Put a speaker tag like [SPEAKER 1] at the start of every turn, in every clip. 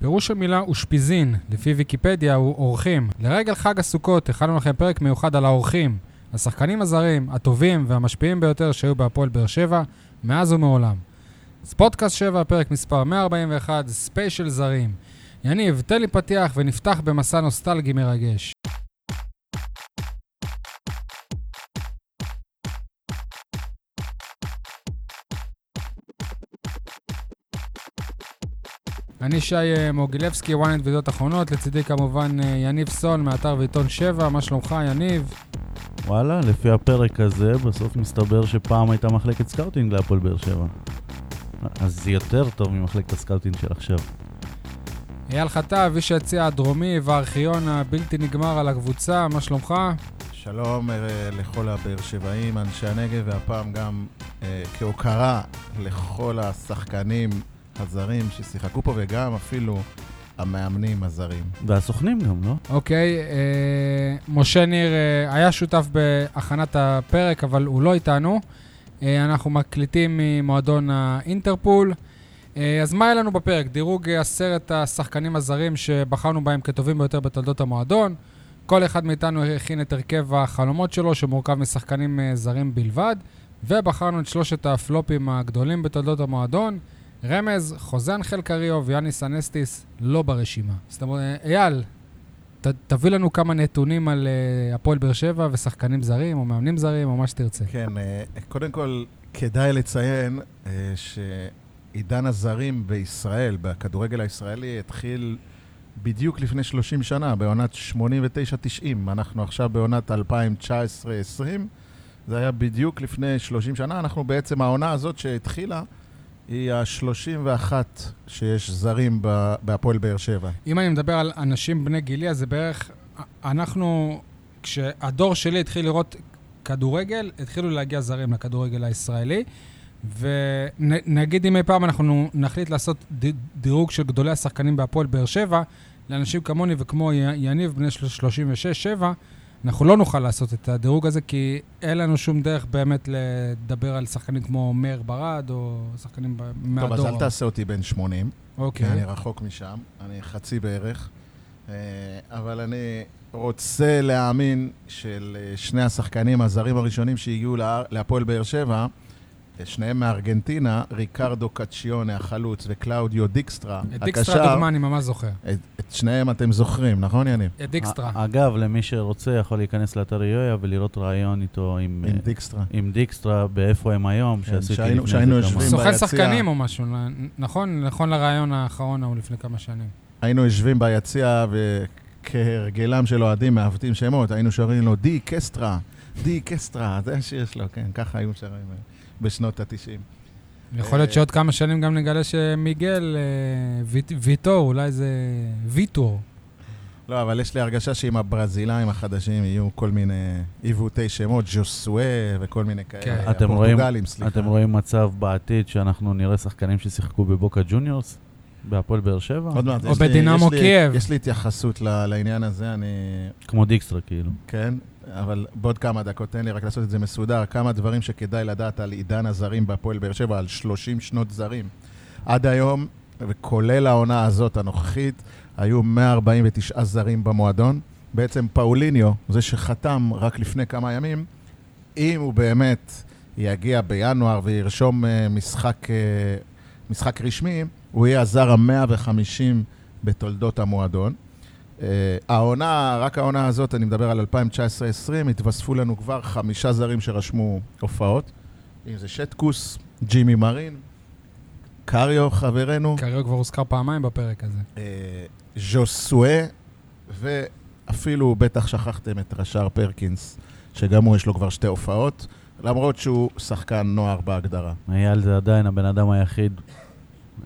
[SPEAKER 1] פירוש המילה אושפיזין, לפי ויקיפדיה, הוא אורחים. לרגל חג הסוכות הכנו לכם פרק מיוחד על האורחים, השחקנים הזרים, הטובים והמשפיעים ביותר שהיו בהפועל באר שבע, מאז ומעולם. אז פודקאסט 7, פרק מספר 141, ספיישל זרים. יניב, תן לי פתיח ונפתח במסע נוסטלגי מרגש. אני שי אה, מוגילבסקי, ynet ועידות אחרונות, לצידי כמובן אה, יניב סון מאתר ועיתון 7, מה שלומך יניב?
[SPEAKER 2] וואלה, לפי הפרק הזה, בסוף מסתבר שפעם הייתה מחלקת סקאוטינג להפועל באר שבע. אז זה יותר טוב ממחלקת הסקאוטינג של עכשיו.
[SPEAKER 1] אייל חטב, איש היציע הדרומי והארכיון הבלתי נגמר על הקבוצה, מה שלומך?
[SPEAKER 3] שלום אה, לכל הבאר שבעים, אנשי הנגב, והפעם גם אה, כהוקרה לכל השחקנים הזרים ששיחקו פה, וגם אפילו המאמנים הזרים.
[SPEAKER 2] והסוכנים גם, לא?
[SPEAKER 1] אוקיי, אה, משה ניר אה, היה שותף בהכנת הפרק, אבל הוא לא איתנו. אה, אנחנו מקליטים ממועדון האינטרפול. אה, אז מה היה לנו בפרק? דירוג אה, עשרת השחקנים הזרים שבחרנו בהם כטובים ביותר בתולדות המועדון. כל אחד מאיתנו הכין את הרכב החלומות שלו, שמורכב משחקנים אה, זרים בלבד, ובחרנו את שלושת הפלופים הגדולים בתולדות המועדון. רמז, חוזה אנחל קריוב, יאניס אנסטיס, לא ברשימה. זאת אומרת, אה, אייל, ת, תביא לנו כמה נתונים על אה, הפועל באר שבע ושחקנים זרים, או מאמנים זרים, או מה שתרצה.
[SPEAKER 3] כן, אה, קודם כל, כדאי לציין אה, שעידן הזרים בישראל, בכדורגל הישראלי, התחיל בדיוק לפני 30 שנה, בעונת 89-90. אנחנו עכשיו בעונת 2019-2020. זה היה בדיוק לפני 30 שנה. אנחנו בעצם, העונה הזאת שהתחילה, היא ה-31 שיש זרים ב- בהפועל באר שבע.
[SPEAKER 1] אם אני מדבר על אנשים בני גילי, אז זה בערך... אנחנו, כשהדור שלי התחיל לראות כדורגל, התחילו להגיע זרים לכדורגל הישראלי. ונגיד אם אי פעם אנחנו נחליט לעשות ד- דירוג של גדולי השחקנים בהפועל באר שבע, לאנשים כמוני וכמו י- יניב, בני של- 36-7, אנחנו לא נוכל לעשות את הדירוג הזה, כי אין לנו שום דרך באמת לדבר על שחקנים כמו מאיר ברד, או שחקנים ב-
[SPEAKER 3] טוב,
[SPEAKER 1] מהדור.
[SPEAKER 3] אז אל תעשה כן. אותי בן 80. כי אני
[SPEAKER 1] אוקיי.
[SPEAKER 3] אה, רחוק משם, אני חצי בערך, אה, אבל אני רוצה להאמין של אה, שני השחקנים הזרים הראשונים שהגיעו לה- להפועל באר שבע, אה, שניהם מארגנטינה, ריקרדו קצ'יונה החלוץ וקלאודיו דיקסטרה,
[SPEAKER 1] את
[SPEAKER 3] הקשר.
[SPEAKER 1] דיקסטרה, דוגמה, אני ממש זוכר.
[SPEAKER 3] את, את שניהם אתם זוכרים, נכון יניב?
[SPEAKER 1] את דיקסטרה.
[SPEAKER 2] א- אגב, למי שרוצה יכול להיכנס לאתר יויה ולראות ראיון איתו עם,
[SPEAKER 3] עם
[SPEAKER 2] אה,
[SPEAKER 3] דיקסטרה.
[SPEAKER 2] עם דיקסטרה באיפה הם היום,
[SPEAKER 3] כן,
[SPEAKER 2] שעשיתי
[SPEAKER 3] שהיינו-
[SPEAKER 2] לפני זה
[SPEAKER 3] שהיינו
[SPEAKER 2] כמה-
[SPEAKER 3] יושבים
[SPEAKER 2] סוכ-
[SPEAKER 1] סוכן
[SPEAKER 3] ביציע.
[SPEAKER 1] שחקנים או משהו, נ- נכון? נכון לרעיון האחרון ההוא לפני כמה שנים.
[SPEAKER 3] היינו יושבים ביציע וכהרגלם של אוהדים מעוותים שמות, היינו שרים לו די קסטרה, די קסטרה, זה השיר שלו, כן, ככה היו שרים אה, בשנות התשעים. אה,
[SPEAKER 1] יכול להיות שעוד כמה שנים גם נגלה שמיגל אה, ויט- ויטור, אולי זה ויטור.
[SPEAKER 3] לא, אבל יש לי הרגשה שעם הברזילאים החדשים יהיו כל מיני עיוותי שמות, ז'וסואה וכל מיני כאלה.
[SPEAKER 1] כן.
[SPEAKER 2] אתם רואים-
[SPEAKER 3] הפורטוגלים, סליחה.
[SPEAKER 2] אתם רואים מצב בעתיד שאנחנו נראה שחקנים ששיחקו בבוקה ג'וניורס, בהפועל באר שבע,
[SPEAKER 3] עוד מעט,
[SPEAKER 1] או
[SPEAKER 3] יש לי-
[SPEAKER 1] בדינמו
[SPEAKER 3] יש לי-
[SPEAKER 1] קייב.
[SPEAKER 3] יש לי התייחסות ל- לעניין הזה, אני...
[SPEAKER 2] כמו דיקסטרה כאילו.
[SPEAKER 3] כן, אבל בעוד כמה דקות, תן לי רק לעשות את זה מסודר. כמה דברים שכדאי לדעת על עידן הזרים בהפועל באר שבע, על 30 שנות זרים. עד היום, וכולל העונה הזאת הנוכחית, היו 149 זרים במועדון. בעצם פאוליניו, זה שחתם רק לפני כמה ימים, אם הוא באמת יגיע בינואר וירשום אה, משחק, אה, משחק רשמי, הוא יהיה הזר ה-150 בתולדות המועדון. אה, העונה, רק העונה הזאת, אני מדבר על 2019-2020, התווספו לנו כבר חמישה זרים שרשמו הופעות. אם זה שטקוס, ג'ימי מרין, קריו חברנו,
[SPEAKER 1] קריו כבר הוזכר פעמיים בפרק הזה.
[SPEAKER 3] אה, ז'וסואה, ואפילו בטח שכחתם את רש"ר פרקינס, שגם הוא יש לו כבר שתי הופעות, למרות שהוא שחקן נוער בהגדרה.
[SPEAKER 2] אייל זה עדיין הבן אדם היחיד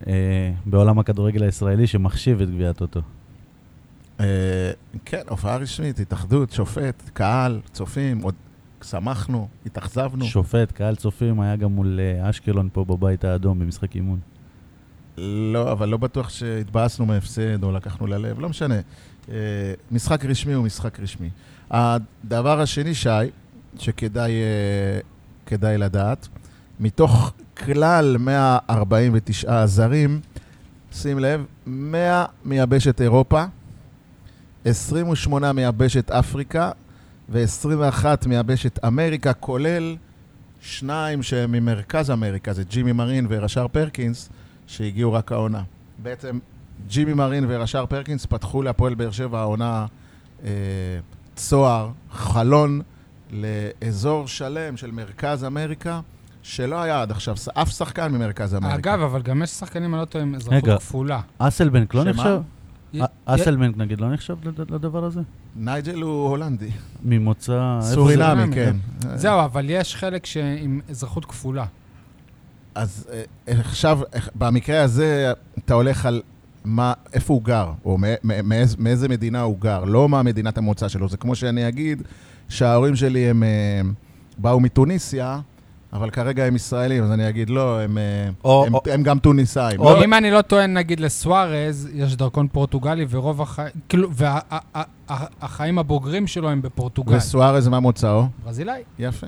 [SPEAKER 2] אה, בעולם הכדורגל הישראלי שמחשיב את גביעת אותו.
[SPEAKER 3] אה, כן, הופעה רשמית, התאחדות, שופט, קהל, צופים, עוד שמחנו, התאכזבנו.
[SPEAKER 2] שופט, קהל צופים, היה גם מול אה, אשקלון פה בבית האדום במשחק אימון.
[SPEAKER 3] לא, אבל לא בטוח שהתבאסנו מהפסד או לקחנו ללב, לא משנה. אה, משחק רשמי הוא משחק רשמי. הדבר השני, שי, שכדאי אה, כדאי לדעת, מתוך כלל 149 הזרים, שים לב, 100 מיבשת אירופה, 28 מיבשת אפריקה ו-21 מיבשת אמריקה, כולל שניים שהם ממרכז אמריקה, זה ג'ימי מרין ורש"ר פרקינס, שהגיעו רק העונה. בעצם ג'ימי מרין ורש"ר פרקינס פתחו להפועל באר שבע העונה אה, צוהר, חלון, לאזור שלם של מרכז אמריקה, שלא היה עד עכשיו ס- אף שחקן ממרכז אמריקה. אה,
[SPEAKER 1] אגב, אבל גם יש שחקנים, אני לא טועה, עם אזרחות
[SPEAKER 2] רגע.
[SPEAKER 1] כפולה.
[SPEAKER 2] אסלבנק לא
[SPEAKER 3] שמה?
[SPEAKER 2] נחשב?
[SPEAKER 1] י-
[SPEAKER 2] א- אסלבנק נגיד לא נחשב לד- לדבר הזה?
[SPEAKER 3] נייג'ל הוא הולנדי.
[SPEAKER 2] ממוצא... איפה זה?
[SPEAKER 3] סורינמי,
[SPEAKER 1] סורינמי,
[SPEAKER 3] כן.
[SPEAKER 1] זהו, אבל יש חלק שעם אזרחות כפולה.
[SPEAKER 3] אז אה, עכשיו, אה, במקרה הזה, אתה הולך על מה, איפה הוא גר, או מא- מא- מאיז- מאיזה מדינה הוא גר, לא מה מדינת המוצא שלו. זה כמו שאני אגיד שההורים שלי הם אה, באו מתוניסיה, אבל כרגע הם ישראלים, אז אני אגיד, לא, הם, אה,
[SPEAKER 2] או-
[SPEAKER 3] הם,
[SPEAKER 2] או-
[SPEAKER 3] הם גם תוניסאים.
[SPEAKER 2] או-
[SPEAKER 3] לא,
[SPEAKER 1] אם אני לא טוען, נגיד לסוארז, יש דרכון פורטוגלי, ורוב החיים, כאילו, והחיים הבוגרים שלו הם
[SPEAKER 2] אוקיי.
[SPEAKER 1] בפורטוגל.
[SPEAKER 3] וסוארז, מה מוצאו?
[SPEAKER 1] ברזילאי.
[SPEAKER 3] יפה.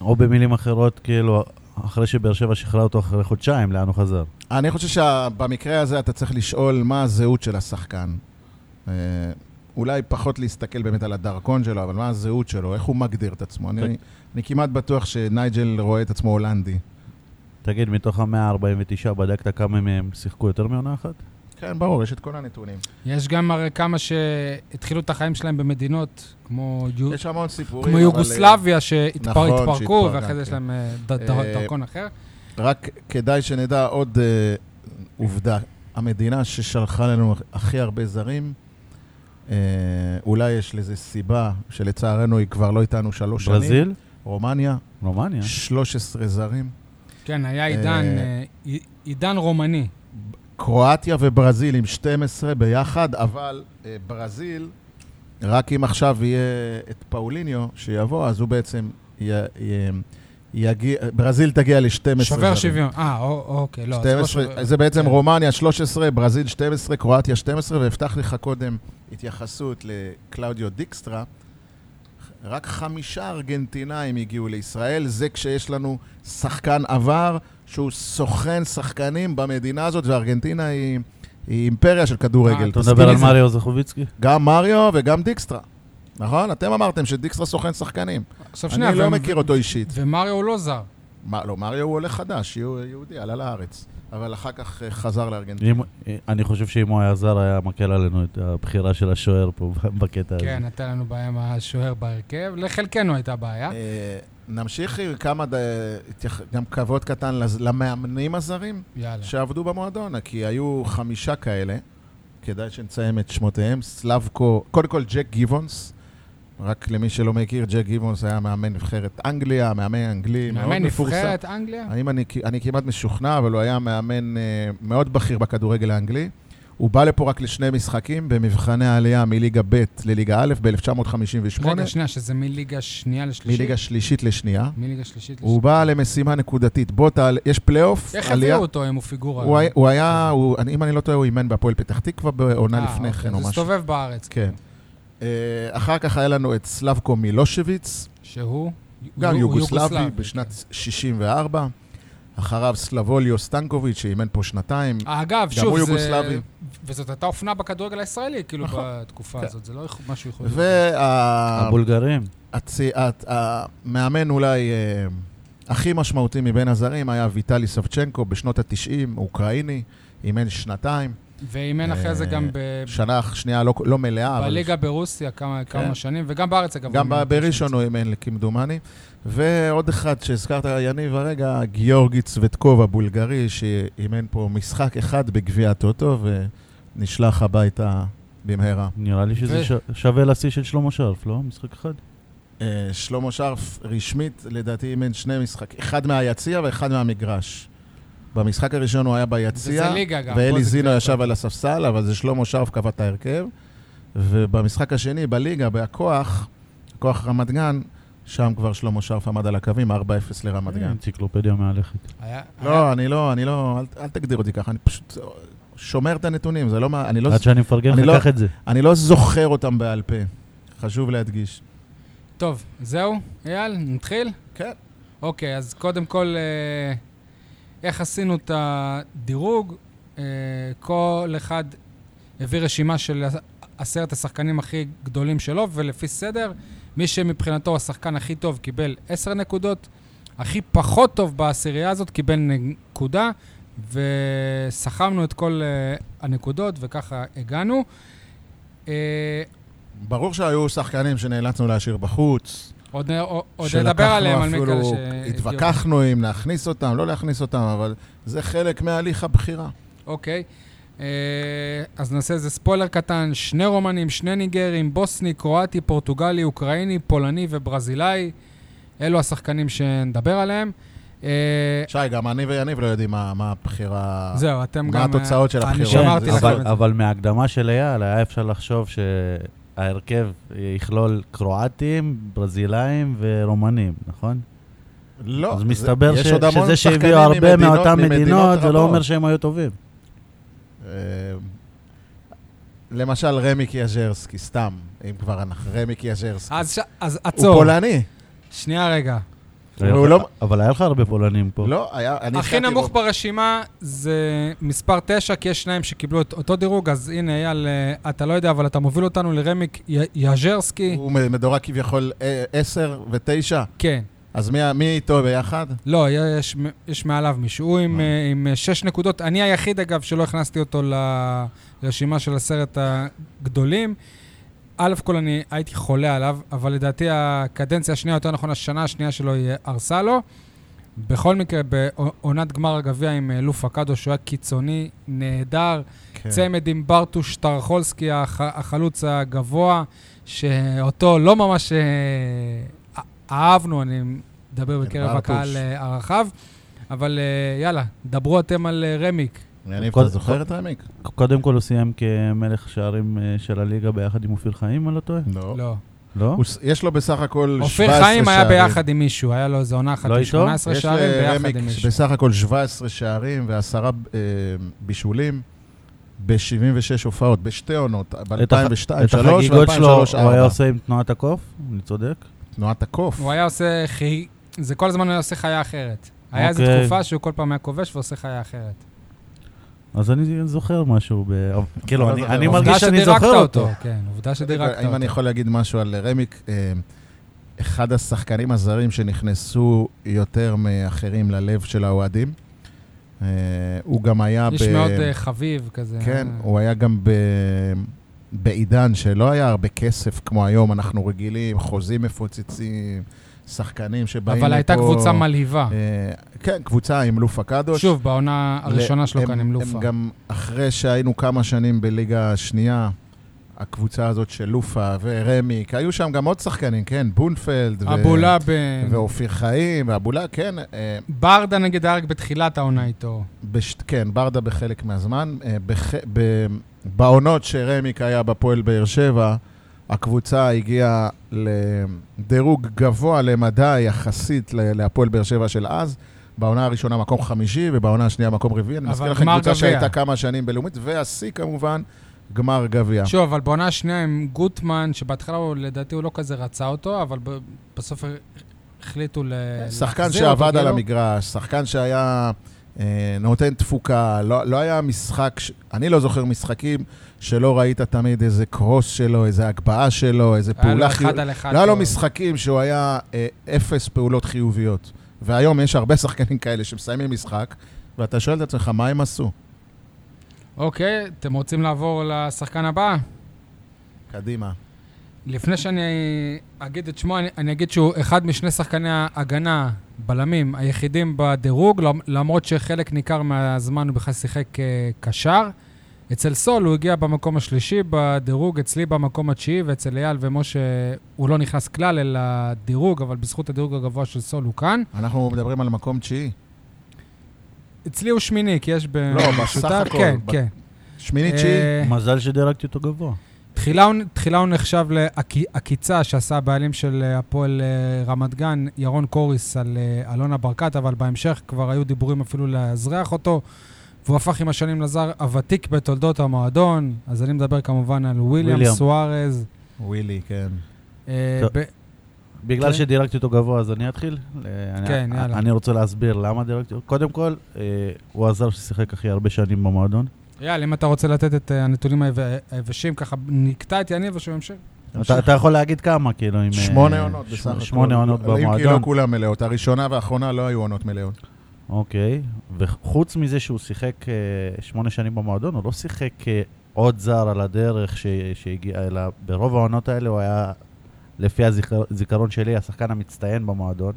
[SPEAKER 2] או במילים אחרות, כאילו, אחרי שבאר שבע שחררה אותו אחרי חודשיים, לאן הוא חזר?
[SPEAKER 3] אני חושב שבמקרה הזה אתה צריך לשאול מה הזהות של השחקן. אה, אולי פחות להסתכל באמת על הדרכון שלו, אבל מה הזהות שלו, איך הוא מגדיר את עצמו. אני, אני כמעט בטוח שנייג'ל רואה את עצמו הולנדי.
[SPEAKER 2] תגיד, מתוך ה-149 בדקת כמה מהם שיחקו יותר מעונה אחת?
[SPEAKER 3] כן, ברור, יש את כל הנתונים.
[SPEAKER 1] יש גם הרי כמה שהתחילו את החיים שלהם במדינות, כמו יו-
[SPEAKER 3] יש המון סיפורים.
[SPEAKER 1] כמו
[SPEAKER 3] אבל,
[SPEAKER 1] יוגוסלביה,
[SPEAKER 3] נכון,
[SPEAKER 1] שהתפרקו,
[SPEAKER 3] שהתפרקה,
[SPEAKER 1] ואחרי זה יש
[SPEAKER 3] כן.
[SPEAKER 1] להם אה, ד- ד-
[SPEAKER 3] אה,
[SPEAKER 1] דרכון אחר.
[SPEAKER 3] אה, רק כדאי שנדע עוד אה, עובדה. המדינה ששלחה לנו הכי הרבה זרים, אה, אולי יש לזה סיבה שלצערנו היא כבר לא איתנו שלוש שנים.
[SPEAKER 2] ברזיל?
[SPEAKER 3] רומניה,
[SPEAKER 2] רומניה?
[SPEAKER 3] 13 זרים.
[SPEAKER 1] כן, היה עידן,
[SPEAKER 3] אה,
[SPEAKER 1] אה, עי- עידן רומני.
[SPEAKER 3] קרואטיה וברזיל עם 12 ביחד, אבל אה, ברזיל, רק אם עכשיו יהיה את פאוליניו שיבוא, אז הוא בעצם י, י, יגיע, ברזיל תגיע ל-12 זרים.
[SPEAKER 1] שובר שוויון. אה, או- אוקיי, לא. אז לא
[SPEAKER 3] 12,
[SPEAKER 1] שובר-
[SPEAKER 3] זה בעצם
[SPEAKER 1] כן.
[SPEAKER 3] רומניה 13, ברזיל 12, קרואטיה 12, והבטח לך קודם התייחסות לקלאודיו דיקסטרה. רק חמישה ארגנטינאים הגיעו לישראל, זה כשיש לנו שחקן עבר שהוא סוכן שחקנים במדינה הזאת, וארגנטינה היא, היא אימפריה של
[SPEAKER 1] אה,
[SPEAKER 3] כדורגל.
[SPEAKER 2] אתה
[SPEAKER 3] תזכיר
[SPEAKER 2] מדבר על
[SPEAKER 3] לי,
[SPEAKER 2] מריו זכוביצקי?
[SPEAKER 3] גם מריו וגם דיקסטרה, נכון? אתם אמרתם שדיקסטרה סוכן שחקנים.
[SPEAKER 1] עכשיו שנייה,
[SPEAKER 3] אני לא
[SPEAKER 1] ו-
[SPEAKER 3] מכיר אותו אישית.
[SPEAKER 1] ומריו הוא לא זר.
[SPEAKER 3] מה, לא, מריו הוא עולה חדש, יהו- יהודי, עלה לארץ. אבל אחר כך אה, חזר לארגנטינה.
[SPEAKER 2] אם- אני חושב שאם הוא היה זר, היה מקל עלינו את הבחירה של השוער פה בקטע
[SPEAKER 3] אה.
[SPEAKER 2] הזה.
[SPEAKER 1] כן, נתן לנו בעיה עם השוער בהרכב. לחלקנו הייתה בעיה.
[SPEAKER 3] אה, נמשיך עם כמה, ד... התייח- גם כבוד קטן לז- למאמנים הזרים
[SPEAKER 1] יאללה.
[SPEAKER 3] שעבדו במועדון, כי היו חמישה כאלה, כדאי שנציין את שמותיהם, סלבקו, קודם כל ג'ק גיבונס, רק למי שלא מכיר, ג'ק גיבונס היה מאמן נבחרת אנגליה, מאמן אנגלי, מאוד
[SPEAKER 1] מאמן
[SPEAKER 3] מפורסם.
[SPEAKER 1] נבחרת כן. אנגליה?
[SPEAKER 3] האם אני, אני כמעט משוכנע, אבל הוא היה מאמן אה, מאוד בכיר בכדורגל האנגלי. הוא בא לפה רק לשני משחקים במבחני העלייה מליגה ב' לליגה א' ב-1958,
[SPEAKER 1] רגע, שנייה, שזה מליגה שנייה לשלישית?
[SPEAKER 3] מליגה שלישית לשנייה.
[SPEAKER 1] מליגה שלישית
[SPEAKER 3] הוא
[SPEAKER 1] לשלישית.
[SPEAKER 3] בא למשימה נקודתית. בוא תעלה, יש פלייאוף,
[SPEAKER 1] איך
[SPEAKER 3] עלייה.
[SPEAKER 1] הביאו אותו אם הוא פיגורה?
[SPEAKER 3] הוא היה- הוא היה, הוא- אני- אם אני לא טועה, הוא אימן בהפועל פתח תקווה בעונה
[SPEAKER 1] אה,
[SPEAKER 3] לפני
[SPEAKER 1] אוקיי,
[SPEAKER 3] כן או
[SPEAKER 1] אז
[SPEAKER 3] משהו.
[SPEAKER 1] הסתובב בארץ.
[SPEAKER 3] כן. אה, אחר כך היה לנו את סלבקו מילושביץ,
[SPEAKER 1] שהוא?
[SPEAKER 3] גם
[SPEAKER 1] הוא
[SPEAKER 3] יוגוסלבי, בשנת 64. אחריו סלבוליו סטנקוביץ', שאימן פה שנתיים.
[SPEAKER 1] אה, אגב,
[SPEAKER 3] גם
[SPEAKER 1] שוב,
[SPEAKER 3] הוא
[SPEAKER 1] זה...
[SPEAKER 3] יוגוסלבי.
[SPEAKER 1] וזאת הייתה אופנה בכדורגל הישראלי, כאילו,
[SPEAKER 3] נכון.
[SPEAKER 1] בתקופה
[SPEAKER 3] כן.
[SPEAKER 1] הזאת. זה לא יכול- משהו ייחודי.
[SPEAKER 3] וה...
[SPEAKER 2] הבולגרים?
[SPEAKER 3] הצי- הת- המאמן אולי אה, הכי משמעותי מבין הזרים היה ויטלי סבצ'נקו בשנות ה-90, אוקראיני, אימן שנתיים.
[SPEAKER 1] ואימן אחרי זה גם ב-
[SPEAKER 3] אה, שנה שנייה לא, לא מלאה, אבל כן.
[SPEAKER 1] בליגה לא ברוסיה כמה כמה שנים, וגם בארץ, אגב.
[SPEAKER 3] גם
[SPEAKER 1] הוא אימן
[SPEAKER 3] בראשון הוא אימן כמדומני. ועוד אחד שהזכרת, יניב, הרגע, גיאורגי צווטקוב הבולגרי, שאימן פה משחק אחד בגביע הטוטו, ונשלח הביתה במהרה.
[SPEAKER 2] נראה לי שזה
[SPEAKER 1] ו-
[SPEAKER 2] ש- שווה לשיא של שלמה שרף, לא? משחק אחד.
[SPEAKER 3] אה, שלמה שרף רשמית, לדעתי, אימן שני משחקים, אחד מהיציע ואחד מהמגרש. במשחק הראשון הוא היה ביציע,
[SPEAKER 1] וזה ליגה גם, פה
[SPEAKER 3] ואלי
[SPEAKER 1] זה כן.
[SPEAKER 3] זינו
[SPEAKER 1] קצת-
[SPEAKER 3] ישב על הספסל, אבל זה שלמה שרף קבע את ההרכב. ובמשחק השני, בליגה, בהכוח, כוח רמת גן, שם כבר שלמה שרף עמד על הקווים, 4-0 לרמת גן.
[SPEAKER 2] כן, אנציקלופדיה מהלכת.
[SPEAKER 1] היה- היה-
[SPEAKER 3] לא, אני לא, אני לא, אל- אל תגדיר אותי ככה, אני פשוט שומר את הנתונים, זה לא מה, אני לא-
[SPEAKER 2] עד שאני מפרגן
[SPEAKER 3] אני
[SPEAKER 2] לך,
[SPEAKER 3] לא-
[SPEAKER 2] קח את זה.
[SPEAKER 3] אני לא זוכר אותם בעל פה. חשוב להדגיש.
[SPEAKER 1] טוב, זהו, אייל, נתחיל?
[SPEAKER 3] כן.
[SPEAKER 1] אוקיי, אז קודם כל, אה, איך עשינו את הדירוג? אה, אה, כל אחד הביא רשימה של עשרת השחקנים הכי גדולים שלו, ולפי סדר, מי שמבחינתו השחקן הכי טוב קיבל עשר נקודות, הכי פחות טוב בעשירייה הזאת קיבל נקודה, וסכמנו את כל אה, הנקודות, וככה הגענו. אה,
[SPEAKER 3] ברור שהיו שחקנים שנאלצנו להשאיר בחוץ.
[SPEAKER 1] עוד, עוד, עוד
[SPEAKER 3] שלקחנו
[SPEAKER 1] נדבר עליהם, על מי כאלה
[SPEAKER 3] אפילו-
[SPEAKER 1] ש...
[SPEAKER 3] התווכחנו אם להכניס אותם, לא להכניס אותם, אבל זה חלק מהליך הבחירה.
[SPEAKER 1] אוקיי. אה, אז נעשה איזה ספוילר קטן. שני רומנים, שני ניגרים, בוסני, קרואטי, פורטוגלי, אוקראיני, פולני וברזילאי. אלו השחקנים שנדבר עליהם. אה,
[SPEAKER 3] שי, גם אני ויניב לא יודעים מה מה הבחירה...
[SPEAKER 1] זהו, אתם גם... אה,
[SPEAKER 3] מה התוצאות של
[SPEAKER 1] אני
[SPEAKER 3] הבחירות?
[SPEAKER 1] שמרתי
[SPEAKER 3] כן,
[SPEAKER 1] לכם את
[SPEAKER 2] אבל,
[SPEAKER 1] זה.
[SPEAKER 2] אבל מההקדמה של אייל היה אפשר לחשוב שההרכב יכלול קרואטים, ברזילאים ורומנים, נכון?
[SPEAKER 3] לא.
[SPEAKER 2] אז
[SPEAKER 3] זה-
[SPEAKER 2] מסתבר
[SPEAKER 3] יש
[SPEAKER 2] ש...
[SPEAKER 3] עוד המון
[SPEAKER 2] שזה
[SPEAKER 3] שחקנים
[SPEAKER 2] שהביאו הרבה
[SPEAKER 3] ממדינות-
[SPEAKER 2] מאותן מדינות, זה לא
[SPEAKER 3] רבות.
[SPEAKER 2] אומר שהם היו טובים.
[SPEAKER 3] אה, למשל רמי קיאז'רסקי, סתם, אם כבר אנחנו... רמי קיאז'רסקי.
[SPEAKER 1] אז, ש... אז
[SPEAKER 3] הוא
[SPEAKER 1] אה, עצור.
[SPEAKER 3] פולני.
[SPEAKER 1] שנייה רגע.
[SPEAKER 3] והוא לא-
[SPEAKER 2] אבל היה לך הרבה פולנים פה.
[SPEAKER 3] לא, היה... אני
[SPEAKER 1] הכי
[SPEAKER 3] החלטתי
[SPEAKER 1] נמוך
[SPEAKER 3] בו-
[SPEAKER 1] ברשימה זה מספר 9, כי יש שניים שקיבלו את אותו דירוג, אז הנה, אייל, אה, אתה לא יודע, אבל אתה מוביל אותנו לרמיק י- יאז'רסקי.
[SPEAKER 3] הוא מדורג כביכול 10 ו-9,
[SPEAKER 1] כן.
[SPEAKER 3] אז מי- מי איתו ביחד?
[SPEAKER 1] לא, יש, יש מעליו מישהו. הוא עם,
[SPEAKER 3] מה?
[SPEAKER 1] אה, עם אה, שש נקודות. אני היחיד, אגב, שלא הכנסתי אותו לרשימה של עשרת הגדולים. א' כל אני הייתי חולה עליו, אבל לדעתי הקדנציה השנייה, יותר נכון, השנה השנייה שלו היא הרסה לו. בכל מקרה, בעונת גמר הגביע עם אה, לופה קאדו, שהוא היה קיצוני, נהדר.
[SPEAKER 3] כן.
[SPEAKER 1] צמד עם ברטוש טרחולסקי, הח- החלוץ הגבוה, שאותו לא ממש אה, א- אהבנו, אני מדבר בקרב
[SPEAKER 3] כן, ברטוש.
[SPEAKER 1] הקהל אה, הרחב, אבל אה, יאללה, דברו אתם על אה, רמיק.
[SPEAKER 3] יניב,
[SPEAKER 2] קוד-
[SPEAKER 3] אתה זוכר את רמיק?
[SPEAKER 2] קודם כל הוא סיים כמלך שערים אה, של הליגה ביחד עם אופיר חיים, אני לא טועה?
[SPEAKER 3] לא.
[SPEAKER 1] לא.
[SPEAKER 2] לא?
[SPEAKER 3] הוא ס- יש לו בסך הכל 17
[SPEAKER 1] אופיר
[SPEAKER 3] שערים.
[SPEAKER 1] חיים היה ביחד עם מישהו, היה לו איזה עונה אחת
[SPEAKER 2] לא
[SPEAKER 1] עם
[SPEAKER 2] איתו?
[SPEAKER 1] 18
[SPEAKER 3] יש אה,
[SPEAKER 1] שערים ביחד
[SPEAKER 3] לרמיק
[SPEAKER 1] עם מישהו.
[SPEAKER 3] בסך הכל 17 שערים ועשרה אה, בישולים ב-76 הופעות, בשתי עונות,
[SPEAKER 2] את הח-
[SPEAKER 3] ב-2002,
[SPEAKER 2] את
[SPEAKER 3] 2003
[SPEAKER 2] החגיגות שלו הוא היה
[SPEAKER 3] ו-2003-2004.
[SPEAKER 2] עושה עם תנועת הקוף? אני צודק?
[SPEAKER 3] תנועת הקוף.
[SPEAKER 1] הוא היה עושה חי... זה כל הזמן היה עושה חיה אחרת. היה איזו
[SPEAKER 2] אוקיי.
[SPEAKER 1] תקופה שהוא כל פעם היה כובש ועושה חיה אחרת.
[SPEAKER 2] אז אני זוכר משהו, ב- כאילו,
[SPEAKER 3] לא
[SPEAKER 2] אני-
[SPEAKER 3] זוכר.
[SPEAKER 2] אני
[SPEAKER 3] עובדה
[SPEAKER 2] מרגיש שאני
[SPEAKER 1] שדירקת
[SPEAKER 2] זוכר אותו.
[SPEAKER 1] כן, עובדה שדירקת אותו.
[SPEAKER 3] אם אני יכול להגיד משהו על רמיק, אה, אחד השחקנים הזרים שנכנסו יותר מאחרים ללב של האוהדים. אה, הוא גם היה ב...
[SPEAKER 1] איש מאוד אה, חביב כזה.
[SPEAKER 3] כן,
[SPEAKER 1] אה,
[SPEAKER 3] הוא היה גם ב... בעידן שלא היה הרבה כסף כמו היום, אנחנו רגילים, חוזים מפוצצים, שחקנים שבאים לפה.
[SPEAKER 1] אבל הייתה קבוצה מלהיבה.
[SPEAKER 3] אה, כן, קבוצה עם לופה קדוש.
[SPEAKER 1] שוב, בעונה הראשונה שלו
[SPEAKER 3] הם-
[SPEAKER 1] כאן עם לופה.
[SPEAKER 3] הם גם, אחרי שהיינו כמה שנים בליגה השנייה, הקבוצה הזאת של לופה ורמיק, היו שם גם עוד שחקנים, כן, בונפלד. ו-
[SPEAKER 1] אבולה ב...
[SPEAKER 3] ואופיר חיים, ואבולה, כן, אה,
[SPEAKER 1] ברדה נגד ארק בתחילת העונה איתו.
[SPEAKER 3] בש... כן, ברדה בחלק מהזמן. אה, בח... ב... בעונות שרמיק היה בפועל באר שבע, הקבוצה הגיעה לדירוג גבוה למדי יחסית ל- להפועל באר שבע של אז. בעונה הראשונה מקום חמישי, ובעונה השנייה מקום רביעי. אני
[SPEAKER 1] אבל
[SPEAKER 3] מזכיר לכם
[SPEAKER 1] גמר
[SPEAKER 3] קבוצה
[SPEAKER 1] גביע.
[SPEAKER 3] שהייתה כמה שנים בלאומית, והשיא כמובן, גמר גביע.
[SPEAKER 1] שוב, אבל בעונה השנייה עם גוטמן, שבהתחלה הוא, לדעתי הוא לא כזה רצה אותו, אבל ב- בסוף החליטו ל...
[SPEAKER 3] שחקן
[SPEAKER 1] להחזיר אותו,
[SPEAKER 3] שעבד על
[SPEAKER 2] לא-
[SPEAKER 1] כאילו.
[SPEAKER 3] המגרש, שחקן שהיה אה, נותן תפוקה, לא, לא היה משחק, ש... אני לא זוכר משחקים שלא ראית תמיד איזה קרוס שלו, איזה הגבהה שלו, איזה
[SPEAKER 1] היה לו
[SPEAKER 3] פעולה
[SPEAKER 1] אחד
[SPEAKER 3] חיובית.
[SPEAKER 1] על אחד. כאילו.
[SPEAKER 3] לא היה לו
[SPEAKER 1] טוב.
[SPEAKER 3] משחקים שהוא היה אה, אפס פעולות חיוביות. והיום יש הרבה שחקנים כאלה שמסיימים משחק, ואתה שואל את עצמך, מה הם עשו?
[SPEAKER 1] אוקיי, אתם רוצים לעבור לשחקן הבא?
[SPEAKER 3] קדימה.
[SPEAKER 1] לפני שאני אגיד את שמו, אני, אני אגיד שהוא אחד משני שחקני ההגנה, בלמים, היחידים בדירוג, למ- למרות שחלק ניכר מהזמן הוא בכלל שיחק כקשר. אצל סול הוא הגיע במקום השלישי בדירוג, אצלי במקום התשיעי, ואצל אייל ומשה הוא לא נכנס כלל אל הדירוג, אבל בזכות הדירוג הגבוה של סול הוא כאן.
[SPEAKER 3] אנחנו מדברים על מקום תשיעי.
[SPEAKER 1] אצלי הוא שמיני, כי יש
[SPEAKER 3] לא, בסך
[SPEAKER 1] במשותף,
[SPEAKER 3] הכל,
[SPEAKER 1] כן,
[SPEAKER 3] ב-
[SPEAKER 1] כן.
[SPEAKER 3] שמיני תשיעי.
[SPEAKER 1] אה,
[SPEAKER 2] מזל שדירקתי אותו גבוה.
[SPEAKER 1] תחילה הוא, תחילה הוא נחשב לעקיצה שעשה הבעלים של אה, הפועל אה, רמת גן, ירון קוריס, על אה, אלונה ברקת, אבל בהמשך כבר היו דיבורים אפילו לאזרח אותו, והוא הפך עם השנים לזר הוותיק בתולדות המועדון. אז אני מדבר כמובן על וויליאם
[SPEAKER 2] וויליאם.
[SPEAKER 1] סוארז.
[SPEAKER 3] ווילי, כן.
[SPEAKER 1] אה,
[SPEAKER 2] טוב.
[SPEAKER 1] ב- כן.
[SPEAKER 2] בגלל שדירקתי אותו גבוה, אז אני אתחיל? אה, אני-
[SPEAKER 1] כן,
[SPEAKER 2] אה,
[SPEAKER 1] יאללה.
[SPEAKER 2] אני רוצה להסביר למה דירקתי אותו. קודם כל, אה, הוא הזר ששיחק הכי הרבה שנים במועדון.
[SPEAKER 1] יאללה, אם אתה רוצה לתת את אה, הנתונים היבש- היבשים, ככה נקטע את יניב ושהוא ימשיך.
[SPEAKER 2] אתה אתה יכול להגיד כמה, כאילו, אם...
[SPEAKER 3] שמונה עונות
[SPEAKER 2] ש-
[SPEAKER 3] בסך הכל.
[SPEAKER 2] שמונה עונות
[SPEAKER 3] אם כי לא
[SPEAKER 2] במועדון.
[SPEAKER 3] כולן מלאות. הראשונה והאחרונה לא היו עונות מלאות.
[SPEAKER 2] אוקיי. וחוץ מזה שהוא שיחק אה, שמונה שנים במועדון, הוא לא שיחק אה, עוד זר על הדרך ש- שהגיע, אלא ברוב העונות האלה הוא היה, לפי הזיכר- הזיכרון שלי, השחקן המצטיין במועדון.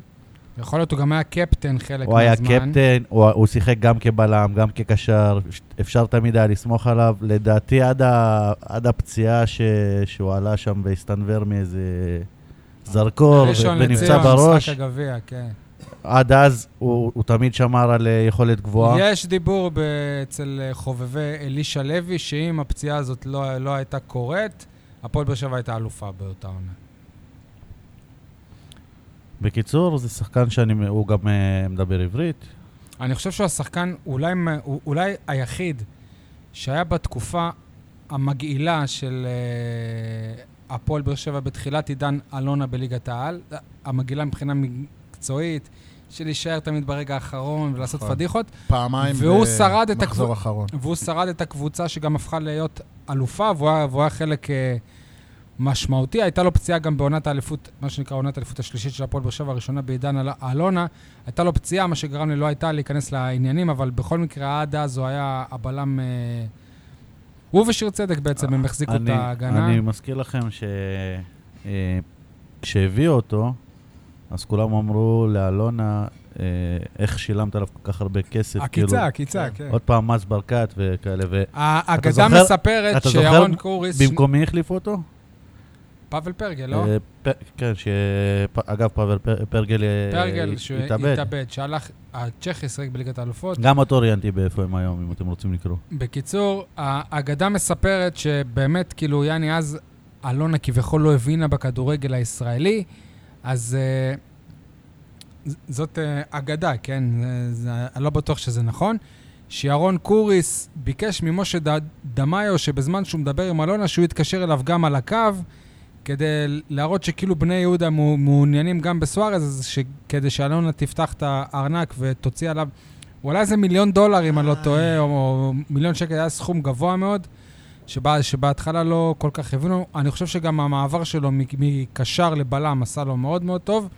[SPEAKER 1] יכול להיות, הוא גם היה קפטן חלק מהזמן.
[SPEAKER 2] הוא היה קפטן, הוא, הוא שיחק גם כבלם, גם כקשר, ש- אפשר תמיד היה לסמוך עליו. לדעתי עד, ה, עד הפציעה ש, שהוא עלה שם והסתנוור מאיזה זרקור ו-
[SPEAKER 1] ראשון
[SPEAKER 2] ונפצע
[SPEAKER 1] לציון,
[SPEAKER 2] בראש,
[SPEAKER 1] משחק הגביע, כן.
[SPEAKER 2] עד אז הוא, הוא תמיד שמר על אה, יכולת גבוהה.
[SPEAKER 1] יש דיבור ב- אצל אה, חובבי אלישע לוי, שאם הפציעה הזאת לא, לא הייתה קורית, הפועל באר שבע הייתה אלופה באותה עונה.
[SPEAKER 2] בקיצור, זה שחקן שאני, הוא גם אה, מדבר עברית.
[SPEAKER 1] אני חושב שהוא השחקן אולי, מ- הוא- אולי היחיד שהיה בתקופה המגעילה של אה, הפועל באר שבע בתחילת עידן אלונה בליגת העל, אה, המגעילה מבחינה מקצועית, של להישאר תמיד ברגע האחרון ולעשות
[SPEAKER 3] נכון.
[SPEAKER 1] פדיחות,
[SPEAKER 3] פעמיים
[SPEAKER 1] והוא שרד את
[SPEAKER 3] במחזור
[SPEAKER 1] הקבוצ-
[SPEAKER 3] האחרון.
[SPEAKER 1] והוא שרד את הקבוצה שגם הפכה להיות אלופה, והוא היה, והוא היה חלק אה, משמעותי. הייתה לו פציעה גם בעונת האליפות, מה שנקרא עונת האליפות השלישית של הפועל באר שבע הראשונה בעידן אל- אלונה. הייתה לו פציעה, מה שגרם לי לא הייתה להיכנס לעניינים, אבל בכל מקרה, עד אז הוא היה הבלם... אה, הוא ושיר צדק בעצם, הם החזיקו את
[SPEAKER 2] אני-
[SPEAKER 1] ההגנה.
[SPEAKER 2] אני מזכיר לכם ש... אה, כשהביאו אותו, אז כולם אמרו לאלונה, אה, איך שילמת עליו כל כך הרבה כסף, כאילו...
[SPEAKER 1] עקיצה, עקיצה, כן.
[SPEAKER 2] עוד פעם מס ברקת וכאלה,
[SPEAKER 1] האגדה
[SPEAKER 2] זוכר-
[SPEAKER 1] מספרת
[SPEAKER 2] אתה
[SPEAKER 1] שירון
[SPEAKER 2] זוכר
[SPEAKER 1] קוריס...
[SPEAKER 2] ובמקום מי החליפו אותו?
[SPEAKER 1] פאבל פרגל, לא?
[SPEAKER 2] אה, פ- כן, ש... פ- אגב, פאבל פ- פרגל אה,
[SPEAKER 1] פרגל,
[SPEAKER 2] התאבד.
[SPEAKER 1] שהתאבד, שהלך... הצ'כי שיחק בליגת האלופות.
[SPEAKER 2] גם אותו ראיינתי באיפה הם היום, אם אתם רוצים לקרוא.
[SPEAKER 1] בקיצור, האגדה מספרת שבאמת, כאילו, יאני אז אלונה כביכול לא הבינה בכדורגל הישראלי, אז אה, ז- זאת אה, אגדה, כן? אה, זה- אני לא בטוח שזה נכון. שירון קוריס ביקש ממשה ד- דמאיו, שבזמן שהוא מדבר עם אלונה, שהוא יתקשר אליו גם על הקו, כדי להראות שכאילו בני יהודה מעו- מעוניינים גם בסוארז, אז ש- כדי שאלונה תפתח את הארנק ותוציא עליו אולי איזה מיליון דולר, אם אני לא טועה, או, או מיליון שקל, היה סכום גבוה מאוד, שבה, שבהתחלה לא כל כך הבינו. אני חושב שגם המעבר שלו מ- מקשר לבלם עשה לו מאוד מאוד טוב.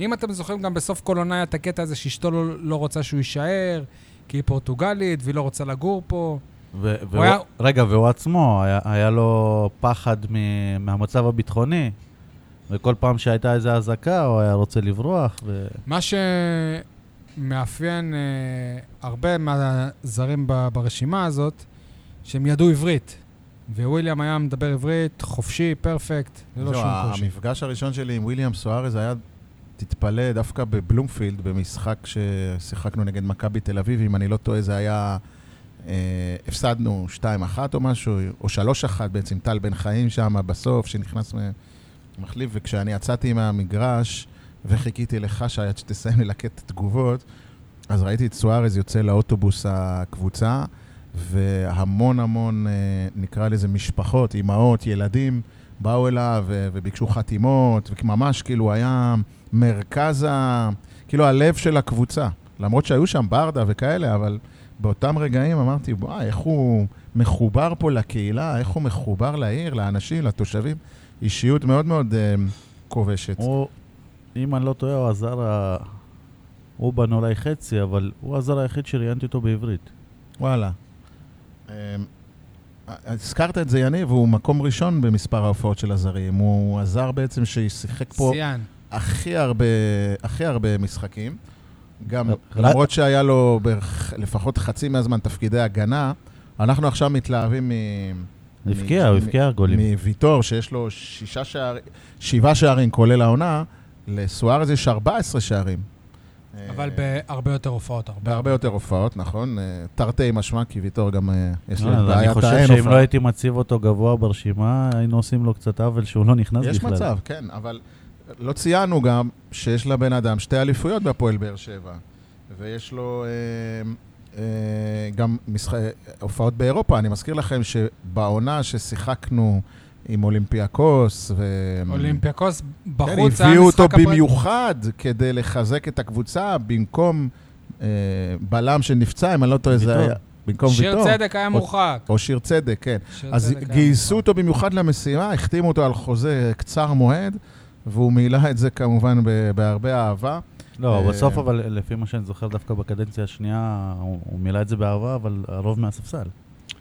[SPEAKER 1] אם אתם זוכרים, גם בסוף כל עונה היה את הקטע הזה שאשתו לא, לא רוצה שהוא יישאר, כי היא פורטוגלית והיא לא רוצה לגור פה.
[SPEAKER 2] ו-
[SPEAKER 1] הוא היה-
[SPEAKER 2] והוא- רגע, והוא עצמו, היה- היה לו פחד מ- מהמצב הביטחוני, וכל פעם שהייתה איזו אזעקה, הוא היה רוצה לברוח, ו-
[SPEAKER 1] מה שמאפיין אה, הרבה מהזרים ב, ברשימה הזאת, שהם ידעו עברית. וויליאם היה מדבר עברית חופשי, פרפקט, ללא
[SPEAKER 3] זהו,
[SPEAKER 1] שום קושי.
[SPEAKER 3] המפגש הראשון שלי עם וויליאם סוארז היה, תתפלא, דווקא בבלומפילד, במשחק ששיחקנו נגד מכבי תל אביב, אם אני לא טועה, זה היה... אה, הפסדנו 2-1 או משהו, או 3-1 בעצם, טל בן חיים שם בסוף, שנכנס מ- מחליף, וכשאני יצאתי מהמגרש וחיכיתי לך שעד שתסיים לי לקט תגובות, אז ראיתי את סוארז יוצא לאוטובוס הקבוצה, והמון המון, אה, נקרא לזה משפחות, אימהות, ילדים, באו אליו ו- וביקשו חתימות, וממש כאילו היה מרכז ה... כאילו הלב של הקבוצה. למרות שהיו שם ברדה וכאלה, אבל באותם רגעים אמרתי, וואי, איך הוא מחובר פה לקהילה, איך הוא מחובר לעיר, לאנשים, לתושבים. אישיות מאוד מאוד אה, כובשת.
[SPEAKER 2] הוא, אם אני לא טועה, הוא הזר ה... הוא בן אולי חצי, אבל הוא הזר היחיד שראיינתי אותו בעברית.
[SPEAKER 3] וואלה. אמ, הזכרת את זה, יניב, הוא מקום ראשון במספר ההופעות של הזרים. הוא הזר בעצם ששיחק פה
[SPEAKER 1] שיאן.
[SPEAKER 3] הכי הרבה, הכי הרבה משחקים. גם
[SPEAKER 2] רק-
[SPEAKER 3] למרות שהיה לו בערך לפחות חצי מהזמן תפקידי הגנה, אנחנו עכשיו מתלהבים מ-
[SPEAKER 2] הבקיע, הוא
[SPEAKER 3] מ-
[SPEAKER 2] הבקיע גולים.
[SPEAKER 3] מוויטור, שיש לו שישה שערים, שבעה שערים כולל העונה, לסוארז יש 14 שערים.
[SPEAKER 1] אבל
[SPEAKER 3] אה,
[SPEAKER 1] בהרבה יותר הופעות, הרבה.
[SPEAKER 3] בהרבה יותר הופעות, נכון? אה, תרתי משמע, כי ויטור גם אה, יש לו
[SPEAKER 2] לא,
[SPEAKER 3] את
[SPEAKER 2] אז אני
[SPEAKER 3] בעיית אה.
[SPEAKER 2] חושב
[SPEAKER 3] האין
[SPEAKER 2] שאם לא
[SPEAKER 3] הופעה.
[SPEAKER 2] הייתי מציב אותו גבוה ברשימה, היינו עושים לו קצת עוול שהוא לא נכנס בכלל.
[SPEAKER 3] יש מצב, כן, אבל לא ציינו גם שיש לבן אדם שתי אליפויות בהפועל באר שבע, ויש לו אה, אה, גם משח... הופעות באירופה. אני מזכיר לכם שבעונה ששיחקנו עם אולימפיאקוס. ו...
[SPEAKER 1] אולימפיאקוס בחוץ
[SPEAKER 3] אה. כן,
[SPEAKER 1] היה משחק...
[SPEAKER 3] הביאו אותו
[SPEAKER 1] הפרק-
[SPEAKER 3] במיוחד כדי לחזק את הקבוצה במקום אה, בלם שנפצע, אם אני לא טועה, זה
[SPEAKER 2] ויטור.
[SPEAKER 3] היה... במקום
[SPEAKER 1] שיר
[SPEAKER 3] ויטור.
[SPEAKER 1] צדק היה מורחק.
[SPEAKER 3] או שיר צדק, כן.
[SPEAKER 1] שיר
[SPEAKER 3] אז
[SPEAKER 1] צדק היה
[SPEAKER 3] גייסו
[SPEAKER 1] מורחק.
[SPEAKER 3] אותו במיוחד למשימה, החתימו אותו על חוזה קצר מועד, והוא מילא את זה כמובן ב- בהרבה אהבה.
[SPEAKER 2] לא,
[SPEAKER 3] אה,
[SPEAKER 2] בסוף, אבל לפי מה שאני זוכר, דווקא בקדנציה השנייה, הוא הוא מילא את זה באהבה, אבל הרוב מהספסל.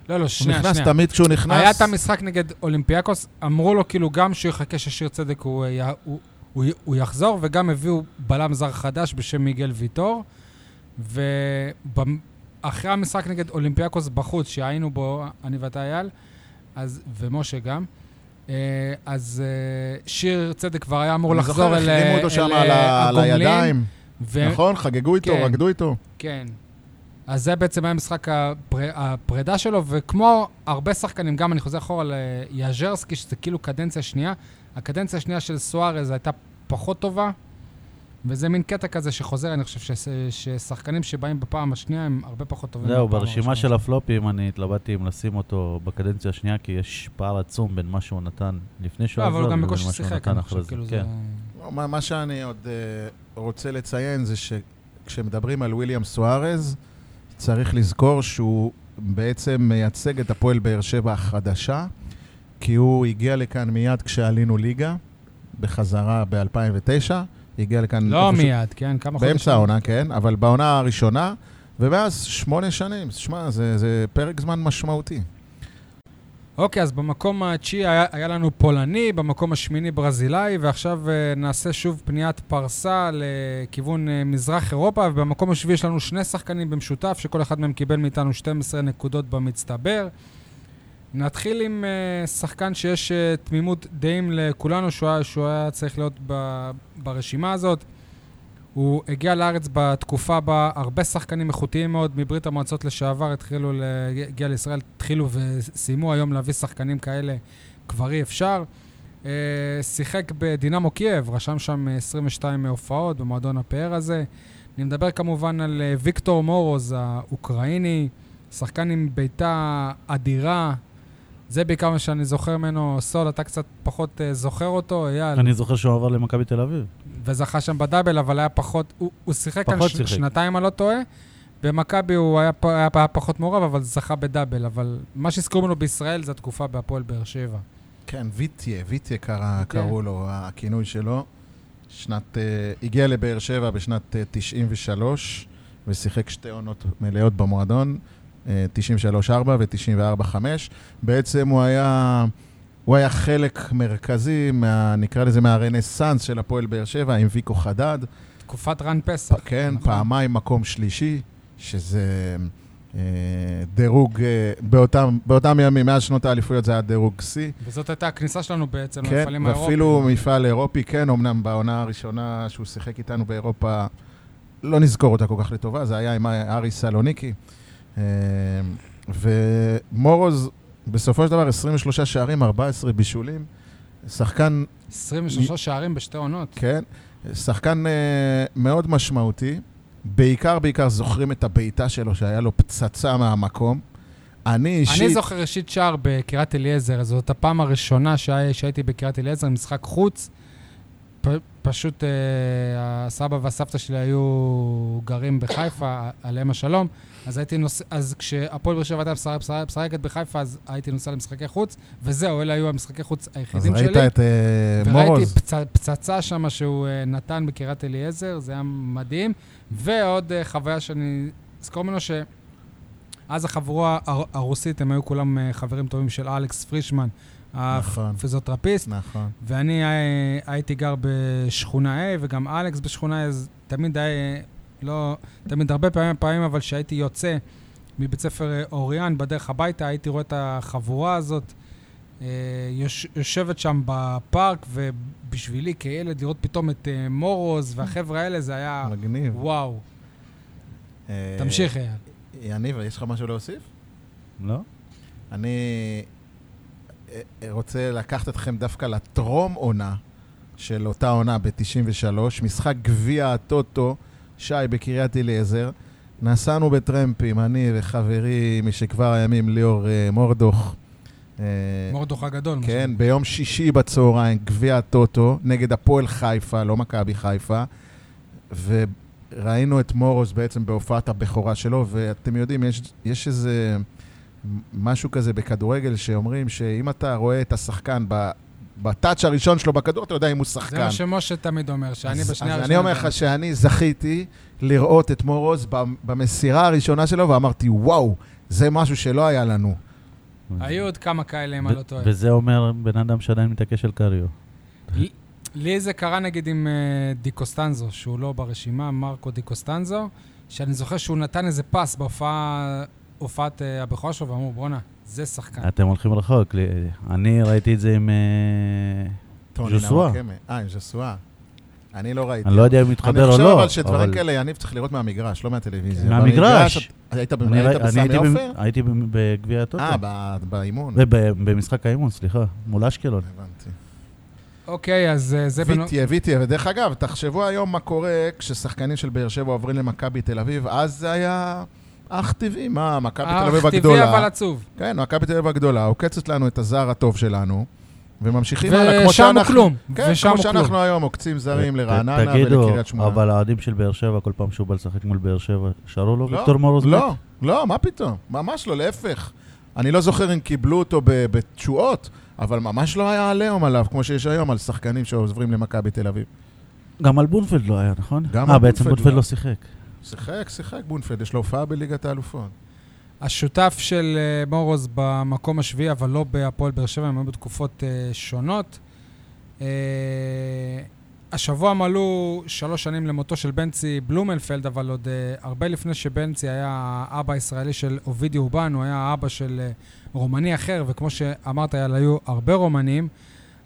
[SPEAKER 1] לא, לא,
[SPEAKER 3] הוא
[SPEAKER 1] שנייה,
[SPEAKER 3] נכנס
[SPEAKER 1] שנייה.
[SPEAKER 3] תמיד כשהוא נכנס.
[SPEAKER 1] היה את המשחק נגד אולימפיאקוס, אמרו לו כאילו גם שהוא יחכה ששיר צדק הוא, אה, יה- הוא, הוא, י- הוא יחזור, וגם הביאו בלם זר חדש בשם מיגל ויטור. ואחרי המשחק נגד אולימפיאקוס בחוץ, שהיינו בו, אני ואתה אייל, אז, ומשה גם, אה, אז אה, שיר צדק כבר היה אמור
[SPEAKER 3] אני
[SPEAKER 1] לחזור
[SPEAKER 3] זוכר,
[SPEAKER 1] אל אה,
[SPEAKER 3] החרימו אותו
[SPEAKER 1] אל
[SPEAKER 3] שם על ה- על
[SPEAKER 1] הגומלין,
[SPEAKER 3] הידיים.
[SPEAKER 1] ו-
[SPEAKER 3] נכון, חגגו איתו,
[SPEAKER 1] כן.
[SPEAKER 3] רקדו איתו.
[SPEAKER 1] כן. אז זה בעצם היה משחק הפר... הפרידה שלו, וכמו הרבה שחקנים, גם אני חוזר אחורה ליאז'רסקי, שזה כאילו קדנציה שנייה, הקדנציה השנייה של סוארז הייתה פחות טובה, וזה מין קטע כזה שחוזר, אני חושב שש... ששחקנים שבאים בפעם השנייה הם הרבה פחות טובים.
[SPEAKER 2] זהו,
[SPEAKER 1] בפעם
[SPEAKER 2] ברשימה
[SPEAKER 1] הראשונה.
[SPEAKER 2] של הפלופים אני התלבטתי אם לשים אותו בקדנציה השנייה, כי יש פער עצום בין מה שהוא נתן לפני שהוא
[SPEAKER 1] לא, אבל
[SPEAKER 2] עזב
[SPEAKER 1] הוא גם
[SPEAKER 2] לבין
[SPEAKER 1] בקושי
[SPEAKER 2] מה שהוא
[SPEAKER 1] שיחק,
[SPEAKER 2] נתן
[SPEAKER 1] אני
[SPEAKER 2] אחרי
[SPEAKER 1] חושב,
[SPEAKER 2] זה.
[SPEAKER 1] כאילו זה...
[SPEAKER 2] כן.
[SPEAKER 3] לא, מה, מה שאני עוד uh, רוצה לציין זה שכשמדברים על ויליאם סוארז, צריך לזכור שהוא בעצם מייצג את הפועל באר שבע החדשה, כי הוא הגיע לכאן מיד כשעלינו ליגה, בחזרה ב-2009, הגיע לכאן...
[SPEAKER 1] לא
[SPEAKER 3] איפשהו-
[SPEAKER 1] מיד, כן, כמה חודשים.
[SPEAKER 3] באמצע העונה, כן, אבל בעונה הראשונה, ומאז שמונה שנים. שמע, זה, זה פרק זמן משמעותי.
[SPEAKER 1] אוקיי, אז במקום התשיעי היה, היה לנו פולני, במקום השמיני ברזילאי, ועכשיו אה, נעשה שוב פניית פרסה לכיוון אה, מזרח אירופה, ובמקום השביעי יש לנו שני שחקנים במשותף, שכל אחד מהם קיבל מאיתנו 12 נקודות במצטבר. נתחיל עם אה, שחקן שיש אה, תמימות דעים לכולנו, שהוא היה, שהוא היה צריך להיות ב, ברשימה הזאת. הוא הגיע לארץ בתקופה בה הרבה שחקנים איכותיים מאוד מברית המועצות לשעבר התחילו להגיע לישראל, התחילו וסיימו היום להביא שחקנים כאלה, כבר אי אפשר. אה, שיחק בדינמו קייב, רשם שם אה, 22 הופעות במועדון הפאר הזה. אני מדבר כמובן על אה, ויקטור מורוז האוקראיני, שחקן עם בעיטה אדירה. זה בעיקר מה שאני זוכר ממנו. סול, אתה קצת פחות אה, זוכר אותו, אייל.
[SPEAKER 2] אני זוכר שהוא עבר למכבי תל אביב.
[SPEAKER 1] וזכה שם בדאבל, אבל היה פחות, הוא, הוא שיחק כאן
[SPEAKER 2] פחות
[SPEAKER 1] ש-
[SPEAKER 2] שיחק.
[SPEAKER 1] שנתיים, אני לא טועה. במכבי הוא היה, פ- היה, היה פחות מעורב, אבל זכה בדאבל. אבל מה שהזכירו ממנו בישראל זה התקופה בהפועל באר שבע.
[SPEAKER 3] כן, ויטיה, ויטיה קרא,
[SPEAKER 1] ויטיה.
[SPEAKER 3] קראו לו, הכינוי שלו. שנת, אה, הגיע לבאר שבע בשנת אה, 93, ושיחק שתי עונות מלאות במועדון, אה, 93-4 ו-94-5. בעצם הוא היה, הוא היה חלק מרכזי, מה, נקרא לזה מהרנסאנס של הפועל באר שבע, עם ויקו חדד.
[SPEAKER 1] תקופת רן פסח.
[SPEAKER 3] פ- כן,
[SPEAKER 1] נכון.
[SPEAKER 3] פעמיים מקום שלישי, שזה אה, דירוג, אה, באותם, באותם ימים, מאז שנות האליפויות זה היה דירוג שיא.
[SPEAKER 1] וזאת הייתה הכניסה שלנו בעצם
[SPEAKER 3] כן,
[SPEAKER 1] למפעלים האירופיים.
[SPEAKER 3] ואפילו מפעל אירופי, כן, אמנם בעונה הראשונה שהוא שיחק איתנו באירופה, לא נזכור אותה כל כך לטובה, זה היה עם ארי סלוניקי. אה, ומורוז, בסופו של דבר, 23 שערים, 14 בישולים. שחקן
[SPEAKER 1] 23 שערים בשתי עונות.
[SPEAKER 3] כן, שחקן אה, מאוד משמעותי. בעיקר, בעיקר זוכרים את הבעיטה שלו, שהיה לו פצצה מהמקום. אני אישית...
[SPEAKER 1] אני זוכר אישית שער בקריית אליעזר, זאת הפעם הראשונה שהי- שהייתי בקריית אליעזר, משחק חוץ. פ- פשוט אה, הסבא והסבתא שלי היו גרים בחיפה, עליהם השלום. אז הייתי נוסע, אז כשהפועל באר שבע הייתה משחק- משחק- משחקת בחיפה, אז הייתי נוסע למשחקי חוץ, וזהו, אלה היו המשחקי חוץ
[SPEAKER 3] אז
[SPEAKER 1] היחידים שלי.
[SPEAKER 3] ראית את אה,
[SPEAKER 1] וראיתי
[SPEAKER 3] מורוז.
[SPEAKER 1] פצ... פצצה שם שהוא אה, נתן בקריית אליעזר, זה היה מדהים. ועוד אה, חוויה שאני אזכור ממנו, שאז החבורה הר... הרוסית, הם היו כולם אה, חברים טובים של אלכס פרישמן,
[SPEAKER 3] נכון.
[SPEAKER 1] הפיזיותרפיסט,
[SPEAKER 3] נכון.
[SPEAKER 1] ואני אה, הייתי גר בשכונה A, וגם אלכס בשכונה A, אז תמיד היה, לא, תמיד הרבה פעמים, פעמים אבל כשהייתי יוצא מבית ספר אה, אוריאן, בדרך הביתה, הייתי רואה את החבורה הזאת אה, יוש, יושבת שם בפארק, ובשבילי כילד לראות פתאום את אה, מורוז והחבר'ה האלה, זה היה
[SPEAKER 3] מגניב.
[SPEAKER 1] וואו.
[SPEAKER 3] אה,
[SPEAKER 1] תמשיך, אייל.
[SPEAKER 3] יניב, יש לך משהו להוסיף?
[SPEAKER 2] לא?
[SPEAKER 3] אני אה, אה, רוצה לקחת אתכם דווקא לטרום עונה של אותה עונה ב-93, משחק גביע הטוטו, שי בקריית אליעזר. נסענו בטרמפים, אני וחברי משכבר הימים, ליאור אה, מורדוך, אה,
[SPEAKER 1] מורדוך הגדול. מה
[SPEAKER 3] כן, ביום שישי בצהריים, גביע הטוטו, נגד הפועל חיפה, לא מכבי חיפה, וראינו את מורוס בעצם בהופעת הבכורה שלו, ואתם יודעים, יש, יש איזה משהו כזה בכדורגל שאומרים שאם אתה רואה את השחקן ב... בטאץ' הראשון שלו בכדור, אתה יודע אם הוא שחקן.
[SPEAKER 1] זה מה שמשה תמיד אומר, שאני
[SPEAKER 3] אז-
[SPEAKER 1] בשנייה
[SPEAKER 3] אז אני אומר לך שאני זכיתי לראות את מורוז במ- במסירה הראשונה שלו, ואמרתי, וואו, זה משהו שלא היה לנו.
[SPEAKER 1] היו עוד כמה כאלה, אם
[SPEAKER 2] ו-
[SPEAKER 1] אני לא טועה. כן.
[SPEAKER 2] וזה אומר בן אדם שעדיין מתעקש על קריו.
[SPEAKER 1] לי זה קרה נגיד עם אה, די קוסטנזו, שהוא לא ברשימה, מרקו די קוסטנזו, שאני זוכר שהוא נתן איזה פס בהופעה- הופעת אה, הבכורה שלו, ואמרו, בואנה, זה שחקן.
[SPEAKER 2] אתם הולכים רחוק. לי- אני ראיתי את זה עם... אה,
[SPEAKER 3] טוני
[SPEAKER 2] ז'וסואה.
[SPEAKER 3] נוואקמה. אה, עם ז'סואה. אני לא ראיתי.
[SPEAKER 2] אני לא יודע אם הוא מתחבר או לא.
[SPEAKER 3] אני חושב אבל שדברים
[SPEAKER 2] אבל-
[SPEAKER 3] כאלה, יניב, צריך לראות מהמגרש, לא מהטלוויזיה.
[SPEAKER 2] מהמגרש.
[SPEAKER 3] במגרש, היית ב-
[SPEAKER 2] אני
[SPEAKER 3] היית
[SPEAKER 2] ראי- אני
[SPEAKER 3] בסמי
[SPEAKER 2] הייתי במ-
[SPEAKER 3] עופר?
[SPEAKER 2] הייתי במ- בגביע הטוטו.
[SPEAKER 3] אה, ב- באימון.
[SPEAKER 2] וב- במשחק האימון, סליחה, מול אשקלון.
[SPEAKER 3] הבנתי.
[SPEAKER 1] אוקיי, אז אה, זה בנו...
[SPEAKER 3] ויטיה, ויטיה, ודרך אגב, תחשבו היום מה קורה כששחקנים של באר שבע עוברים למכבי תל אביב, אז זה היה אך טבעי, מה, מכבי תל אביב הגדולה.
[SPEAKER 1] טבעי אה, אבל עצוב.
[SPEAKER 3] כן, מכבי תל אביב הגדולה, עוקצת לנו את הזר הטוב שלנו, וממשיכים הלאה, כמו
[SPEAKER 1] ושם
[SPEAKER 3] שאנחנו...
[SPEAKER 1] הוא כלום.
[SPEAKER 3] כן,
[SPEAKER 1] ושם
[SPEAKER 3] כמו
[SPEAKER 1] הוא כלום.
[SPEAKER 3] שאנחנו היום עוקצים זרים
[SPEAKER 2] ת-
[SPEAKER 3] לרעננה
[SPEAKER 2] תגידו,
[SPEAKER 3] ולקריית שמונה.
[SPEAKER 2] אבל האוהדים של באר שבע, כל פעם שהוא בא לשחק מול באר שבע, שרו לו
[SPEAKER 3] לא,
[SPEAKER 2] ויקטור מורוז?
[SPEAKER 3] לא, לא, מה פתאום? ממש לא, להפך. אני לא זוכר אם קיבלו אותו ב- בתשואות, אבל ממש לא היה עליהום עליו, כמו שיש היום על שחקנים שעוברים למכבי תל אביב.
[SPEAKER 2] גם על בונפלד לא היה, נכון?
[SPEAKER 3] גם
[SPEAKER 2] אה,
[SPEAKER 3] על
[SPEAKER 2] בעצם
[SPEAKER 3] בונפלד
[SPEAKER 2] בונפלד
[SPEAKER 3] לא.
[SPEAKER 2] לא שיחק.
[SPEAKER 3] שיחק, שיחק בונפלד, יש לו הופעה בליגת האלופות.
[SPEAKER 1] השותף של אה, מורוז במקום השביעי, אבל לא בהפועל באר שבע, הם היו בתקופות אה, שונות. אה, השבוע מלאו שלוש שנים למותו של בנצי בלומנפלד, אבל עוד אה, הרבה לפני שבנצי היה האבא הישראלי של אובידי אובן, הוא היה האבא של אה, רומני אחר, וכמו שאמרת, יאללה, היו הרבה רומנים.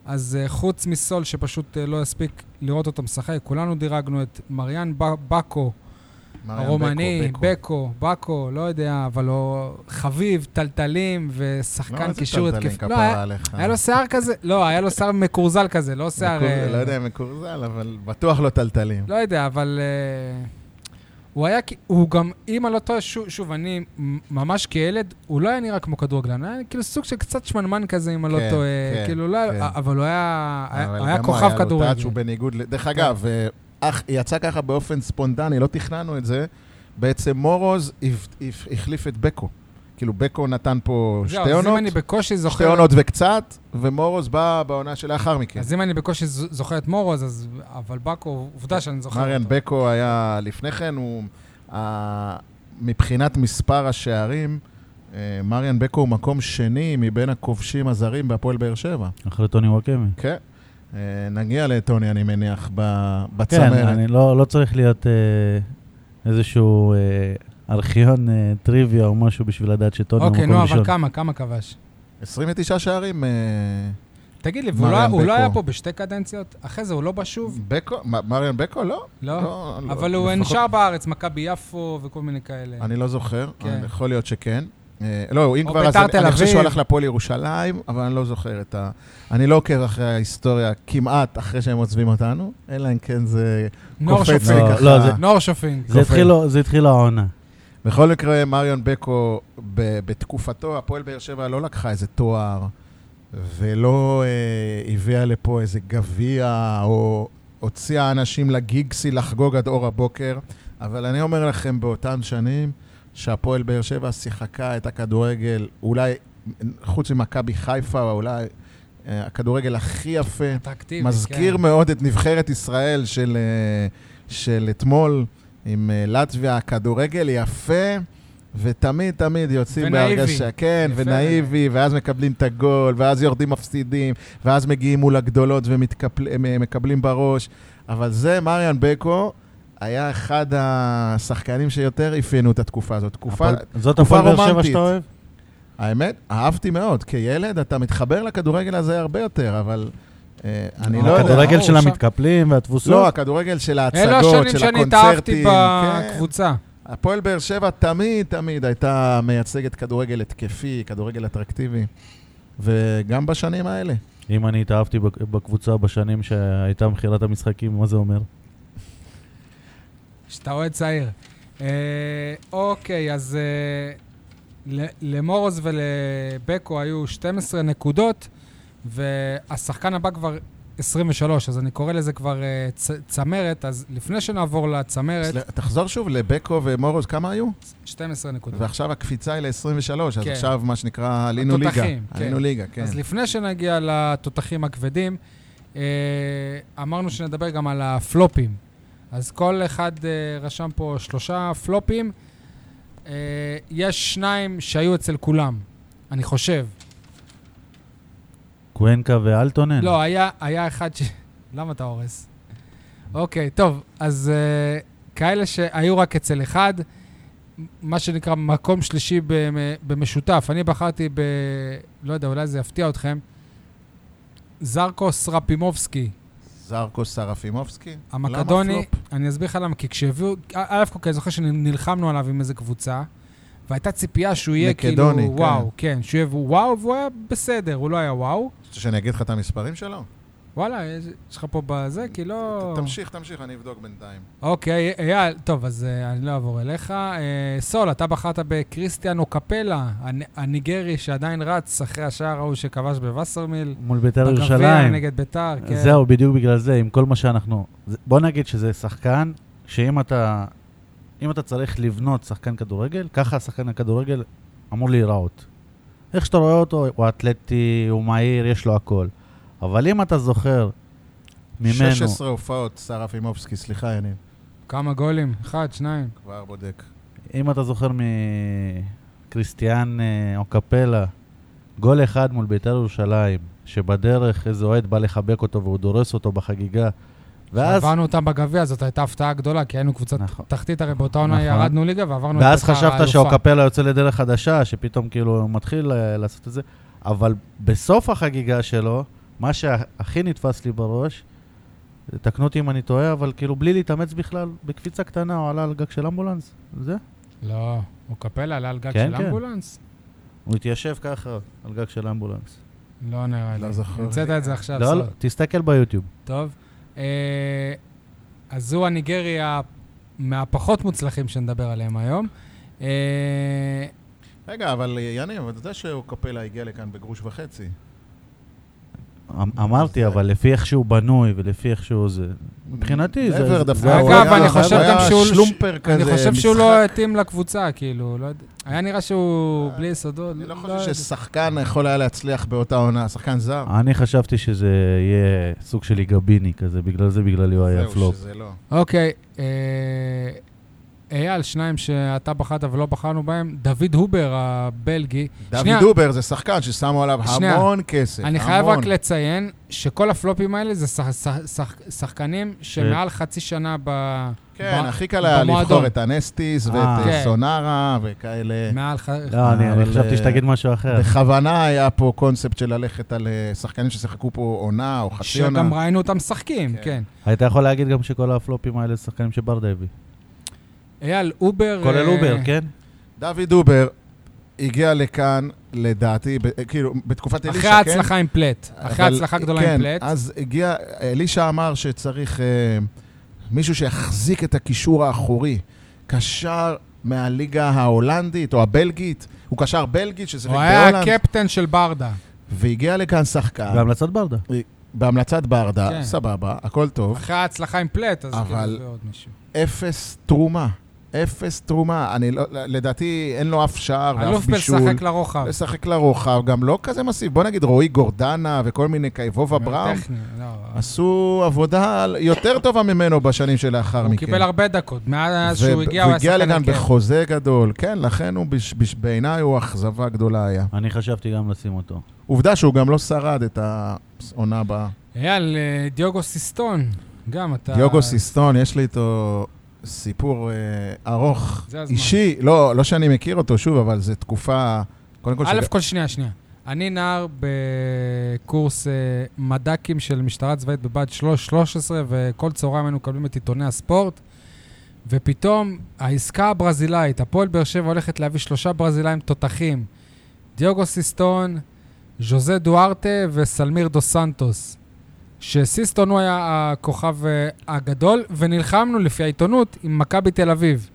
[SPEAKER 1] אז אה, חוץ מסול, שפשוט אה, לא יספיק לראות אותו משחק, כולנו דירגנו את מריאן ב- בקו,
[SPEAKER 3] מריאן
[SPEAKER 1] הרומני,
[SPEAKER 3] אה, בקו, בקו.
[SPEAKER 1] בקו, בקו, לא יודע, אבל הוא חביב, טלטלים ושחקן
[SPEAKER 3] לא, זה
[SPEAKER 1] קישור
[SPEAKER 3] טלטלים,
[SPEAKER 1] התקף. לא,
[SPEAKER 3] כפרה
[SPEAKER 1] היה-
[SPEAKER 3] עליך.
[SPEAKER 1] היה לו שיער כזה, לא, היה לו שיער מקורזל כזה, לא שיער...
[SPEAKER 3] מקור-
[SPEAKER 1] אה,
[SPEAKER 3] לא יודע אם מקורזל, אבל בטוח לא טלטלים.
[SPEAKER 1] לא יודע, אבל... אה, הוא היה, כ- הוא גם, אם אני לא טועה, שוב, שוב, אני מ- ממש כילד, הוא לא היה נראה כמו כדורגלן, היה כאילו סוג של קצת שמנמן כזה, אם אני
[SPEAKER 3] כן,
[SPEAKER 1] לא טועה,
[SPEAKER 3] כן,
[SPEAKER 1] כאילו, לא,
[SPEAKER 3] כן.
[SPEAKER 1] היה- אבל הוא היה, היה-
[SPEAKER 3] אבל
[SPEAKER 1] היה
[SPEAKER 3] גם הוא
[SPEAKER 1] כוכב
[SPEAKER 3] לו טאץ',
[SPEAKER 1] כדורגל. כן.
[SPEAKER 3] הוא בניגוד... ל- דרך אגב, אה, אך, יצא ככה באופן ספונטני, לא תכננו את זה. בעצם מורוז הפ- הפ- החליף את בקו. כאילו, בקו נתן פה
[SPEAKER 1] זהו,
[SPEAKER 3] שתי
[SPEAKER 1] אז אם
[SPEAKER 3] עונות,
[SPEAKER 1] אני בקושי
[SPEAKER 3] שתי
[SPEAKER 1] זוכר,
[SPEAKER 3] עונות כן. וקצת, ומורוז בא בעונה שלאחר מכן.
[SPEAKER 1] אז אם אני בקושי ז- זוכר את מורוז, אז, אבל באקו, עובדה שאני זוכר
[SPEAKER 3] מריאן
[SPEAKER 1] אותו.
[SPEAKER 3] בקו היה לפני כן, הוא... ה- מבחינת מספר השערים, אה, מריאן בקו הוא מקום שני מבין הכובשים הזרים בהפועל באר שבע.
[SPEAKER 2] אחרי טוני וואקמה.
[SPEAKER 3] כן. אה, נגיע לטוני, אני מניח, ב-
[SPEAKER 2] כן,
[SPEAKER 3] בצמרת.
[SPEAKER 2] אני לא לא צריך להיות אה, איזשהו אה, ארכיון אה, טריוויה או משהו בשביל לדעת שטוני הוא
[SPEAKER 1] אוקיי,
[SPEAKER 2] מקום
[SPEAKER 1] נו,
[SPEAKER 2] ראשון.
[SPEAKER 1] אבל כמה, כמה כבש?
[SPEAKER 3] 29 שערים. אה,
[SPEAKER 1] תגיד לי, והוא לא-
[SPEAKER 3] מריאן
[SPEAKER 1] הוא לא
[SPEAKER 3] בקו.
[SPEAKER 1] היה פה בשתי קדנציות? אחרי זה הוא לא בא שוב?
[SPEAKER 3] בקו, מ- מריאן בקו? לא.
[SPEAKER 1] לא?
[SPEAKER 3] לא, לא.
[SPEAKER 1] אבל הוא
[SPEAKER 3] לפחות-
[SPEAKER 1] נשאר בארץ, מכבי יפו וכל מיני כאלה.
[SPEAKER 3] אני לא זוכר,
[SPEAKER 1] כן.
[SPEAKER 3] אבל יכול להיות שכן. אה, לא, אם
[SPEAKER 1] או
[SPEAKER 3] כבר, אז
[SPEAKER 1] ביתר תל
[SPEAKER 3] אני- אני חושב
[SPEAKER 1] אביב.
[SPEAKER 3] שהוא הלך לפועל ירושלים, אבל אני לא זוכר את ה... אני לא עוקב אחרי ההיסטוריה כמעט אחרי שהם עוזבים אותנו, אלא אם כן זה
[SPEAKER 1] נור
[SPEAKER 3] קופץ לי
[SPEAKER 1] שופינג.
[SPEAKER 2] לא,
[SPEAKER 3] ככה.
[SPEAKER 2] לא, זה-
[SPEAKER 1] נור שופינג.
[SPEAKER 2] זה התחיל לא- לו- זה התחיל העונה.
[SPEAKER 3] בכל מקרה, מריון בקו, ב- בתקופתו, הפועל באר שבע לא לקחה איזה תואר ולא אה, הביאה לפה איזה גביע או הוציאה אנשים לגיגסי לחגוג עד אור הבוקר, אבל אני אומר לכם, באותן שנים שהפועל באר שבע שיחקה את הכדורגל, אולי, חוץ ממכבי חיפה, אולי אה, הכדורגל הכי יפה.
[SPEAKER 1] אטרקטיבי,
[SPEAKER 3] מזכיר
[SPEAKER 1] כן.
[SPEAKER 3] מאוד את נבחרת ישראל של, אה, של אתמול עם אה, לטביה, כדורגל יפה, ותמיד תמיד יוצאים
[SPEAKER 1] ונאיבי.
[SPEAKER 3] בהרגשה, כן,
[SPEAKER 1] יפה
[SPEAKER 3] ונאיבי, ואז מקבלים את הגול, ואז יורדים מפסידים, ואז מגיעים מול הגדולות ומקבלים בראש. אבל זה, מריאן בקו היה אחד השחקנים שיותר אפיינו את התקופה הזאת. תקופה,
[SPEAKER 2] הפועל- זאת הפועל באר שבע
[SPEAKER 3] רומנטית.
[SPEAKER 2] שאתה אוהב?
[SPEAKER 3] האמת, אהבתי מאוד. כילד אתה מתחבר לכדורגל הזה הרבה יותר, אבל אה, אני לא יודע.
[SPEAKER 2] הכדורגל
[SPEAKER 1] ברור,
[SPEAKER 2] של
[SPEAKER 1] שם-
[SPEAKER 2] המתפלים
[SPEAKER 3] לא,
[SPEAKER 2] והתבוסות?
[SPEAKER 3] הכדורגל של
[SPEAKER 1] אלו
[SPEAKER 3] ההצגות,
[SPEAKER 1] השנים
[SPEAKER 3] של
[SPEAKER 1] שאני
[SPEAKER 3] הקונצרטים.
[SPEAKER 1] התאהבתי
[SPEAKER 3] כן.
[SPEAKER 1] בקבוצה.
[SPEAKER 3] הפועל באר שבע תמיד תמיד הייתה מייצגת כדורגל התקפי, כדורגל אטרקטיבי. וגם בשנים האלה.
[SPEAKER 2] אם אני התאהבתי בק- בקבוצה בשנים שהייתה מכירת המשחקים, מה זה אומר?
[SPEAKER 1] שאתה אוהד צעיר. אה, אוקיי, אז אה, ל- למורוז ולבקו היו 12 נקודות, והשחקן הבא כבר 23, אז אני קורא לזה כבר אה, צ- צמרת, אז לפני שנעבור לצמרת,
[SPEAKER 3] סל- תחזור שוב לבקו ומורוז, כמה היו?
[SPEAKER 1] 12 נקודות.
[SPEAKER 3] ועכשיו הקפיצה היא ל-23, אז
[SPEAKER 1] כן.
[SPEAKER 3] עכשיו מה שנקרא עלינו ליגה.
[SPEAKER 1] התותחים, כן.
[SPEAKER 3] עלינו ליגה, כן.
[SPEAKER 1] אז לפני שנגיע לתותחים הכבדים, אה, אמרנו שנדבר גם על הפלופים. אז כל אחד אה, רשם פה שלושה פלופים. אה, יש שניים שהיו אצל כולם, אני חושב.
[SPEAKER 2] קוונקה ואלטונן?
[SPEAKER 1] לא, היה, היה אחד ש... למה אתה הורס? אוקיי, טוב, אז uh, כאלה שהיו רק אצל אחד, מה שנקרא מקום שלישי במ, במשותף. אני בחרתי ב... לא יודע, אולי זה יפתיע אתכם. זרקו סרפימובסקי,
[SPEAKER 3] זרקו סרפימובסקי?
[SPEAKER 1] המקדוני,
[SPEAKER 3] למה פלופ?
[SPEAKER 1] אני אסביר לך למה, כי כשהביאו, א' כל כך, אני זוכר שנלחמנו עליו עם איזה קבוצה, והייתה ציפייה שהוא יהיה
[SPEAKER 3] מקדוני,
[SPEAKER 1] כאילו
[SPEAKER 3] כן.
[SPEAKER 1] וואו, כן, שהוא יהיה וואו, והוא היה בסדר, הוא לא היה וואו.
[SPEAKER 3] רוצה שאני אגיד לך את המספרים שלו?
[SPEAKER 1] וואלה, יש יש לך פה בזה, כי לא...
[SPEAKER 3] ת- תמשיך, תמשיך, אני אבדוק בינתיים.
[SPEAKER 1] אוקיי, אייל, טוב, אז אה, אני לא אעבור אליך. אה, סול, אתה בחרת בקריסטיאנו קפלה, הנ- הניגרי שעדיין רץ אחרי השער ההוא שכבש בווסרמיל.
[SPEAKER 2] מול בית"ר
[SPEAKER 1] בגביע
[SPEAKER 2] ירושלים.
[SPEAKER 1] נגד ביתר, כן.
[SPEAKER 2] זהו, בדיוק בגלל זה, עם כל מה שאנחנו... זה- בוא נגיד שזה שחקן שאם אתה... אם אתה צריך לבנות שחקן כדורגל, ככה השחקן הכדורגל אמור להיראות. איך שאתה רואה אותו, הוא אתלטי, הוא מהיר, יש לו הכל. אבל אם אתה זוכר ממנו...
[SPEAKER 3] 16 הופעות, סרפימובסקי, סליחה, יניב.
[SPEAKER 1] כמה גולים? אחד, שניים.
[SPEAKER 3] כבר בודק.
[SPEAKER 2] אם אתה זוכר מקריסטיאן אה, אוקפלה, גול אחד מול בית"ר ירושלים, שבדרך איזה אוהד בא לחבק אותו והוא דורס אותו בחגיגה, ואז,
[SPEAKER 1] עברנו אותם בגביע, זאת הייתה הפתעה גדולה, כי היינו קבוצת
[SPEAKER 2] נכון.
[SPEAKER 1] תחתית, הרי באותה עונה
[SPEAKER 2] נכון.
[SPEAKER 1] ירדנו ליגה ועברנו את
[SPEAKER 2] ואז
[SPEAKER 1] ביתר
[SPEAKER 2] חשבת
[SPEAKER 1] האלופה.
[SPEAKER 2] שאוקפלה יוצא לדרך חדשה, שפתאום כאילו הוא מתחיל אה, לעשות את זה, אבל בסוף החגיגה שלו, מה שהכי נתפס לי בראש, תקנו אותי אם אני טועה, אבל כאילו בלי להתאמץ בכלל, בקפיצה קטנה הוא עלה על גג של אמבולנס, זה?
[SPEAKER 1] לא, אוקפלה עלה על גג
[SPEAKER 2] כן,
[SPEAKER 1] של
[SPEAKER 2] כן.
[SPEAKER 1] אמבולנס?
[SPEAKER 2] הוא התיישב ככה על גג של אמבולנס.
[SPEAKER 1] לא נראה לי.
[SPEAKER 3] לא זוכר.
[SPEAKER 1] המצאת את זה עכשיו,
[SPEAKER 2] לא,
[SPEAKER 1] סול.
[SPEAKER 2] לא, תסתכל ביוטיוב.
[SPEAKER 1] טוב. אה, אז הוא הניגרי ה- מהפחות מוצלחים שנדבר עליהם היום. אה,
[SPEAKER 3] רגע, אבל אה, יניב, אתה יודע שקופלה הגיע לכאן בגרוש וחצי.
[SPEAKER 2] אמ- אמרתי, אבל לפי איך שהוא בנוי ולפי איך שהוא זה... מבחינתי זה...
[SPEAKER 3] מעבר
[SPEAKER 2] זה-
[SPEAKER 3] דווקא,
[SPEAKER 2] זה-
[SPEAKER 3] הוא
[SPEAKER 1] אגב,
[SPEAKER 3] היה-
[SPEAKER 1] אני חושב
[SPEAKER 3] הוא
[SPEAKER 1] גם
[SPEAKER 3] היה
[SPEAKER 1] שהוא-
[SPEAKER 3] שלומפר כזה,
[SPEAKER 1] אני חושב שהוא
[SPEAKER 3] משחק.
[SPEAKER 1] לא התאים לקבוצה, כאילו, לא יודע. היה נראה שהוא בלי יסודות.
[SPEAKER 3] אני לא
[SPEAKER 1] יודע.
[SPEAKER 3] חושב ששחקן יכול היה להצליח באותה עונה, שחקן זר.
[SPEAKER 1] אה,
[SPEAKER 2] אני חשבתי שזה יהיה סוג של ליגביני כזה, בגלל זה, בגללי הוא היה
[SPEAKER 3] זהו,
[SPEAKER 2] פלופ.
[SPEAKER 3] שזה לא.
[SPEAKER 1] אוקיי, אה, אייל, שניים שאתה בחרת ולא בחרנו בהם, דוד הובר הבלגי. שנייה.
[SPEAKER 3] דוד דובר זה שחקן ששמו עליו
[SPEAKER 1] שנייה.
[SPEAKER 3] המון כסף,
[SPEAKER 1] אני חייב
[SPEAKER 3] המון.
[SPEAKER 1] רק לציין שכל הפלופים האלה זה שח- שח- שח- שחקנים שמעל חצי שנה ב...
[SPEAKER 3] כן,
[SPEAKER 1] ב-
[SPEAKER 3] הכי קל היה
[SPEAKER 1] במועדון.
[SPEAKER 3] לבחור את אנסטיס ואת
[SPEAKER 2] אה.
[SPEAKER 3] אה,
[SPEAKER 1] כן.
[SPEAKER 3] סונרה וכאלה.
[SPEAKER 1] מעל ח...
[SPEAKER 2] לא, אני אני
[SPEAKER 3] אבל,
[SPEAKER 2] חשבתי
[SPEAKER 3] אה,
[SPEAKER 2] שתגיד משהו אחר.
[SPEAKER 3] בכוונה היה פה קונספט של ללכת על אה, שחקנים ששיחקו פה עונה או חצי עונה.
[SPEAKER 1] שגם ראינו אותם משחקים,
[SPEAKER 3] כן.
[SPEAKER 1] כן.
[SPEAKER 2] היית יכול להגיד גם שכל הפלופים האלה זה שחקנים שברדה הביא.
[SPEAKER 1] אייל, אובר...
[SPEAKER 2] כולל
[SPEAKER 1] אה,
[SPEAKER 2] אובר, כן?
[SPEAKER 3] דוד דובר הגיע לכאן, לדעתי, ב- כאילו, בתקופת אלישע, כן?
[SPEAKER 1] אחרי ההצלחה עם פלט. אחרי
[SPEAKER 3] אבל-
[SPEAKER 1] ההצלחה הגדולה עם פלט.
[SPEAKER 3] כן, אז הגיע, אלישע אמר שצריך אה, מישהו שיחזיק את הקישור האחורי. קשר מהליגה ההולנדית או הבלגית. הוא קשר בלגי ששיחק
[SPEAKER 1] הוא היה
[SPEAKER 3] בהולנד.
[SPEAKER 1] הקפטן של ברדה.
[SPEAKER 3] והגיע לכאן שחקן,
[SPEAKER 2] בהמלצת ברדה.
[SPEAKER 3] בהמלצת ברדה,
[SPEAKER 1] כן.
[SPEAKER 3] סבבה, הכל טוב.
[SPEAKER 1] אחרי ההצלחה עם פלט, אז
[SPEAKER 3] אבל-
[SPEAKER 1] כאילו זה עוד מישהו.
[SPEAKER 3] אפס תרומה. אפס תרומה. אני לא, לדעתי אין לו אף שער ואף
[SPEAKER 1] אלוף
[SPEAKER 3] בישול.
[SPEAKER 1] משחק לרוחב.
[SPEAKER 3] לשחק לרוחב, גם לא כזה מסיב. בוא נגיד רועי גורדנה וכל מיני קייבובה בראון,
[SPEAKER 1] טכני, לא.
[SPEAKER 3] עשו עבודה יותר טובה ממנו בשנים שלאחר
[SPEAKER 1] הוא
[SPEAKER 3] מכן.
[SPEAKER 1] קיבל הרבה דקות. מאז
[SPEAKER 3] ו-
[SPEAKER 1] שהוא הגיע, הוא היה
[SPEAKER 3] והגיע
[SPEAKER 1] שחקן
[SPEAKER 3] לכאן
[SPEAKER 1] הרכב.
[SPEAKER 3] בחוזה גדול, כן, לכן הוא, בש- בש- בעיניי הוא אכזבה גדולה היה.
[SPEAKER 2] אני חשבתי גם לשים אותו.
[SPEAKER 3] עובדה שהוא גם לא שרד את העונה הבאה.
[SPEAKER 1] אייל, אה, דיוגו סיסטון, גם אתה...
[SPEAKER 3] דיוגו סיסטון, יש לי איתו סיפור אה, ארוך,
[SPEAKER 1] זה הזמן.
[SPEAKER 3] אישי, לא, לא שאני מכיר אותו שוב, אבל זו תקופה, קודם כל,
[SPEAKER 1] א',
[SPEAKER 3] שג-
[SPEAKER 1] כל שנייה, שנייה. אני נער בקורס אה, מד"קים של משטרה צבאית בבה"ד 13, וכל צהריים היינו מקבלים את עיתוני הספורט, ופתאום העסקה הברזילאית, הפועל באר שבע הולכת להביא שלושה ברזילאים תותחים, דיוגו סיסטון, ז'וזה דוארטה וסלמיר דו סנטוס. שסיסטון הוא היה הכוכב אה, הגדול, ונלחמנו לפי העיתונות עם מכבי תל אביב.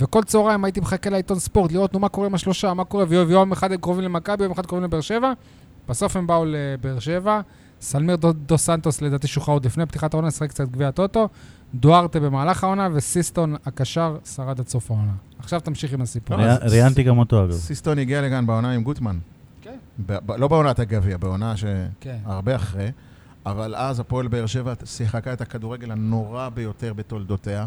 [SPEAKER 1] וכל צהריים הייתי מחכה לעיתון ספורט, לראות נו מה קורה עם השלושה, מה קורה, ויום אחד הם קרובים למכבי, יום אחד קרובים לבאר שבע. בסוף הם באו לבאר שבע, סלמיר דו, דו סנטוס לדעתי שוחרר עוד לפני פתיחת העונה, שחק קצת גביע הטוטו, דוארטה במהלך העונה, וסיסטון הקשר שרד עד סוף העונה. עכשיו תמשיך עם הסיפור.
[SPEAKER 3] לא, אז-
[SPEAKER 2] ראיינתי גם אותו, אגב.
[SPEAKER 3] סיסטון הגיע לכאן בעונה עם גוטמן.
[SPEAKER 1] כן.
[SPEAKER 3] ב- ב- לא בעונת הגביע, בעונה ש...
[SPEAKER 1] כן.
[SPEAKER 3] הרבה אחרי, אבל אז הפועל באר שבע שיחקה את הכדורגל הנורא ביותר בתולדותיה.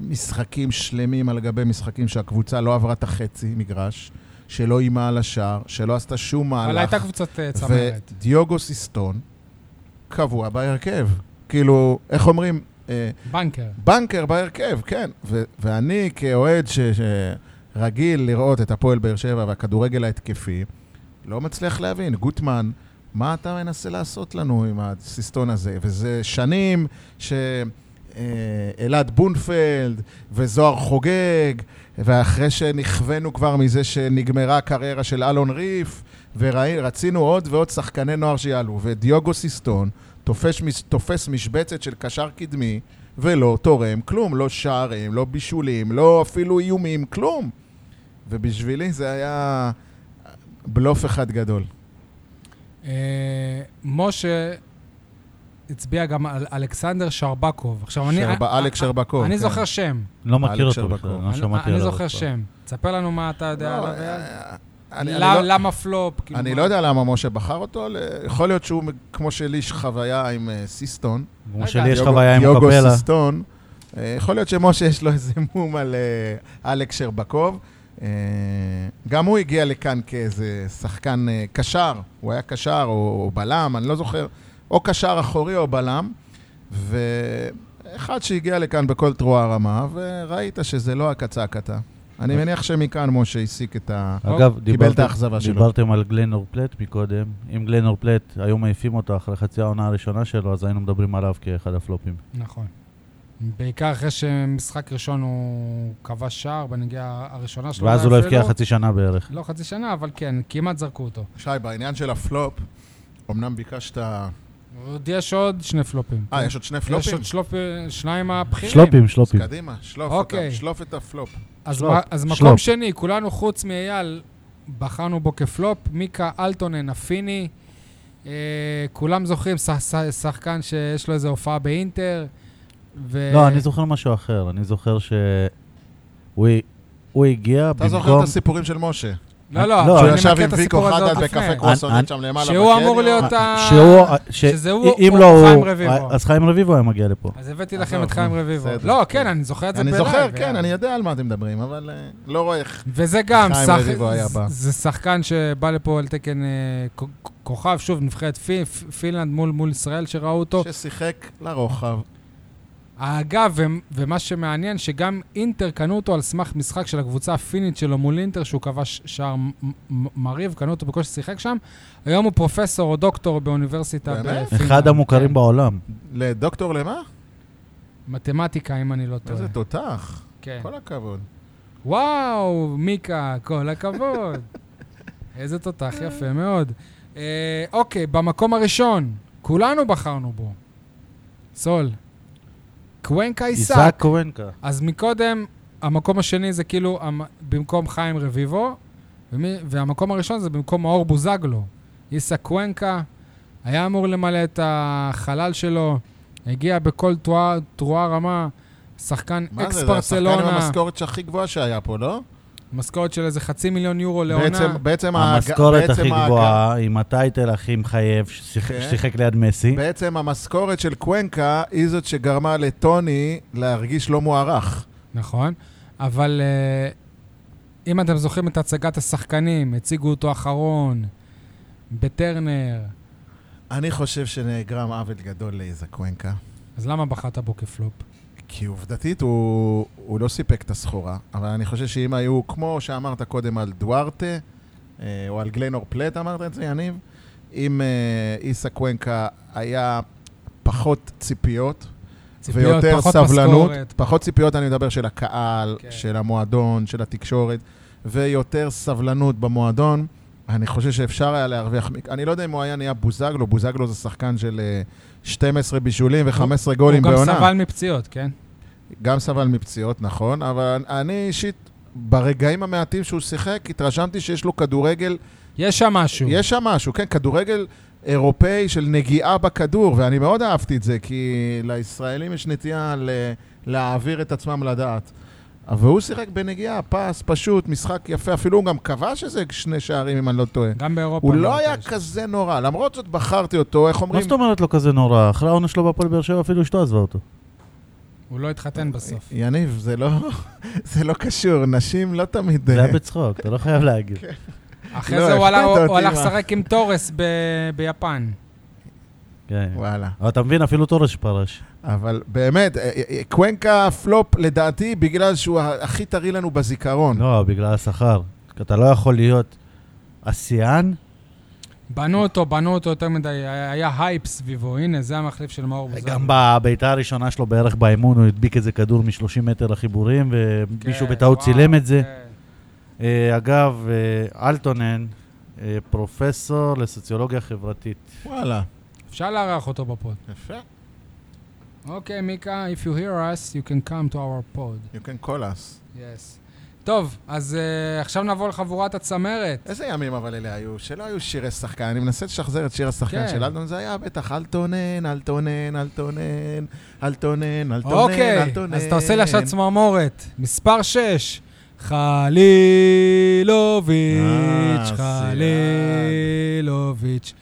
[SPEAKER 3] משחקים שלמים על גבי משחקים שהקבוצה לא עברה את החצי מגרש, שלא איימה על השער, שלא עשתה שום מהלך.
[SPEAKER 1] אבל הייתה קבוצת אה, צמרת.
[SPEAKER 3] ודיוגו סיסטון קבוע בהרכב. כאילו, איך אומרים? אה,
[SPEAKER 1] בנקר.
[SPEAKER 3] בנקר בהרכב, כן. ו- ואני כאוהד ש- שרגיל לראות את הפועל באר שבע והכדורגל ההתקפי, לא מצליח להבין. גוטמן, מה אתה מנסה לעשות לנו עם הסיסטון הזה? וזה שנים ש... אה, אלעד בונפלד וזוהר חוגג, ואחרי שנכווינו כבר מזה שנגמרה הקריירה של אלון ריף, ורצינו עוד ועוד שחקני נוער שיעלו, ודיוגו סיסטון תופס, מש- תופס משבצת של קשר קדמי, ולא תורם כלום, לא שערים, לא בישולים, לא אפילו איומים, כלום. ובשבילי זה היה בלוף אחד גדול.
[SPEAKER 1] אה, משה הצביע גם על אלכסנדר שרבקוב. עכשיו, אני... אה,
[SPEAKER 3] שרב- אלכס שרבקוב.
[SPEAKER 1] אני
[SPEAKER 3] כן.
[SPEAKER 1] זוכר שם.
[SPEAKER 2] לא מכיר
[SPEAKER 3] אלכס
[SPEAKER 2] אותו
[SPEAKER 3] שרבקוב.
[SPEAKER 2] בכלל, לא
[SPEAKER 1] אני-
[SPEAKER 2] שמעתי עליו.
[SPEAKER 1] אני
[SPEAKER 2] אף פעם.
[SPEAKER 1] זוכר שם. תספר לנו מה אתה יודע
[SPEAKER 3] לא,
[SPEAKER 1] עליו. אייל.
[SPEAKER 3] אה, אני- אני
[SPEAKER 1] למה-
[SPEAKER 3] לא-
[SPEAKER 1] למה פלופ? כאילו,
[SPEAKER 3] אני
[SPEAKER 1] מה-
[SPEAKER 3] לא יודע למה משה בחר אותו, ל- יכול להיות שהוא, כמו שלי, יש חוויה עם אה, סיסטון.
[SPEAKER 2] כמו
[SPEAKER 1] רגע.
[SPEAKER 2] שלי יש
[SPEAKER 3] יוגו-
[SPEAKER 2] חוויה עם
[SPEAKER 3] יוגו
[SPEAKER 2] קפלה.
[SPEAKER 3] סיסטון. אה, יכול להיות שמשה יש לו איזה מום על אה, אלכס שרבקוב. אה, גם הוא הגיע לכאן כאיזה שחקן אה, קשר, הוא היה קשר או, או בלם, אני לא זוכר, או קשר אחורי או בלם. ואחד שהגיע לכאן בכל תרועה רמה, וראית שזה לא הקצה-הקתה. אני
[SPEAKER 2] אוקיי.
[SPEAKER 3] מניח שמכאן משה הסיק את ה...
[SPEAKER 1] אה,
[SPEAKER 2] אגב,
[SPEAKER 3] קיבל את
[SPEAKER 2] דיברתם-
[SPEAKER 3] האכזבה שלו.
[SPEAKER 2] דיברתם על גלנור פלט מקודם. אם גלנור פלט, היו מעיפים אותו אחרי חצי העונה הראשונה שלו, אז היינו מדברים עליו כאחד הפלופים.
[SPEAKER 1] נכון. בעיקר אחרי שמשחק ראשון הוא כבש שער בנגיעה הראשונה שלו.
[SPEAKER 2] ואז הוא לא
[SPEAKER 1] אולי
[SPEAKER 2] הבקיע
[SPEAKER 1] אפילו.
[SPEAKER 2] חצי שנה בערך.
[SPEAKER 1] לא חצי שנה, אבל כן, כמעט זרקו אותו.
[SPEAKER 3] שי, בעניין של הפלופ, אמנם ביקשת...
[SPEAKER 1] עוד יש עוד שני פלופים.
[SPEAKER 3] אה, יש עוד שני פלופים?
[SPEAKER 1] יש עוד שלופ- שניים הבכירים.
[SPEAKER 2] שלופים,
[SPEAKER 3] אז
[SPEAKER 2] שלופים.
[SPEAKER 3] קדימה, שלוף
[SPEAKER 1] אוקיי.
[SPEAKER 3] אותם, שלוף את הפלופ.
[SPEAKER 1] אז,
[SPEAKER 2] שלופ.
[SPEAKER 1] מה, אז מקום
[SPEAKER 2] שלופ.
[SPEAKER 1] שני, כולנו חוץ מאייל, בחרנו בו כפלופ, מיקה אלטונן, הפיני. אה, כולם זוכרים, ש- ש- שחקן שיש לו איזו הופעה באינטר. ו...
[SPEAKER 2] לא, אני זוכר משהו אחר. אני זוכר ש... הוא ה- הוא הגיע
[SPEAKER 3] אתה זוכר את
[SPEAKER 2] במקום...
[SPEAKER 3] הסיפורים של משה?
[SPEAKER 1] לא, לא,
[SPEAKER 2] לא,
[SPEAKER 1] אבל
[SPEAKER 3] שהוא
[SPEAKER 1] אני
[SPEAKER 3] ישב
[SPEAKER 1] מכיר
[SPEAKER 3] עם
[SPEAKER 1] את
[SPEAKER 3] ויקו
[SPEAKER 1] הסיפור הזה עוד
[SPEAKER 3] חדד
[SPEAKER 1] לפני.
[SPEAKER 3] בקפה
[SPEAKER 2] אני-
[SPEAKER 3] קרואסונט שם למעלה.
[SPEAKER 1] שהוא
[SPEAKER 3] בקניון.
[SPEAKER 1] אמור להיות ה...
[SPEAKER 2] אה, שהוא... אה, ש-
[SPEAKER 1] שזה הוא
[SPEAKER 2] אם
[SPEAKER 1] או
[SPEAKER 2] לא הוא...
[SPEAKER 1] חיים רביבו.
[SPEAKER 2] אז חיים רביבו היה מגיע לפה.
[SPEAKER 1] אז הבאתי
[SPEAKER 3] עזוב,
[SPEAKER 1] לכם את
[SPEAKER 3] נו,
[SPEAKER 1] חיים רביבו.
[SPEAKER 3] בסדר.
[SPEAKER 1] לא, כן, אני זוכר את זה
[SPEAKER 3] אני
[SPEAKER 1] בלייב.
[SPEAKER 3] זוכר, כן,
[SPEAKER 1] יאללה.
[SPEAKER 3] אני יודע על מה אתם מדברים, אבל אה, לא רואה איך...
[SPEAKER 1] וזה גם,
[SPEAKER 3] חיים
[SPEAKER 1] שח...
[SPEAKER 3] רביבו היה
[SPEAKER 1] זה-
[SPEAKER 3] בא.
[SPEAKER 1] זה שחקן שבא לפה על תקן אה, כ- כ- כוכב, שוב, נבחרת פי- פ- פינלנד מול, מול ישראל שראו אותו.
[SPEAKER 3] ששיחק לרוחב.
[SPEAKER 1] אגב, ו- ומה שמעניין, שגם אינטר קנו אותו על סמך משחק של הקבוצה הפינית שלו מול אינטר, שהוא כבש שער מ- מ- מרהיב, קנו אותו בקושי שיחק שם. היום הוא פרופסור או דוקטור באוניברסיטה
[SPEAKER 3] באמת?
[SPEAKER 1] בפינלנד.
[SPEAKER 2] אחד המוכרים
[SPEAKER 1] כן.
[SPEAKER 2] בעולם.
[SPEAKER 3] לדוקטור למה?
[SPEAKER 1] מתמטיקה, אם אני לא טועה.
[SPEAKER 3] איזה תותח.
[SPEAKER 1] כן.
[SPEAKER 3] כל הכבוד.
[SPEAKER 1] וואו, מיקה, כל הכבוד. איזה תותח יפה מאוד. אה, אוקיי, במקום הראשון, כולנו בחרנו בו. סול. קוונקה
[SPEAKER 2] עיסק
[SPEAKER 1] עיסק.
[SPEAKER 2] קוונקה.
[SPEAKER 1] אז מקודם, המקום השני זה כאילו המ- במקום חיים רביבו, ומי- והמקום הראשון זה במקום מאור בוזגלו. עיסק קוונקה היה אמור למלא את החלל שלו, הגיע בכל תרועה- תרועה רמה, שחקן
[SPEAKER 3] מה זה,
[SPEAKER 1] אקס
[SPEAKER 3] זה השחקן עם
[SPEAKER 1] ברצלונה.
[SPEAKER 3] המשכורת הכי גבוהה שהיה פה, לא?
[SPEAKER 1] משכורת של איזה חצי מיליון יורו לעונה.
[SPEAKER 3] בעצם- בעצם ההג-
[SPEAKER 2] המשכורת
[SPEAKER 3] בעצם
[SPEAKER 2] הכי
[SPEAKER 3] ההג-
[SPEAKER 2] גבוהה, עם הטייטל הכי מחייב, ששיחק-
[SPEAKER 3] כן.
[SPEAKER 2] ששיחק ליד מסי.
[SPEAKER 3] בעצם המשכורת של קוונקה היא זאת שגרמה לטוני להרגיש לא מוערך.
[SPEAKER 1] נכון. אבל אה, אם אתם זוכרים את הצגת השחקנים, הציגו אותו אחרון, בטרנר,
[SPEAKER 3] אני חושב שנגרם עוול גדול לאיזה קוונקה.
[SPEAKER 1] אז למה בחרת בו כפלופ?
[SPEAKER 3] כי עובדתית הוא, הוא לא סיפק את הסחורה, אבל אני חושב שאם היו, כמו שאמרת קודם על דוארטה, אה, או על גלנור פלט, אמרת את זה, יניב, אם אה, איסה קוונקה היה פחות ציפיות,
[SPEAKER 1] ציפיות,
[SPEAKER 3] ויותר
[SPEAKER 1] פחות
[SPEAKER 3] סבלנות,
[SPEAKER 1] משכורת.
[SPEAKER 3] פחות ציפיות, אני מדבר של הקהל,
[SPEAKER 1] כן.
[SPEAKER 3] של המועדון, של התקשורת, ויותר סבלנות במועדון, אני חושב שאפשר היה להרוויח, מ- אני לא יודע אם הוא היה נהיה בוזגלו, בוזגלו זה שחקן של אה, 12 בישולים ו-15 גולים
[SPEAKER 1] הוא
[SPEAKER 3] בעונה.
[SPEAKER 1] גם סבל מפציעות, כן?
[SPEAKER 3] גם סבל מפציעות, נכון, אבל אני אישית ברגעים המעטים שהוא שיחק, התרשמתי שיש לו כדורגל,
[SPEAKER 1] יש שם משהו.
[SPEAKER 3] יש שם משהו, כן, כדורגל אירופאי של נגיעה בכדור, ואני מאוד אהבתי את זה, כי לישראלים יש נטייה ל- להעביר את עצמם לדעת. אבל הוא שיחק בנגיעה, פס, פשוט, משחק יפה, אפילו הוא גם כבש איזה שני שערים, אם אני לא טועה.
[SPEAKER 1] גם באירופה.
[SPEAKER 3] הוא
[SPEAKER 1] אני
[SPEAKER 3] לא היה
[SPEAKER 1] יודע.
[SPEAKER 3] כזה נורא, למרות זאת בחרתי אותו, איך
[SPEAKER 2] מה
[SPEAKER 3] אומרים?
[SPEAKER 2] זאת אומרת לא כזה נורא? אחרי העונה שלו בהפועל באר שבע אפילו אשתו עזבה אותו.
[SPEAKER 1] הוא לא התחתן בסוף.
[SPEAKER 3] יניב, זה לא, זה לא קשור, נשים לא תמיד...
[SPEAKER 2] זה היה בצחוק, אתה לא חייב להגיד.
[SPEAKER 1] אחרי
[SPEAKER 3] לא,
[SPEAKER 1] זה הוא עלה-
[SPEAKER 3] הפתעת אותי,
[SPEAKER 1] הוא הלך
[SPEAKER 3] מה?
[SPEAKER 1] לשחק עם תורס ב- ביפן.
[SPEAKER 2] כן.
[SPEAKER 3] וואלה.
[SPEAKER 2] אבל אתה מבין, אפילו תורש פרש.
[SPEAKER 3] אבל באמת, אה, אה, אה, קוונקה פלופ לדעתי בגלל שהוא ה- הכי טרי לנו בזיכרון.
[SPEAKER 2] לא, בגלל השכר. אתה לא יכול להיות אסיאן,
[SPEAKER 1] בנו אותו, בנו אותו יותר מדי, היה היה הייפ סביבו, הנה, זה המחליף של מאור בוזגלו.
[SPEAKER 2] גם בביתה הראשונה שלו בערך באימון, הוא הדביק איזה כדור מ-30 מטר לחיבורים, ומישהו
[SPEAKER 1] כן,
[SPEAKER 2] בטעות
[SPEAKER 1] וואו,
[SPEAKER 2] צילם את זה.
[SPEAKER 1] כן.
[SPEAKER 2] אה, אגב, אה, אלטונן, אה, פרופסור לסוציולוגיה חברתית.
[SPEAKER 3] וואלה,
[SPEAKER 1] אפשר לארח אותו בפוד.
[SPEAKER 3] יפה.
[SPEAKER 1] אוקיי, מיקה, if you hear us, you can come to our pod.
[SPEAKER 3] You can call us.
[SPEAKER 1] Yes. טוב, אז אה, עכשיו נעבור לחבורת הצמרת.
[SPEAKER 3] איזה ימים אבל אלה היו, שלא היו שירי שחקן, אני מנסה לשחזר את שיר השחקן
[SPEAKER 1] כן.
[SPEAKER 3] של אלטון, זה היה בטח אל תונן, אל תונן, אל תונן, אל תונן, אל תונן, אל
[SPEAKER 1] אוקיי,
[SPEAKER 3] תונן.
[SPEAKER 1] אז אתה עושה לי עכשיו צמרמורת. מספר 6, חלילוביץ',
[SPEAKER 3] אה,
[SPEAKER 1] חלילוביץ'.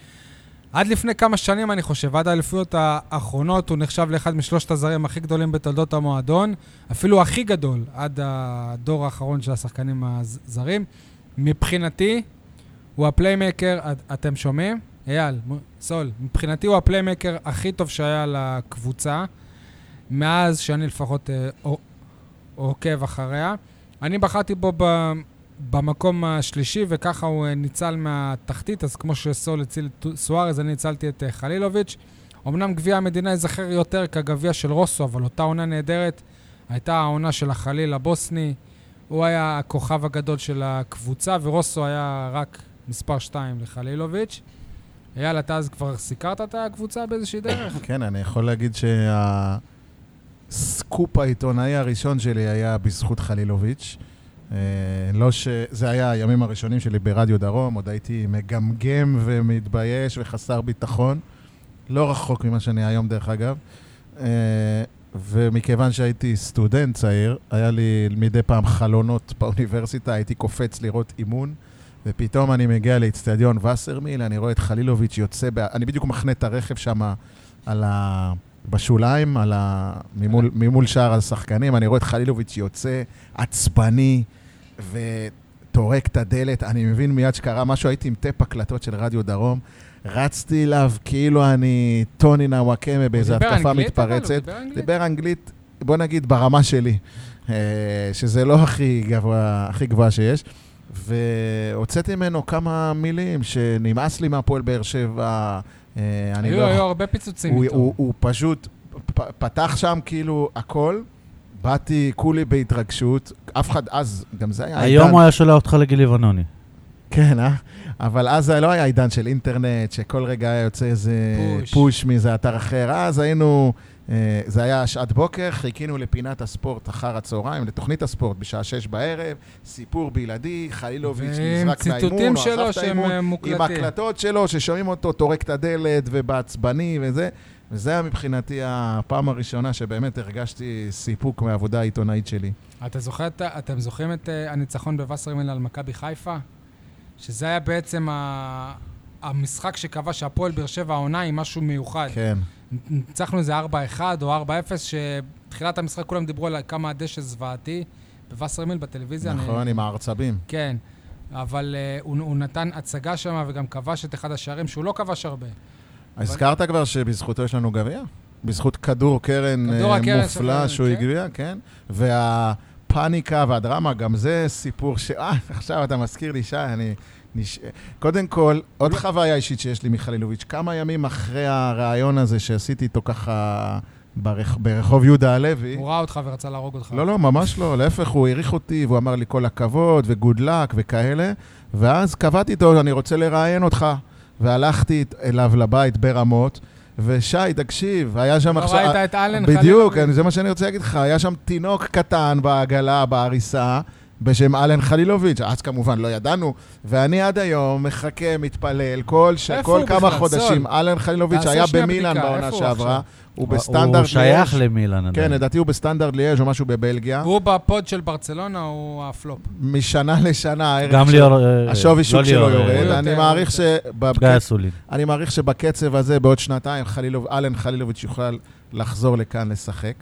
[SPEAKER 1] עד לפני כמה שנים, אני חושב, עד האליפויות האחרונות, הוא נחשב לאחד משלושת הזרים הכי גדולים בתולדות המועדון, אפילו הכי גדול עד הדור האחרון של השחקנים הזרים. מבחינתי, הוא הפליימקר, את- אתם שומעים? אייל, מ- סול, מבחינתי הוא הפליימקר הכי טוב שהיה לקבוצה, מאז שאני לפחות אה, ע- עוקב אחריה. אני בחרתי בו ב- במקום השלישי, וככה הוא אה, ניצל מהתחתית, אז כמו שסול הציל את טו- סוארז, אני הצלתי את אה, חלילוביץ'. אמנם גביע המדינה ייזכר יותר כגביע של רוסו, אבל אותה עונה נהדרת הייתה העונה של החליל הבוסני. הוא היה הכוכב הגדול של הקבוצה, ורוסו היה רק מספר 2 לחלילוביץ'. אייל, אתה אז כבר סיקרת את הקבוצה באיזושהי דרך?
[SPEAKER 3] כן, אני יכול להגיד שהסקופ העיתונאי הראשון שלי היה בזכות חלילוביץ'. אה, לא ש... זה היה הימים הראשונים שלי ברדיו דרום, עוד הייתי מגמגם ומתבייש וחסר ביטחון. לא רחוק ממה שאני היום, דרך אגב. אה, ומכיוון שהייתי סטודנט צעיר, היה לי מדי פעם חלונות באוניברסיטה, הייתי קופץ לראות אימון, ופתאום אני מגיע לאיצטדיון וסרמיל, אני רואה את חלילוביץ' יוצא, בה... אני בדיוק מחנה את הרכב שם על ה... בשוליים, על ה... ממול, ממול שער השחקנים, אני רואה את חלילוביץ' יוצא עצבני וטורק את הדלת, אני מבין מיד שקרה משהו, הייתי עם טפ הקלטות של רדיו דרום, רצתי אליו כאילו אני טוני נוואקמה באיזו
[SPEAKER 1] הוא דיבר
[SPEAKER 3] התקפה
[SPEAKER 1] אנגלית, אבל? הוא
[SPEAKER 3] מתפרצת.
[SPEAKER 1] דיבר אנגלית?
[SPEAKER 3] דיבר אנגלית, בוא נגיד, ברמה שלי, אה, שזה לא הכי גבוה, הכי גבוהה שיש. והוצאתי ממנו כמה מילים שנמאס לי מהפועל באר שבע, אה, אני
[SPEAKER 1] היו
[SPEAKER 3] לא...
[SPEAKER 1] היו הרבה פיצוצים
[SPEAKER 3] הוא,
[SPEAKER 1] איתו.
[SPEAKER 3] הוא, הוא פשוט פ, פתח שם כאילו הכל, באתי כולי בהתרגשות, אף אחד אז, גם זה היה
[SPEAKER 2] היום הוא היה שולח אותך לגיל לבנוני.
[SPEAKER 3] כן, אה? אבל אז זה לא היה עידן של אינטרנט, שכל רגע היה יוצא איזה
[SPEAKER 1] פוש.
[SPEAKER 3] פוש, פוש מאיזה אתר אחר. אז היינו, אה, זה היה שעת בוקר, חיכינו לפינת הספורט אחר הצהריים, לתוכנית הספורט בשעה שש בערב, סיפור בלעדי, חלילוביץ'
[SPEAKER 1] ועם
[SPEAKER 3] נזרק מהאימון,
[SPEAKER 1] ציטוטים
[SPEAKER 3] או עזב
[SPEAKER 1] שלו
[SPEAKER 3] את
[SPEAKER 1] שהם
[SPEAKER 3] האימון,
[SPEAKER 1] אה,
[SPEAKER 3] עם
[SPEAKER 1] מוקלטים.
[SPEAKER 3] הקלטות שלו, ששומעים אותו טורק את הדלת ובעצבני וזה. וזה היה מבחינתי הפעם הראשונה שבאמת הרגשתי סיפוק מהעבודה העיתונאית שלי.
[SPEAKER 1] אתה זוכר את ה- אתם זוכרים את אה, הניצחון בווסרמיל על מכבי חיפה? שזה היה בעצם ה- המשחק שקבע שהפועל באר שבע העונה היא משהו מיוחד.
[SPEAKER 3] כן.
[SPEAKER 1] ניצחנו איזה 4-1 או 4-0, שבתחילת המשחק כולם דיברו על כמה הדשא זוועתי. בווסרמיל בטלוויזיה. אני-
[SPEAKER 3] נכון, עם הערצבים.
[SPEAKER 1] כן. אבל uh, הוא, הוא נתן הצגה שם וגם כבש את אחד השערים, שהוא לא כבש הרבה.
[SPEAKER 3] אה. הזכרת כבר שבזכותו יש לנו גביע? בזכות כדור קרן
[SPEAKER 1] כדור
[SPEAKER 3] אה,
[SPEAKER 1] הקרן
[SPEAKER 3] מופלא
[SPEAKER 1] של-
[SPEAKER 3] שהוא
[SPEAKER 1] כן.
[SPEAKER 3] הגביע, כן? והפאניקה והדרמה, גם זה סיפור ש... אה, עכשיו אתה מזכיר לי, שי, אני... נש... קודם כל, עוד חוויה אישית שיש לי מחלילוביץ', כמה ימים אחרי הרעיון הזה שעשיתי איתו ככה ברח... ברחוב יהודה הלוי,
[SPEAKER 1] הוא ראה אותך ורצה להרוג אותך.
[SPEAKER 3] לא, לא, ממש לא. להפך, הוא העריך אותי, והוא אמר לי כל הכבוד, וגוד לק, וכאלה. ואז קבעתי איתו, אני רוצה לראיין אותך. והלכתי אליו לבית ברמות, ושי, תקשיב, היה שם
[SPEAKER 1] לא
[SPEAKER 3] עכשיו...
[SPEAKER 1] ראית את אלן
[SPEAKER 3] בדיוק,
[SPEAKER 1] חלילה?
[SPEAKER 3] אני- זה מה שאני רוצה להגיד לך. היה שם תינוק קטן בעגלה, בעריסה, בשם אלן חלילוביץ', אז כמובן לא ידענו, ואני עד היום מחכה, מתפלל, כל, ש...
[SPEAKER 1] איפה
[SPEAKER 3] כל
[SPEAKER 1] הוא
[SPEAKER 3] כמה
[SPEAKER 1] בכלל?
[SPEAKER 3] חודשים,
[SPEAKER 1] סול.
[SPEAKER 3] אלן חלילוביץ',
[SPEAKER 1] תעשה
[SPEAKER 3] שהיה
[SPEAKER 1] שנייה
[SPEAKER 3] במילאן
[SPEAKER 1] בדיקה,
[SPEAKER 3] בעונה
[SPEAKER 1] איפה הוא
[SPEAKER 3] שעברה,
[SPEAKER 1] עכשיו?
[SPEAKER 3] הוא בסטנדרט...
[SPEAKER 2] הוא שייך
[SPEAKER 3] ליאז'.
[SPEAKER 2] למילן
[SPEAKER 3] כן,
[SPEAKER 2] עדיין.
[SPEAKER 3] לדעתי הוא בסטנדרט ליאז' או משהו בבלגיה.
[SPEAKER 1] והוא בפוד של ברצלונה, הוא הפלופ.
[SPEAKER 3] משנה לשנה הערך
[SPEAKER 2] גם
[SPEAKER 3] שלו-
[SPEAKER 2] ליאור... אה,
[SPEAKER 3] השווי
[SPEAKER 2] לא
[SPEAKER 3] שוק שלו
[SPEAKER 2] ליאור, אה,
[SPEAKER 3] יורד.
[SPEAKER 1] יותר,
[SPEAKER 3] אני
[SPEAKER 1] הוא
[SPEAKER 3] מעריך
[SPEAKER 1] יותר.
[SPEAKER 3] שבקצב-
[SPEAKER 2] גיא אסולין.
[SPEAKER 3] אני מעריך שבקצב הזה, בעוד שנתיים, חלילוב, אלן חלילוביץ' יוכל לחזור לכאן לשחק.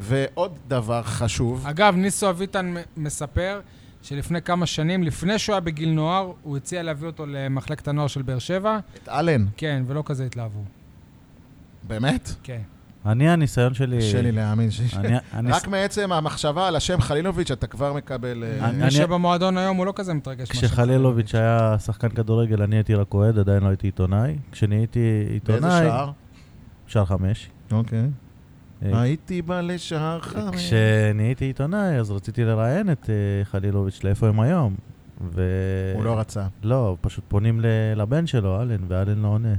[SPEAKER 3] ועוד דבר חשוב,
[SPEAKER 1] אגב, ניסו אביטן מ- מספר שלפני כמה שנים, לפני שהוא היה בגיל נוער, הוא הציע להביא אותו למחלקת הנוער של באר שבע.
[SPEAKER 3] את אלן,
[SPEAKER 1] כן, ולא כזה התלהבו.
[SPEAKER 3] באמת?
[SPEAKER 1] כן.
[SPEAKER 2] אני, הניסיון שלי...
[SPEAKER 3] קשה לי להאמין ש...
[SPEAKER 2] אה, אני- אני-
[SPEAKER 3] לא- רק מעצם המחשבה על השם חלילוביץ', אתה כבר מקבל... אה,
[SPEAKER 2] אני-
[SPEAKER 1] מי שבמועדון היום הוא לא כזה מתרגש. מה
[SPEAKER 2] כשחלילוביץ' היה שחקן כדורגל, אני הייתי רק אוהד, עדיין לא הייתי עיתונאי. כשנהייתי עיתונאי...
[SPEAKER 3] באיזה שער?
[SPEAKER 2] שער חמש.
[SPEAKER 3] אוקיי.
[SPEAKER 2] אה,
[SPEAKER 3] הייתי בא לשער חמש.
[SPEAKER 2] כשנהייתי עיתונאי, אז רציתי לראיין את אה, חלילוביץ' לאיפה הם היום. ו...
[SPEAKER 3] הוא לא רצה.
[SPEAKER 2] לא, פשוט פונים ל- לבן שלו, אלן, ואלן לא עונה.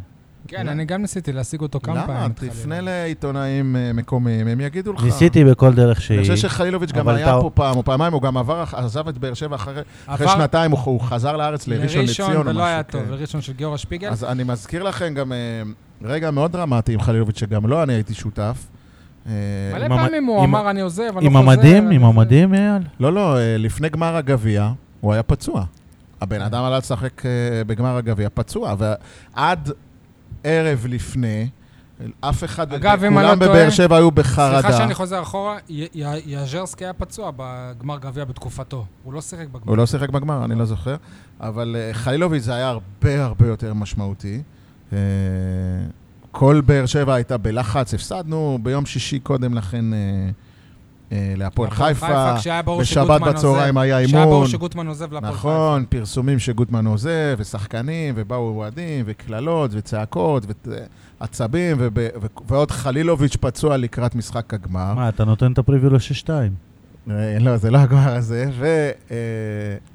[SPEAKER 1] כן, אני גם ניסיתי להשיג אותו כמה פעמים.
[SPEAKER 3] למה?
[SPEAKER 1] את
[SPEAKER 3] תפנה
[SPEAKER 1] חלילוביץ'.
[SPEAKER 3] לעיתונאים אה, מקומיים, הם יגידו לך.
[SPEAKER 2] ניסיתי בכל דרך שהיא.
[SPEAKER 3] אני חושב שחלילוביץ' גם
[SPEAKER 2] אבל
[SPEAKER 3] היה
[SPEAKER 2] אתה-
[SPEAKER 3] פה פעם או פעמיים, הוא גם עבר, עזב את באר שבע אחרי אחרי
[SPEAKER 1] עבר
[SPEAKER 3] שנתיים, הוא- הוא חזר לארץ לראשון לציון או משהו.
[SPEAKER 1] ולא היה טוב,
[SPEAKER 3] כן.
[SPEAKER 1] לראשון של גיורא שפיגל.
[SPEAKER 3] אז אני מזכיר לכם גם אה, רגע מאוד דרמטי עם חלילוביץ', שגם לא אני הייתי שותף. אה,
[SPEAKER 1] מלא
[SPEAKER 2] עם המ-
[SPEAKER 1] פעמים הוא
[SPEAKER 2] עם-
[SPEAKER 1] אמר, אני עוזב, אני לא חוזר.
[SPEAKER 2] עם המדים,
[SPEAKER 1] אני
[SPEAKER 2] עם
[SPEAKER 1] זה."
[SPEAKER 2] המדים, אייל?
[SPEAKER 3] לא, לא, אה, לפני גמר הגביע, הוא היה פצוע. הבן אדם עלה לשחק אה, בגמר הגביע פצוע, ועד ערב לפני, אף אחד,
[SPEAKER 1] אגב, אם אני לא
[SPEAKER 3] כולם
[SPEAKER 1] טועה-
[SPEAKER 3] בבאר שבע היו בחרדה.
[SPEAKER 1] סליחה שאני חוזר אחורה, י- י- יאז'רסקי היה פצוע בגמר גביע בתקופתו. הוא לא שיחק בגמר.
[SPEAKER 3] הוא לא שיחק בגמר, אני לא זוכר. אבל אה, חלילוביץ' זה היה הרבה הרבה יותר משמעותי. אה, כל באר שבע הייתה בלחץ, הפסדנו ביום שישי קודם לכן אה, אה, להפועל חיפה.
[SPEAKER 1] כשהיה ברור
[SPEAKER 3] בשבת
[SPEAKER 1] שגוטמן עוזב-
[SPEAKER 3] בצהריים היה
[SPEAKER 1] כשהיה ברור
[SPEAKER 3] אימון.
[SPEAKER 1] שגוטמן עוזב להפועל חיפה.
[SPEAKER 3] נכון, פרסומים שגוטמן עוזב, ושחקנים, ובאו אוהדים, וקללות, וצעקות, ועצבים, וב- ו- ועוד חלילוביץ' פצוע לקראת משחק
[SPEAKER 1] אה?
[SPEAKER 3] הגמר.
[SPEAKER 2] מה, אתה נותן את הפריוויו ל-6-2.
[SPEAKER 3] אה, לא, זה לא הגמר הזה.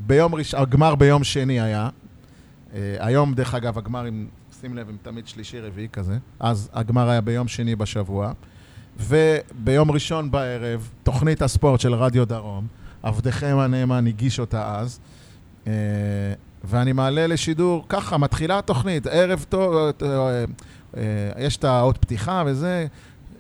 [SPEAKER 3] וביום ראשון, הגמר ביום שני היה. אה, היום, דרך אגב, הגמרים, שים לב, הם תמיד שלישי-רביעי כזה. אז הגמר היה ביום שני בשבוע. וביום ראשון בערב, תוכנית הספורט של רדיו דרום, עבדכם הנאמן הגיש אותה אז. אה, ואני מעלה לשידור, ככה, מתחילה התוכנית, ערב טוב, אה, אה, אה, יש את האות פתיחה וזה,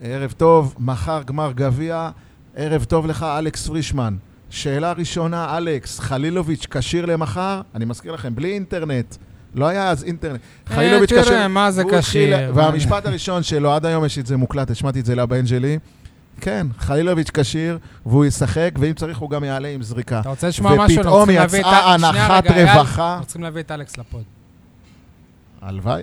[SPEAKER 3] ערב טוב, מחר גמר גביע, ערב טוב לך, אלכס פרישמן. שאלה ראשונה, אלכס, חלילוביץ' כשיר למחר? אני מזכיר לכם, בלי אינטרנט. לא היה אז אינטרנט.
[SPEAKER 1] אה,
[SPEAKER 3] חלילוביץ'
[SPEAKER 1] תראה,
[SPEAKER 3] כשיר.
[SPEAKER 1] מה זה
[SPEAKER 3] והוא לא התחיל-
[SPEAKER 1] קשיר?
[SPEAKER 3] והמשפט הראשון שלו, עד היום יש את זה מוקלט, השמעתי את זה לבן שלי. כן, חלילוביץ' כשיר, והוא ישחק, ואם צריך הוא גם יעלה עם זריקה.
[SPEAKER 1] אתה רוצה לשמוע משהו? אנחנו
[SPEAKER 3] ופתאום
[SPEAKER 1] צריכים להביא את ה-
[SPEAKER 3] יצאה
[SPEAKER 1] שנייה,
[SPEAKER 3] הנחת
[SPEAKER 1] רגע, אייל,
[SPEAKER 3] רווחה.
[SPEAKER 1] אנחנו צריכים להביא את אלכס לפוד.
[SPEAKER 3] הלוואי.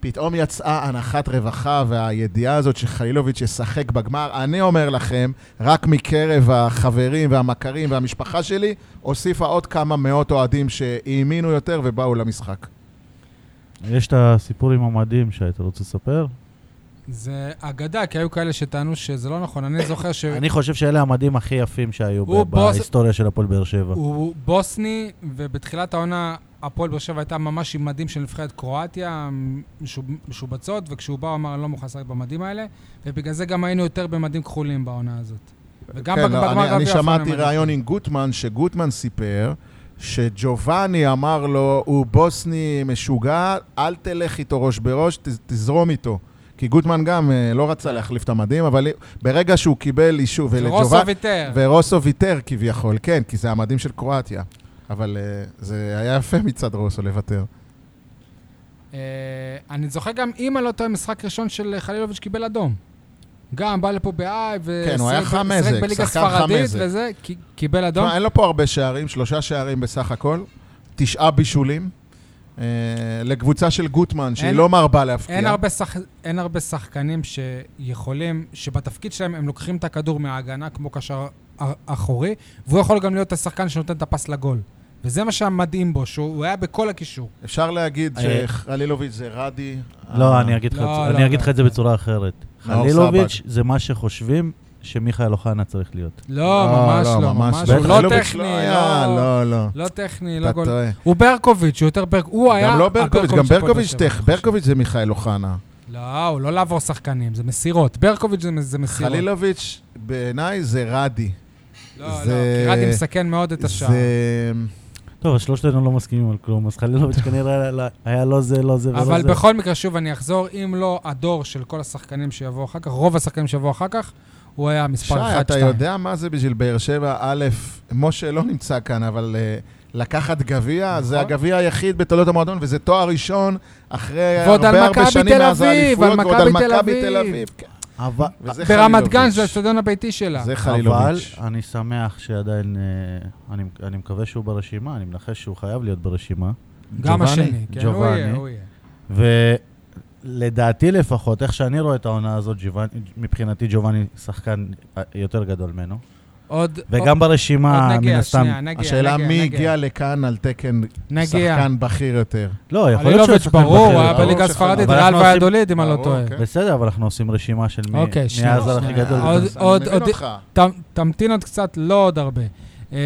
[SPEAKER 3] פתאום יצאה הנחת רווחה והידיעה הזאת שחלילוביץ' ישחק בגמר. אני אומר לכם, רק מקרב החברים והמכרים והמשפחה שלי, הוסיפה עוד כמה מאות אוהדים שהאמינו יותר ובאו למשחק.
[SPEAKER 2] יש את הסיפור עם המדים שהיית רוצה לספר?
[SPEAKER 1] זה אגדה, כי היו כאלה שטענו שזה לא נכון. אני זוכר ש...
[SPEAKER 2] אני חושב שאלה המדים הכי יפים שהיו ב-
[SPEAKER 1] הוא בוס-
[SPEAKER 2] בהיסטוריה של הפועל באר שבע.
[SPEAKER 1] הוא בוסני, ובתחילת העונה הפועל באר שבע הייתה ממש עם מדים של נבחרת קרואטיה, משוב- משובצות, וכשהוא בא הוא אמר, אני לא מוכן לשחק במדים האלה, ובגלל זה גם היינו יותר במדים כחולים בעונה הזאת. וגם
[SPEAKER 3] כן,
[SPEAKER 1] בג- בגמר
[SPEAKER 3] לא, אני,
[SPEAKER 1] גביע
[SPEAKER 3] אני
[SPEAKER 1] אף פעם
[SPEAKER 3] שמעתי
[SPEAKER 1] הם
[SPEAKER 3] ריאיון עם גוטמן, שגוטמן סיפר שג'ובאני אמר לו, הוא בוסני משוגע, אל תלך איתו ראש בראש, ת, תזרום איתו. כי גוטמן גם אה, לא
[SPEAKER 1] כן.
[SPEAKER 3] רצה להחליף את המדים, אבל ברגע שהוא קיבל אישור,
[SPEAKER 1] רוסו ויתר.
[SPEAKER 3] ורוסו ויתר כביכול, כן, כי זה המדים של קרואטיה. אבל אה, זה היה יפה מצד רוסו לוותר.
[SPEAKER 1] אה, אני זוכר גם, אם אני לא טועה, משחק ראשון של חלילוביץ' קיבל אדום. גם בא לפה ב-I,
[SPEAKER 3] כן, הוא היה חמזק,
[SPEAKER 1] בליגה
[SPEAKER 3] שחקן
[SPEAKER 1] ספרדית
[SPEAKER 3] חמזק.
[SPEAKER 1] וזה, כי- קיבל אדום.
[SPEAKER 3] תשמע, אין לו פה הרבה שערים, שלושה שערים בסך הכל, תשעה בישולים. אה, לקבוצה של גוטמן, שהיא
[SPEAKER 1] אין-
[SPEAKER 3] לא מרבה להפקיע.
[SPEAKER 1] אין הרבה, שח... אין הרבה שחקנים שיכולים, שבתפקיד שלהם הם לוקחים את הכדור מההגנה כמו קשר א- אחורי, והוא יכול גם להיות השחקן שנותן את הפס לגול. וזה מה שהמדהים בו, שהוא הוא היה בכל הקישור.
[SPEAKER 3] אפשר להגיד
[SPEAKER 2] אה,
[SPEAKER 3] שחלילוביץ' זה רדי. אה,
[SPEAKER 2] לא,
[SPEAKER 3] ה-
[SPEAKER 2] אני אגיד לך את
[SPEAKER 1] לא,
[SPEAKER 2] זה-
[SPEAKER 1] לא,
[SPEAKER 2] אני אגיד
[SPEAKER 1] לא.
[SPEAKER 2] לך את זה בצורה אחרת.
[SPEAKER 3] נאור
[SPEAKER 2] חלילוביץ' זה מה שחושבים שמיכאל אוחנה צריך להיות.
[SPEAKER 1] לא, ממש לא, ממש לא.
[SPEAKER 3] בטח.
[SPEAKER 1] הוא לא
[SPEAKER 3] חלילוביץ'
[SPEAKER 1] טכני,
[SPEAKER 3] היה,
[SPEAKER 1] לא...
[SPEAKER 3] לא, לא.
[SPEAKER 1] לא טכני, לא
[SPEAKER 3] אתה
[SPEAKER 1] גול.
[SPEAKER 3] טועה.
[SPEAKER 1] הוא ברקוביץ', הוא יותר ברק... הוא היה...
[SPEAKER 3] גם לא ברקוביץ', גם
[SPEAKER 1] של הפועל
[SPEAKER 3] ברקוביץ',
[SPEAKER 1] באר שבע,
[SPEAKER 3] טכ-
[SPEAKER 1] אני חושב.
[SPEAKER 3] ברקוביץ' זה מיכאל אוחנה.
[SPEAKER 1] לא, הוא לא לעבור שחקנים, זה מסירות. ברקוביץ' זה, זה מסירות.
[SPEAKER 3] חלילוביץ', בעיניי זה רדי.
[SPEAKER 1] לא, לא,
[SPEAKER 3] זה-
[SPEAKER 1] קיראתי מסכן מאוד את השער.
[SPEAKER 3] זה...
[SPEAKER 2] טוב, אז שלושתנו לא מסכימים על כלום, אז חלילוביץ' כנראה היה- היה- היה לא זה, לא זה ולא זה.
[SPEAKER 1] אבל בכל מקרה, שוב, אני אחזור, אם לא הדור של כל השחקנים שיבואו אחר כך, רוב השחקנים שיבואו אחר כך, הוא היה מספר 1-2.
[SPEAKER 3] שי, אתה יודע מה זה בשביל באר שבע? א', משה לא נמצא כאן, אבל אה, לקחת גביע,
[SPEAKER 1] נכון.
[SPEAKER 3] זה הגביע היחיד בתולדות המועדון, וזה תואר ראשון אחרי
[SPEAKER 1] ועוד על
[SPEAKER 3] הרבה הרבה
[SPEAKER 1] מכבי
[SPEAKER 3] שנים
[SPEAKER 1] תל
[SPEAKER 3] מאז
[SPEAKER 1] אביב,
[SPEAKER 3] האליפויות,
[SPEAKER 1] על
[SPEAKER 3] ועוד על
[SPEAKER 1] מכבי תל
[SPEAKER 3] מכבי
[SPEAKER 1] אביב.
[SPEAKER 3] תל אביב. כן.
[SPEAKER 2] אבל...
[SPEAKER 3] וזה
[SPEAKER 1] ברמת
[SPEAKER 3] חלילוביץ'.
[SPEAKER 1] גן, זה האצטדיון הביתי שלה.
[SPEAKER 3] זה
[SPEAKER 2] אבל
[SPEAKER 3] חלילוביץ'.
[SPEAKER 2] אני שמח שעדיין, אה, אני, אני מקווה שהוא ברשימה, אני מנחש שהוא חייב להיות ברשימה.
[SPEAKER 1] גם
[SPEAKER 2] ג'ובאני,
[SPEAKER 1] השני. כן, הוא יהיה,
[SPEAKER 2] ג'ובאני.
[SPEAKER 1] הוא יהיה.
[SPEAKER 2] ולדעתי לפחות, איך שאני רואה את העונה הזאת, ג'יוואני, מבחינתי ג'ובאני שחקן אה, יותר גדול ממנו.
[SPEAKER 1] עוד...
[SPEAKER 2] וגם ברשימה,
[SPEAKER 1] עוד
[SPEAKER 2] מן
[SPEAKER 1] נגיע,
[SPEAKER 2] הסתם...
[SPEAKER 1] שנייה, נגיע,
[SPEAKER 3] השאלה
[SPEAKER 1] נגיע,
[SPEAKER 3] מי
[SPEAKER 1] נגיע.
[SPEAKER 3] הגיע לכאן על תקן
[SPEAKER 1] נגיע.
[SPEAKER 3] שחקן בכיר יותר.
[SPEAKER 2] לא, יכול להיות שהוא
[SPEAKER 1] חלילוביץ'
[SPEAKER 2] שחקן
[SPEAKER 1] ברור,
[SPEAKER 2] בכיר,
[SPEAKER 1] הוא היה
[SPEAKER 3] ברור
[SPEAKER 1] בליגה
[SPEAKER 3] שחקן.
[SPEAKER 1] הספרדית,
[SPEAKER 2] אבל
[SPEAKER 1] ריאל
[SPEAKER 2] אנחנו עושים-
[SPEAKER 1] והדולד, אם אני לא
[SPEAKER 3] ברור,
[SPEAKER 1] טועה.
[SPEAKER 3] כן.
[SPEAKER 2] בסדר, אבל אנחנו עושים רשימה של מי
[SPEAKER 1] אוקיי,
[SPEAKER 2] מי
[SPEAKER 1] שנייה.
[SPEAKER 2] הזר הכי
[SPEAKER 3] שנייה,
[SPEAKER 2] גדול.
[SPEAKER 1] עוד-
[SPEAKER 3] אז אני
[SPEAKER 1] עוד-
[SPEAKER 3] מבין
[SPEAKER 1] עוד-
[SPEAKER 3] אותך.
[SPEAKER 1] ת- תמתין עוד קצת, לא עוד הרבה. אה,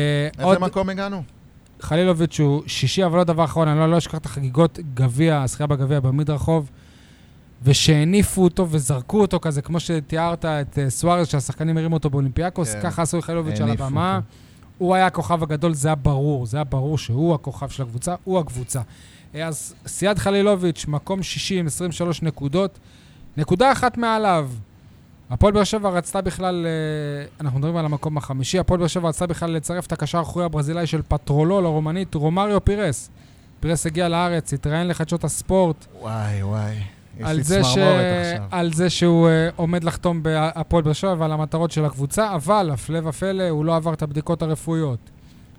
[SPEAKER 1] עוד
[SPEAKER 3] איזה מקום הגענו?
[SPEAKER 1] חלילוביץ' הוא שישי, אבל לא דבר אחרון, אני לא- לא אשכח את החגיגות גביע, הזכייה בגביע במדרחוב, ושהניפו אותו וזרקו אותו כזה, כמו שתיארת את אה, סוארז, שהשחקנים הרימו אותו באולימפיאקוס,
[SPEAKER 3] כן.
[SPEAKER 1] ככה עשו חלילוביץ' על
[SPEAKER 3] הניפו
[SPEAKER 1] הבמה. הוא היה הכוכב הגדול, זה היה ברור, זה היה ברור שהוא הכוכב של הקבוצה, הוא הקבוצה. אה, אז סיעד חלילוביץ', מקום 60, 23 נקודות, נקודה אחת מעליו. הפועל באר שבע רצתה בכלל, אה, אנחנו מדברים על המקום החמישי, הפועל באר שבע רצתה בכלל לצרף את הקשר האחורי הברזילאי של פטרולו לרומנית רומריו פירס. פירס הגיע לארץ, התראיין לחדשות הספורט
[SPEAKER 3] וואי, וואי. יש
[SPEAKER 1] על
[SPEAKER 3] לי
[SPEAKER 1] זה, ש...
[SPEAKER 3] צמרמורת עכשיו.
[SPEAKER 1] על זה שהוא אה, עומד לחתום בהפועל באר שבע ועל המטרות של הקבוצה, אבל הפלא ופלא, הוא לא עבר את הבדיקות הרפואיות.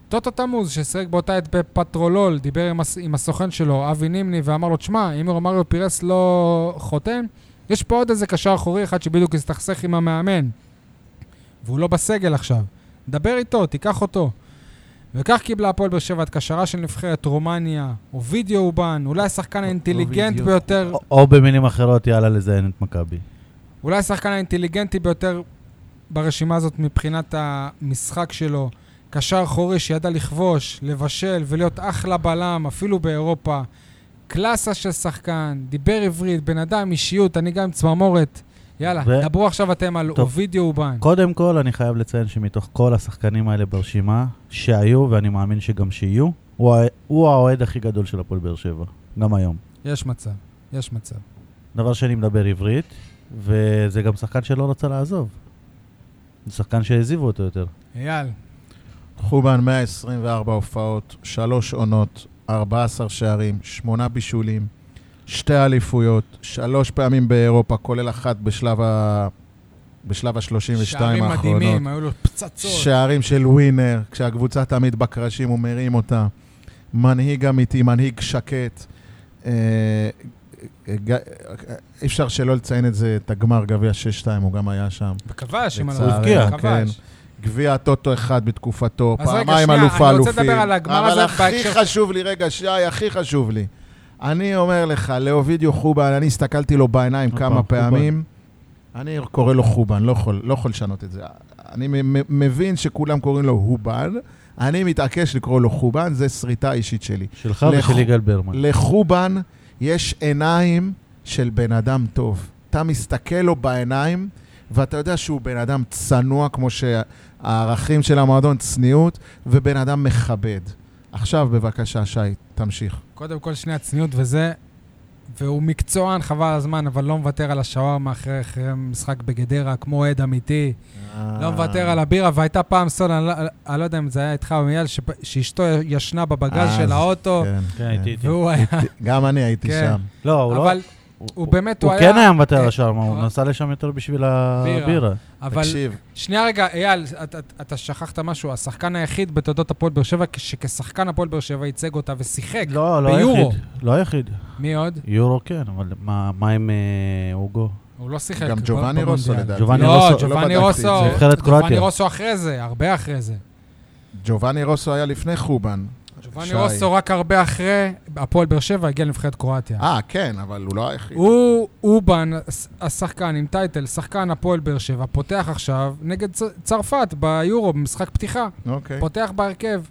[SPEAKER 1] טוטו תמוז, ששיחק באותה עת בפטרולול, דיבר עם, הס... עם הסוכן שלו, אבי נימני, ואמר לו, תשמע, אם רומריו פירס לא חותם, יש פה עוד איזה קשר אחורי אחד שבדיוק הסתכסך עם המאמן, והוא לא בסגל עכשיו. דבר איתו, תיקח אותו. וכך קיבלה הפועל באר שבע את קשרה של נבחרת רומניה, אובידיו אובן, אולי השחקן האינטליגנט
[SPEAKER 3] אובידיו.
[SPEAKER 1] ביותר
[SPEAKER 2] או- או במילים אחרות, יאללה לזיין את מכבי.
[SPEAKER 1] אולי השחקן האינטליגנטי ביותר ברשימה הזאת מבחינת המשחק שלו. קשר חורי שידע לכבוש, לבשל ולהיות אחלה בלם, אפילו באירופה. קלאסה של שחקן, דיבר עברית, בן אדם, אישיות, אני גם עם צמרמורת. יאללה,
[SPEAKER 2] ו-
[SPEAKER 1] דברו עכשיו אתם על
[SPEAKER 2] טוב.
[SPEAKER 1] אובידיו אובן.
[SPEAKER 2] קודם כל, אני חייב לציין שמתוך כל השחקנים האלה ברשימה, שהיו, ואני מאמין שגם שיהיו, הוא ה- הוא האוהד הכי גדול של הפועל באר שבע, גם היום.
[SPEAKER 1] יש מצב, יש מצב.
[SPEAKER 2] דבר שני, מדבר עברית, וזה גם שחקן שלא רצה לעזוב. זה שחקן שהעזיבו אותו יותר.
[SPEAKER 1] אייל,
[SPEAKER 3] חובן 124 הופעות, שלוש עונות, 14 שערים, שמונה בישולים, שתי אליפויות, שלוש פעמים באירופה, כולל אחת בשלב ה... בשלב ה-32
[SPEAKER 1] שערים
[SPEAKER 3] האחרונות.
[SPEAKER 1] מדהימים, היו לו פצצות.
[SPEAKER 3] שערים של ווינר, כשהקבוצה תמיד בקרשים הוא מרים אותה. מנהיג אמיתי, מנהיג שקט. אה, אה, ג- אה, אי אפשר שלא לציין את זה, את הגמר גביע 6-2, הוא גם היה שם.
[SPEAKER 1] וכבש, אם אני לא
[SPEAKER 3] לצערי,
[SPEAKER 1] טועה,
[SPEAKER 3] כן.
[SPEAKER 1] כבש.
[SPEAKER 3] גביע הטוטו אחד בתקופתו,
[SPEAKER 1] אז רגע,
[SPEAKER 3] פעמיים
[SPEAKER 1] שנייה,
[SPEAKER 3] אלוף האלופים.
[SPEAKER 1] אני רוצה לדבר על הגמר הזה
[SPEAKER 3] אבל הכי
[SPEAKER 1] בהקשר-
[SPEAKER 3] חשוב לי, רגע, שי, הכי חשוב לי. אני אומר לך, לאובידיו חובן, אני הסתכלתי לו בעיניים
[SPEAKER 2] עוד פעם,
[SPEAKER 3] כמה פעמים. אני קורא לו חובן, לא יכול, לא יכול לשנות את זה. אני מ- מ- מבין שכולם קוראים לו הובן, אני מתעקש לקרוא לו חובן, זה שריטה אישית שלי.
[SPEAKER 2] שלך
[SPEAKER 3] לכו-
[SPEAKER 2] ושל יגאל ברמן.
[SPEAKER 3] לחובן יש עיניים של בן אדם טוב. אתה מסתכל לו בעיניים, ואתה יודע שהוא בן אדם צנוע, כמו שהערכים של המועדון צניעות, ובן אדם מכבד. עכשיו, בבקשה, שי, תמשיך.
[SPEAKER 1] קודם כל, שנייה, צניעות וזה, והוא מקצוען, חבל על הזמן, אבל לא מוותר על השווארמה אחרי, אחרי משחק בגדרה, כמו אוהד אמיתי.
[SPEAKER 3] אה.
[SPEAKER 1] לא מוותר על הבירה, והייתה פעם סולה, אני, לא- אני לא יודע אם זה היה איתך או עם אייל, שפ- שאשתו ישנה בבגז
[SPEAKER 3] אה,
[SPEAKER 1] של
[SPEAKER 3] זה-
[SPEAKER 1] האוטו,
[SPEAKER 3] כן,
[SPEAKER 2] כן, איתי, איתי.
[SPEAKER 1] והוא היה...
[SPEAKER 3] גם אני הייתי
[SPEAKER 1] כן.
[SPEAKER 3] שם.
[SPEAKER 2] לא, הוא לא...
[SPEAKER 1] אבל, הוא באמת, הוא
[SPEAKER 2] הוא
[SPEAKER 1] היה-
[SPEAKER 2] כן היה מוותר
[SPEAKER 1] אה,
[SPEAKER 2] על השאר,
[SPEAKER 1] הוא-
[SPEAKER 2] הוא נסע לשם יותר בשביל הבירה.
[SPEAKER 1] אבל...
[SPEAKER 3] תקשיב,
[SPEAKER 1] שנייה רגע, אייל, אתה, אתה, אתה שכחת משהו, השחקן היחיד בתולדות הפועל באר שבע, שכשחקן הפועל באר שבע ייצג אותה ושיחק.
[SPEAKER 2] לא, לא
[SPEAKER 1] כן, ביורו.
[SPEAKER 2] היחיד. לא היחיד.
[SPEAKER 1] מי עוד?
[SPEAKER 2] יורו כן, אבל מה מה עם אה, אוגו?
[SPEAKER 1] הוא לא שיחק.
[SPEAKER 3] גם
[SPEAKER 1] ב-
[SPEAKER 3] ג'ובאני רוסו
[SPEAKER 1] במונדיאל.
[SPEAKER 3] לדעתי.
[SPEAKER 2] ג'ובאני
[SPEAKER 1] לא,
[SPEAKER 2] רוסו,
[SPEAKER 1] ג'ובאני
[SPEAKER 3] לא בדקתי את
[SPEAKER 1] רוסו,
[SPEAKER 3] זה.
[SPEAKER 2] נבחרת
[SPEAKER 1] ג'ובאני
[SPEAKER 2] קרואטיה.
[SPEAKER 1] רוסו אחרי זה, הרבה אחרי זה.
[SPEAKER 3] ג'ובאני רוסו היה לפני חובן.
[SPEAKER 1] ג'ובאני
[SPEAKER 3] שי.
[SPEAKER 1] רוסו רק הרבה אחרי הפועל באר שבע הגיע לנבחרת קרואטיה.
[SPEAKER 3] אה, כן, אבל הוא לא היחיד.
[SPEAKER 1] הוא אובן, הש- השחקן עם טייטל, שחקן הפועל באר שבע, פותח עכשיו נגד צ- צרפת ביורו, במשחק פתיחה.
[SPEAKER 3] אוקיי.
[SPEAKER 1] פותח בהרכב.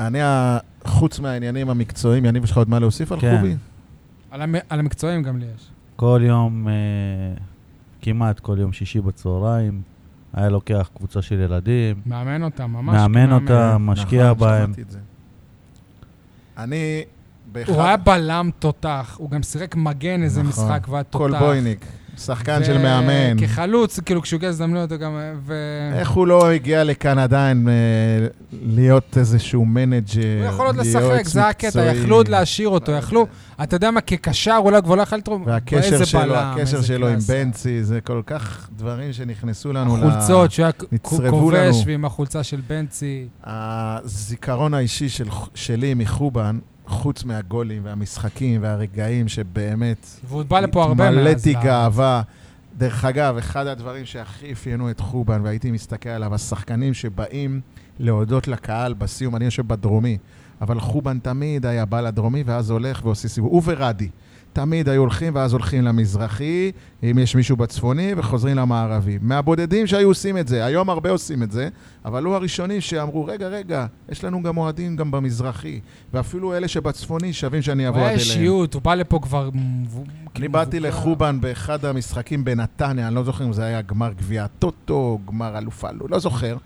[SPEAKER 3] אני, ה- חוץ מהעניינים המקצועיים, יניב, יש לך עוד מה להוסיף על
[SPEAKER 2] כן.
[SPEAKER 3] חובי?
[SPEAKER 1] על המ- על המקצועים גם לי יש.
[SPEAKER 2] כל יום, אה, כמעט כל יום שישי בצהריים, היה לוקח קבוצה של ילדים,
[SPEAKER 1] מאמן אותם, ממש.
[SPEAKER 2] מאמן אותם, משקיע
[SPEAKER 3] נכון,
[SPEAKER 2] בהם.
[SPEAKER 3] שמעתי את זה. אני...
[SPEAKER 1] הוא היה בלם תותח, הוא גם שיחק מגן איזה
[SPEAKER 3] נכון.
[SPEAKER 1] משחק והיה תותח.
[SPEAKER 3] קולבויניק, שחקן של מאמן.
[SPEAKER 1] כחלוץ, כאילו, כשהוא הגיע להזדמנויות, הוא גם... אה, ו...
[SPEAKER 3] איך הוא לא הגיע לכאן עדיין אה, להיות איזשהו מנג'ר,
[SPEAKER 1] הוא יכול עוד
[SPEAKER 3] יועץ
[SPEAKER 1] לשחק, זה הקטע,
[SPEAKER 3] מקצועי.
[SPEAKER 1] יכלו עוד להשאיר אותו, יכלו, אתה יודע מה, כקשר אולי כבר לא יכול לתרום,
[SPEAKER 3] והקשר
[SPEAKER 1] איזה
[SPEAKER 3] שלו,
[SPEAKER 1] בלם,
[SPEAKER 3] הקשר
[SPEAKER 1] איזה
[SPEAKER 3] שלו עם
[SPEAKER 1] קלאסה.
[SPEAKER 3] בנצי, זה כל כך דברים שנכנסו לנו ל...
[SPEAKER 1] החולצות, שהוא היה
[SPEAKER 3] נצרבו
[SPEAKER 1] כובש,
[SPEAKER 3] לנו.
[SPEAKER 1] ועם החולצה של בנצי.
[SPEAKER 3] הזיכרון האישי של, שלי מחובן, חוץ מהגולים והמשחקים והרגעים שבאמת
[SPEAKER 1] והוא בא לפה הרבה מאז.
[SPEAKER 3] התמלאתי
[SPEAKER 1] ל-
[SPEAKER 3] גאווה. דרך אגב, אחד הדברים שהכי אפיינו את חובן, והייתי מסתכל עליו, השחקנים שבאים להודות לקהל בסיום, אני יושב בדרומי, אבל חובן תמיד היה בא לדרומי, ואז הולך ועושה סיבוב. הוא ורדי. תמיד היו הולכים, ואז הולכים למזרחי, אם יש מישהו בצפוני, וחוזרים למערבי. מהבודדים שהיו עושים את זה, היום הרבה עושים את זה, אבל הוא הראשונים שאמרו, רגע, רגע, יש לנו גם אוהדים גם במזרחי, ואפילו אלה שבצפוני שווים שאני
[SPEAKER 1] הוא
[SPEAKER 3] אבוא עד
[SPEAKER 1] היה
[SPEAKER 3] אליהם.
[SPEAKER 1] אישיות, הוא בא לפה כבר... מ- ו-
[SPEAKER 3] אני
[SPEAKER 1] כאילו
[SPEAKER 3] באתי
[SPEAKER 1] מבוגר.
[SPEAKER 3] לחובן באחד המשחקים בנתניה, אני לא זוכר אם זה היה גמר גביע טוטו, גמר אלוף אלו, לא זוכר.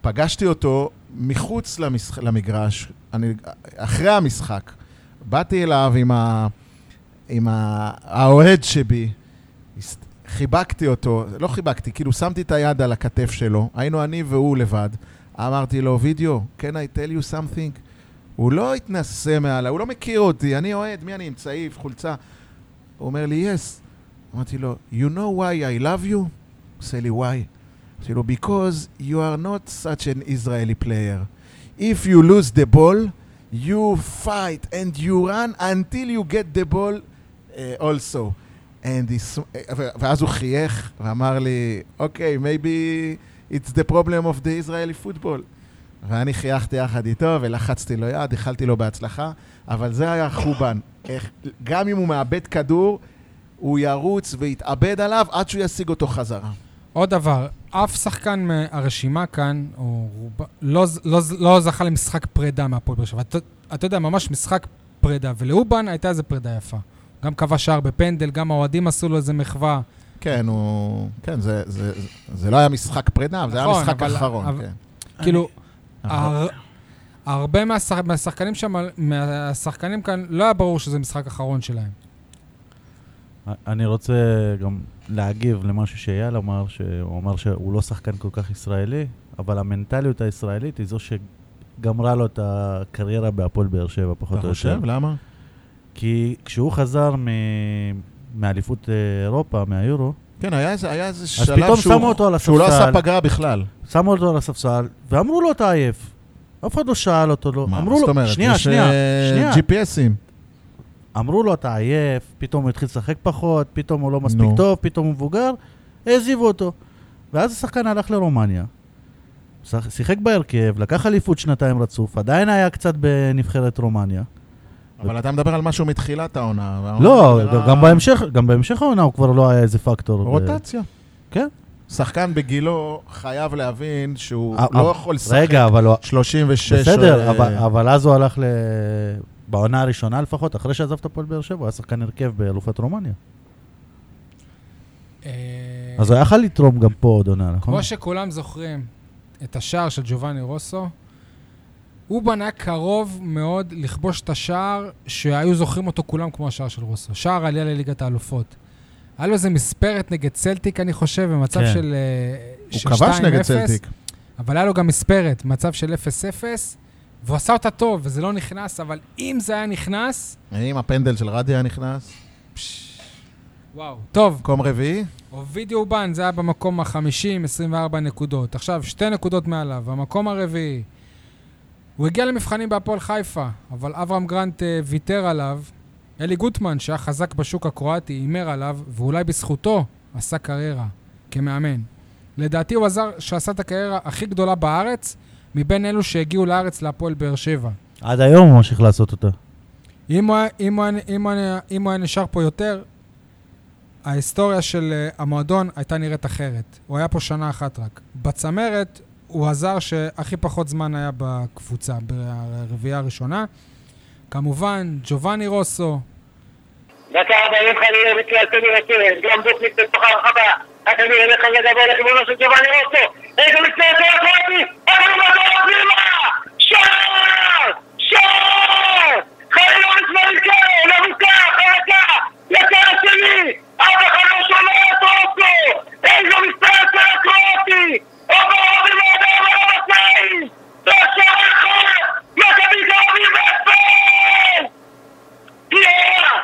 [SPEAKER 3] פגשתי אותו מחוץ למשח... למגרש, אני... אחרי המשחק. באתי אליו עם, ה... עם ה... האוהד שבי, הס- חיבקתי אותו, לא חיבקתי, כאילו שמתי את היד על הכתף שלו, היינו אני והוא לבד. אמרתי לו, וידאו, can I tell you something? הוא לא התנסה מעליי, הוא לא מכיר אותי, אני אוהד, מי אני עם צעיף, חולצה? הוא אומר לי, yes. אמרתי לו, you know why I love you? הוא עושה לי, why? אמרתי לו, because you are not such an Israeli player. If you lose the ball, you fight and you run until you get the ball uh, also. And he, sm- ו- ואז הוא חייך ואמר לי, אוקיי, okay, maybe it's the problem of the Israeli football. ואני חייכתי יחד איתו ולחצתי לו יד, איחלתי לו בהצלחה, אבל זה היה חובן. איך- גם אם הוא מאבד כדור, הוא ירוץ ויתאבד עליו עד שהוא ישיג אותו חזרה.
[SPEAKER 1] עוד דבר, אף שחקן מהרשימה כאן, או רוב... לא, ז- לא, ז- לא זכה למשחק פרידה מהפועל באר שבע. אתה, אתה יודע, ממש משחק פרידה, ולאובן הייתה איזו פרידה יפה. גם כבש שער בפנדל, גם האוהדים עשו לו איזה מחווה.
[SPEAKER 3] כן, הוא... כן, זה, זה, זה, זה לא היה משחק פרידה, אבל אה, זה היה
[SPEAKER 1] נכון,
[SPEAKER 3] משחק
[SPEAKER 1] אבל-
[SPEAKER 3] אחרון,
[SPEAKER 1] אבל-
[SPEAKER 3] כן. נכון.
[SPEAKER 1] כאילו,
[SPEAKER 2] אבל-
[SPEAKER 1] הר... הרבה מהשח... מהשחקנים שם, מהשחקנים כאן, לא היה ברור שזה משחק אחרון שלהם.
[SPEAKER 2] אני רוצה גם להגיב למשהו שאייל אמר, שהוא אמר שהוא לא שחקן כל כך ישראלי, אבל המנטליות הישראלית היא זו שגמרה לו את הקריירה בהפועל באר שבע, פחות או יותר.
[SPEAKER 3] למה?
[SPEAKER 2] כי כשהוא חזר מ... מאליפות אה, אירופה, מהיורו,
[SPEAKER 3] כן, היה איזה, היה איזה
[SPEAKER 2] אז
[SPEAKER 3] שלב
[SPEAKER 2] פתאום
[SPEAKER 3] שהוא,
[SPEAKER 2] שמו אותו על הספסל.
[SPEAKER 3] שהוא לא עשה פגרה בכלל.
[SPEAKER 2] שמו אותו על הספסל, ואמרו לו, אתה עייף. אף אחד לא שאל אותו, לא.
[SPEAKER 3] מה,
[SPEAKER 2] אמרו
[SPEAKER 3] מה
[SPEAKER 2] לו,
[SPEAKER 3] זאת אומרת?
[SPEAKER 2] שנייה,
[SPEAKER 3] יש,
[SPEAKER 2] שנייה,
[SPEAKER 3] אה,
[SPEAKER 2] שנייה.
[SPEAKER 3] GPSים.
[SPEAKER 2] אמרו לו, אתה עייף, פתאום הוא התחיל לשחק פחות, פתאום הוא לא מספיק
[SPEAKER 3] נו.
[SPEAKER 2] no. טוב, פתאום הוא מבוגר, העזיבו אותו. ואז השחקן הלך לרומניה, שח- שיחק בהרכב, לקח אליפות שנתיים רצוף, עדיין היה קצת בנבחרת רומניה.
[SPEAKER 3] אבל אתה מדבר על משהו מתחילת העונה.
[SPEAKER 2] לא,
[SPEAKER 3] אתה מדבר על-
[SPEAKER 2] גם בהמשך, גם בהמשך העונה הוא כבר לא היה איזה פקטור. ב-
[SPEAKER 3] רוטציה.
[SPEAKER 2] כן.
[SPEAKER 3] שחקן בגילו חייב להבין שהוא
[SPEAKER 2] אה,
[SPEAKER 3] לא
[SPEAKER 2] אה,
[SPEAKER 3] יכול לשחק
[SPEAKER 2] רגע, אבל הוא...
[SPEAKER 3] 36.
[SPEAKER 2] בסדר,
[SPEAKER 3] אה,
[SPEAKER 2] אבל, אבל אז הוא הלך ל... בעונה הראשונה לפחות, אחרי שעזב את הפועל באר שבע, הוא היה שחקן הרכב באלופת רומניה.
[SPEAKER 1] אה,
[SPEAKER 3] נכון.
[SPEAKER 2] אז הוא היה יכול לתרום גם פה עוד עונה, נכון?
[SPEAKER 1] כמו שכולם זוכרים את השער של ג'ובאני רוסו, אובן היה קרוב מאוד לכבוש את השער שהיו זוכרים אותו כולם כמו השער של רוסו. שער עלייה לליגת האלופות. היה לו איזה מספרת נגד צלטיק, אני חושב, במצב
[SPEAKER 2] כן.
[SPEAKER 1] של אה,
[SPEAKER 3] הוא
[SPEAKER 1] של
[SPEAKER 3] כבש
[SPEAKER 1] 2-0,
[SPEAKER 3] נגד צלטיק.
[SPEAKER 1] אבל היה לו גם מספרת, מצב של 0-0, והוא עשה אותה טוב, וזה לא נכנס, אבל אם זה היה נכנס,
[SPEAKER 3] האם הפנדל של רדי היה נכנס?
[SPEAKER 1] וואו. טוב,
[SPEAKER 3] מקום רביעי?
[SPEAKER 1] אובידיו אובן, זה היה במקום ה-50, 24 נקודות. עכשיו, שתי נקודות מעליו, המקום הרביעי. הוא הגיע למבחנים בהפועל חיפה, אבל אברהם גרנט אה, ויתר עליו. אלי גוטמן, שהיה חזק בשוק הקרואטי, הימר עליו, ואולי בזכותו עשה קריירה כמאמן. לדעתי הוא הזר שעשה את הקריירה הכי גדולה בארץ, מבין אלו שהגיעו לארץ להפועל באר שבע.
[SPEAKER 2] עד היום הוא ממשיך לעשות אותה.
[SPEAKER 1] אם הוא, היה- אם, הוא, היה- אם, הוא, היה- אם הוא היה נשאר פה יותר, ההיסטוריה של אה, המועדון הייתה נראית אחרת. הוא היה פה שנה אחת רק. בצמרת, הוא הזר שהכי פחות זמן היה בקבוצה, ברביעייה הראשונה. כמובן, ג'ובאני רוסו,
[SPEAKER 4] דקה 40 חלילה ביצוע סמי רקבת, גם בוטניק בתוך הרחבה. רק אני אלך על הגב אליך ולא של ג'ובאני רוסו. רגע לפני זה החלטתי, אבל הוא מגיע פנימה! שער! שער! חיים לא מזמן כאלה, לרוקה, חרקה, לצד השני! אף אחד לא שומע את רוסו! איזה מספר של הקרואטי! עובר עובר לידיים על המצעים! והשער אחד! מכבי תל אביב אפס! יאה!